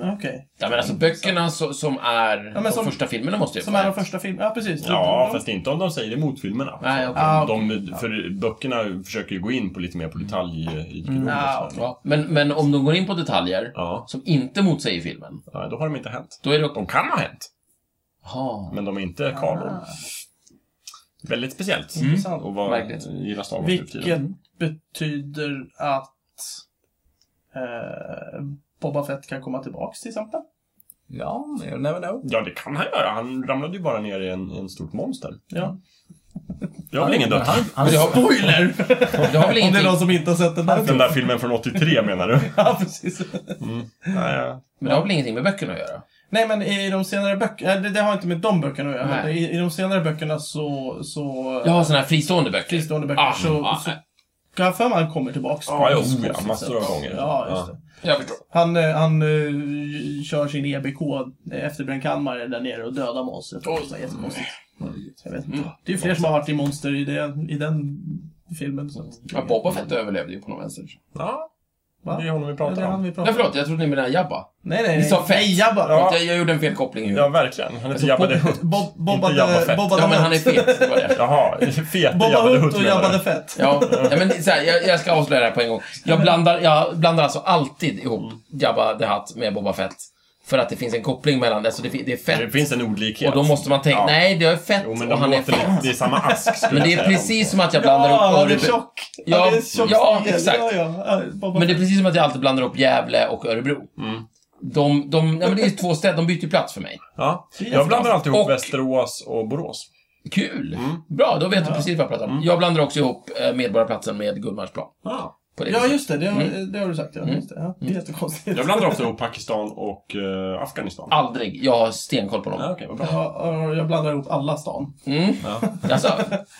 [SPEAKER 1] Okej.
[SPEAKER 2] Ja, men alltså böckerna så, som är de
[SPEAKER 1] som-
[SPEAKER 2] första filmerna måste ju
[SPEAKER 1] Som är
[SPEAKER 2] vara.
[SPEAKER 1] de första filmerna. Ja, precis.
[SPEAKER 4] Ja,
[SPEAKER 1] De-
[SPEAKER 4] fast inte om de säger det mot filmerna.
[SPEAKER 2] Nej, okej.
[SPEAKER 1] Ah,
[SPEAKER 4] de, för böckerna försöker ju gå in på lite mer på
[SPEAKER 2] Mm.
[SPEAKER 4] detaljrikedom. och
[SPEAKER 1] Ah,
[SPEAKER 4] sådär.
[SPEAKER 2] Ja, men, men om de går in på detaljer
[SPEAKER 4] Ja.
[SPEAKER 2] som inte motsäger filmen,
[SPEAKER 4] Nej, då har de inte hänt.
[SPEAKER 2] då är det okej.
[SPEAKER 4] De kan ha hänt,
[SPEAKER 2] Jaha.
[SPEAKER 4] men de är inte
[SPEAKER 2] Ah.
[SPEAKER 4] kanon. Väldigt speciellt.
[SPEAKER 1] Intressant.
[SPEAKER 4] Mm. Och vad
[SPEAKER 2] Verkligen.
[SPEAKER 4] gillar Star Wars nu för
[SPEAKER 1] Vilket
[SPEAKER 4] tiden.
[SPEAKER 1] betyder att eh, Boba Fett kan komma tillbaks till exempel.
[SPEAKER 3] Ja, you never know.
[SPEAKER 4] Ja, det kan han göra. Han ramlade ju bara ner i en, en stort monster.
[SPEAKER 1] Ja.
[SPEAKER 4] Jag har väl ingen dött.
[SPEAKER 2] Men det har,
[SPEAKER 1] Spoiler!
[SPEAKER 2] det har väl
[SPEAKER 1] Om det är
[SPEAKER 2] ingenting...
[SPEAKER 1] någon som inte har sett den där
[SPEAKER 4] Den
[SPEAKER 1] filmen. <laughs>
[SPEAKER 4] där filmen från 83 menar du?
[SPEAKER 1] Ja, precis.
[SPEAKER 4] Nej, ja.
[SPEAKER 2] Men det har väl ingenting med böckerna att göra?
[SPEAKER 1] Nej, men i de senare böckerna, det, det har inte med de böckerna att göra, men
[SPEAKER 2] Nej.
[SPEAKER 1] i, i de senare böckerna så, så
[SPEAKER 2] Jag har såna här fristående böcker.
[SPEAKER 1] fristående böcker
[SPEAKER 2] Ah,
[SPEAKER 1] så,
[SPEAKER 2] ah,
[SPEAKER 1] så kan jag för mig han kommer tillbaks.
[SPEAKER 4] Ja,
[SPEAKER 1] på
[SPEAKER 4] jo,
[SPEAKER 1] något
[SPEAKER 4] ja,
[SPEAKER 1] konstigt
[SPEAKER 4] massor av
[SPEAKER 1] sätt.
[SPEAKER 4] gånger.
[SPEAKER 1] Ja, just det.
[SPEAKER 2] Jag förstår.
[SPEAKER 1] Han, eh, han eh, kör sin EBK efter brännkammare där nere och dödar monstret. Oh, så jättekonstigt. Jag vet inte. Det är ju fler som har varit i monster i, det, i den filmen. Så. att-
[SPEAKER 2] Ja, Boba Fett överlevde ju på någon vänster.
[SPEAKER 4] Ja,
[SPEAKER 1] Va?
[SPEAKER 4] det är honom vi
[SPEAKER 1] Ja, det är
[SPEAKER 4] pratar
[SPEAKER 1] han
[SPEAKER 4] om.
[SPEAKER 1] vi pratar
[SPEAKER 2] Nej,
[SPEAKER 1] om.
[SPEAKER 2] förlåt. Jag trodde ni menade Jabba.
[SPEAKER 1] Nej, nej,
[SPEAKER 2] Ni
[SPEAKER 1] nej.
[SPEAKER 2] sa Fett.
[SPEAKER 1] Nej, Jabba.
[SPEAKER 4] Ja.
[SPEAKER 2] Jag, jag gjorde en felkoppling ju.
[SPEAKER 4] Ja,
[SPEAKER 2] Ja,
[SPEAKER 4] verkligen. Han heter
[SPEAKER 1] Alltså,
[SPEAKER 4] Jabba
[SPEAKER 1] Bob,
[SPEAKER 4] the Hutt.
[SPEAKER 1] Bob, Bobba
[SPEAKER 4] Jabba
[SPEAKER 1] the-
[SPEAKER 4] Fett.
[SPEAKER 1] Bobba the
[SPEAKER 2] men han är
[SPEAKER 1] Hutt.
[SPEAKER 2] fet. Det var det.
[SPEAKER 4] Jaha, fete Jabba
[SPEAKER 1] Bobba
[SPEAKER 4] the
[SPEAKER 1] Hutt
[SPEAKER 4] Hutt
[SPEAKER 1] och
[SPEAKER 4] menar
[SPEAKER 1] Jabba the
[SPEAKER 4] du?
[SPEAKER 1] Fett.
[SPEAKER 2] Ja, ja, men så här, jag, jag ska avslöja det här på en gång. Jag blandar, jag blandar alltså alltid ihop Jabba the Hutt med Boba Fett. För att det finns en koppling mellan det. Så det, fi- det är
[SPEAKER 4] Det
[SPEAKER 2] fett.
[SPEAKER 4] finns en olikhet.
[SPEAKER 2] Och då måste man tänka,
[SPEAKER 4] Ja.
[SPEAKER 2] nej, det är fett
[SPEAKER 4] Jo, men
[SPEAKER 2] och
[SPEAKER 4] de
[SPEAKER 2] han är
[SPEAKER 4] låter lite.
[SPEAKER 2] fet.
[SPEAKER 4] Det är samma ask, skulle
[SPEAKER 2] Men det
[SPEAKER 4] jag
[SPEAKER 2] är
[SPEAKER 4] säga.
[SPEAKER 2] precis som att jag blandar
[SPEAKER 1] Ja, han
[SPEAKER 2] ihop
[SPEAKER 1] är
[SPEAKER 2] Örebro.
[SPEAKER 1] tjock. Han är en tjock
[SPEAKER 2] ja,
[SPEAKER 1] snigel.
[SPEAKER 2] exakt.
[SPEAKER 1] Ja, ja. Ja, Bobba
[SPEAKER 2] Men det är
[SPEAKER 1] Fett.
[SPEAKER 2] precis som att jag alltid blandar ihop Gävle och Örebro.
[SPEAKER 4] Mm.
[SPEAKER 2] De, de, ja, men det är två städer, de byter ju plats för mig.
[SPEAKER 4] Ja.
[SPEAKER 1] är
[SPEAKER 4] Jag blandar
[SPEAKER 1] fantastiskt.
[SPEAKER 4] alltid ihop
[SPEAKER 2] Och-
[SPEAKER 4] Västerås och Borås.
[SPEAKER 2] Kul!
[SPEAKER 4] Mm.
[SPEAKER 2] Bra, då vet du precis vad jag pratar om. Jag blandar också ihop eh, Medborgarplatsen med Gullmarsplan.
[SPEAKER 4] Ja.
[SPEAKER 2] På det
[SPEAKER 1] Ja,
[SPEAKER 2] viset.
[SPEAKER 1] just det. Det har, det har du sagt. Ja. Just det. Ja. det är jättekonstigt.
[SPEAKER 4] Jag blandar också ihop Pakistan och eh, Afghanistan.
[SPEAKER 2] Aldrig. Jag har stenkoll på dem.
[SPEAKER 4] Ja, okej, vad bra.
[SPEAKER 1] Ja, Jag blandar ihop alla stan.
[SPEAKER 2] Alltså,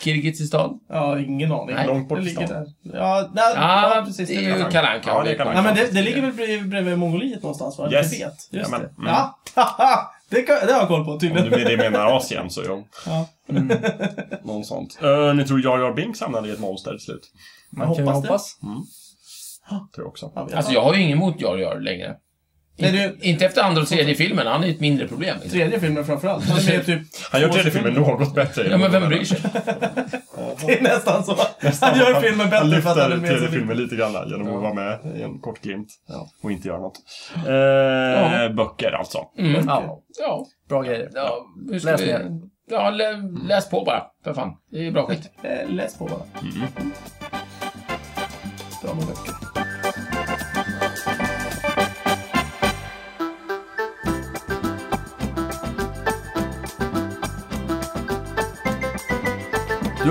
[SPEAKER 2] Kirgizistan?
[SPEAKER 1] Ja, ingen aning.
[SPEAKER 2] Nej.
[SPEAKER 4] Långt bort
[SPEAKER 1] det
[SPEAKER 4] i
[SPEAKER 1] ligger
[SPEAKER 4] stan.
[SPEAKER 1] där. Ja, nej,
[SPEAKER 2] Ja,
[SPEAKER 1] ja, precis.
[SPEAKER 2] Ah, det
[SPEAKER 1] det
[SPEAKER 2] är ju
[SPEAKER 1] ligger-
[SPEAKER 2] Kalle Anka.
[SPEAKER 4] Ja, det är Kalle
[SPEAKER 1] Nej,
[SPEAKER 4] Anka.
[SPEAKER 1] men det, det ligger väl brev- bredvid Mongoliet någonstans, va?
[SPEAKER 4] Yes.
[SPEAKER 1] Tibet. Just
[SPEAKER 4] Jajamän.
[SPEAKER 1] det.
[SPEAKER 4] Mm.
[SPEAKER 1] Ja, <laughs> haha! det, kan, det har jag koll på
[SPEAKER 4] Om det
[SPEAKER 1] tydligen.
[SPEAKER 4] blir det menar Asien, så jo.
[SPEAKER 1] Ja.
[SPEAKER 4] Någon sånt. Eh, ni tror Jar Jar Binks hamnade i ett monster till slut?
[SPEAKER 3] Man kan ju
[SPEAKER 1] hoppas det.
[SPEAKER 3] hoppas.
[SPEAKER 4] Tror jag också.
[SPEAKER 1] Ja, vi-
[SPEAKER 2] Alltså, jag har ju ingen emot Jar Jar längre.
[SPEAKER 1] Nej,
[SPEAKER 2] Inte-
[SPEAKER 1] du-
[SPEAKER 2] Inte efter andra och tredje filmen. Han är ju ett mindre problem. Liksom.
[SPEAKER 1] Tredje filmen framförallt. Han är med typ...
[SPEAKER 4] <laughs> Han gör
[SPEAKER 1] två
[SPEAKER 4] tredje
[SPEAKER 1] sekunder.
[SPEAKER 4] filmen något bättre.
[SPEAKER 2] Ja, men vem bryr sig?
[SPEAKER 1] <laughs> Det är nästan så. Han gör filmen
[SPEAKER 4] Han
[SPEAKER 1] bättre för att han är
[SPEAKER 4] lyfter
[SPEAKER 1] med sig
[SPEAKER 4] tredje
[SPEAKER 1] lite.
[SPEAKER 4] filmen lite grann där, genom att vara med i en kort glimt.
[SPEAKER 1] Ja.
[SPEAKER 4] Och inte göra något. Eh, Böcker alltså.
[SPEAKER 2] Mm.
[SPEAKER 3] Ja,
[SPEAKER 2] Ja,
[SPEAKER 3] bra grejer.
[SPEAKER 2] ja, hur ska
[SPEAKER 3] Läs
[SPEAKER 2] vi...
[SPEAKER 3] mer.
[SPEAKER 2] Ja, lä, läs på bara. För fan. Det är bra skit.
[SPEAKER 1] Eh, Läs på bara. Bra med böcker.
[SPEAKER 4] Du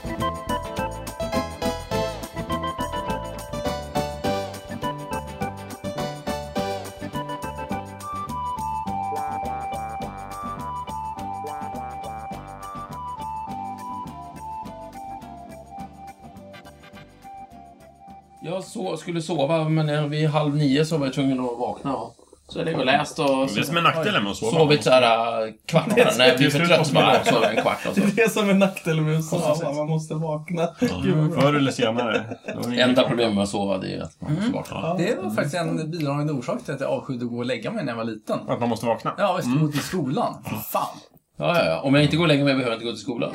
[SPEAKER 2] Jag så, skulle sova, men eh, vid halv nio så var jag tvungen att vakna. Och, så jag låg och läste och
[SPEAKER 4] Det som är nackdelen med att sova.
[SPEAKER 2] sovit såhär eh, kvart bara. När jag blir för trött så bara jag sover en kvart. Och så.
[SPEAKER 1] <laughs> Det är som en nackdel med USA, va? man måste vakna. Gud, vad bra.
[SPEAKER 4] Förr eller senare. Det var ingen-
[SPEAKER 2] Enda problemet med att sova det är att man måste vakna.
[SPEAKER 3] Det var faktiskt en bidragande orsak till att jag avskydde att gå och lägga mig när jag var liten.
[SPEAKER 4] Att man måste vakna.
[SPEAKER 3] Ja, visst. Mot i skolan. Fy fan.
[SPEAKER 2] Ja, ja, ja. Om jag inte går längre med behöver jag inte gå till skolan.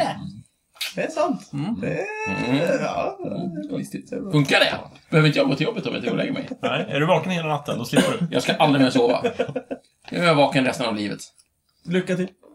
[SPEAKER 1] Det är sant.
[SPEAKER 3] Mm.
[SPEAKER 1] Det
[SPEAKER 2] Mm.
[SPEAKER 1] är... Ja, det är listigt. Det är bra.
[SPEAKER 2] Funkar det? Behöver inte jag gå till jobbet om jag inte går och lägger mig?
[SPEAKER 4] Nej, är du vaken hela natten, då slipper du.
[SPEAKER 2] Jag ska aldrig mer sova. Nu är jag vaken resten av livet.
[SPEAKER 1] Lycka till.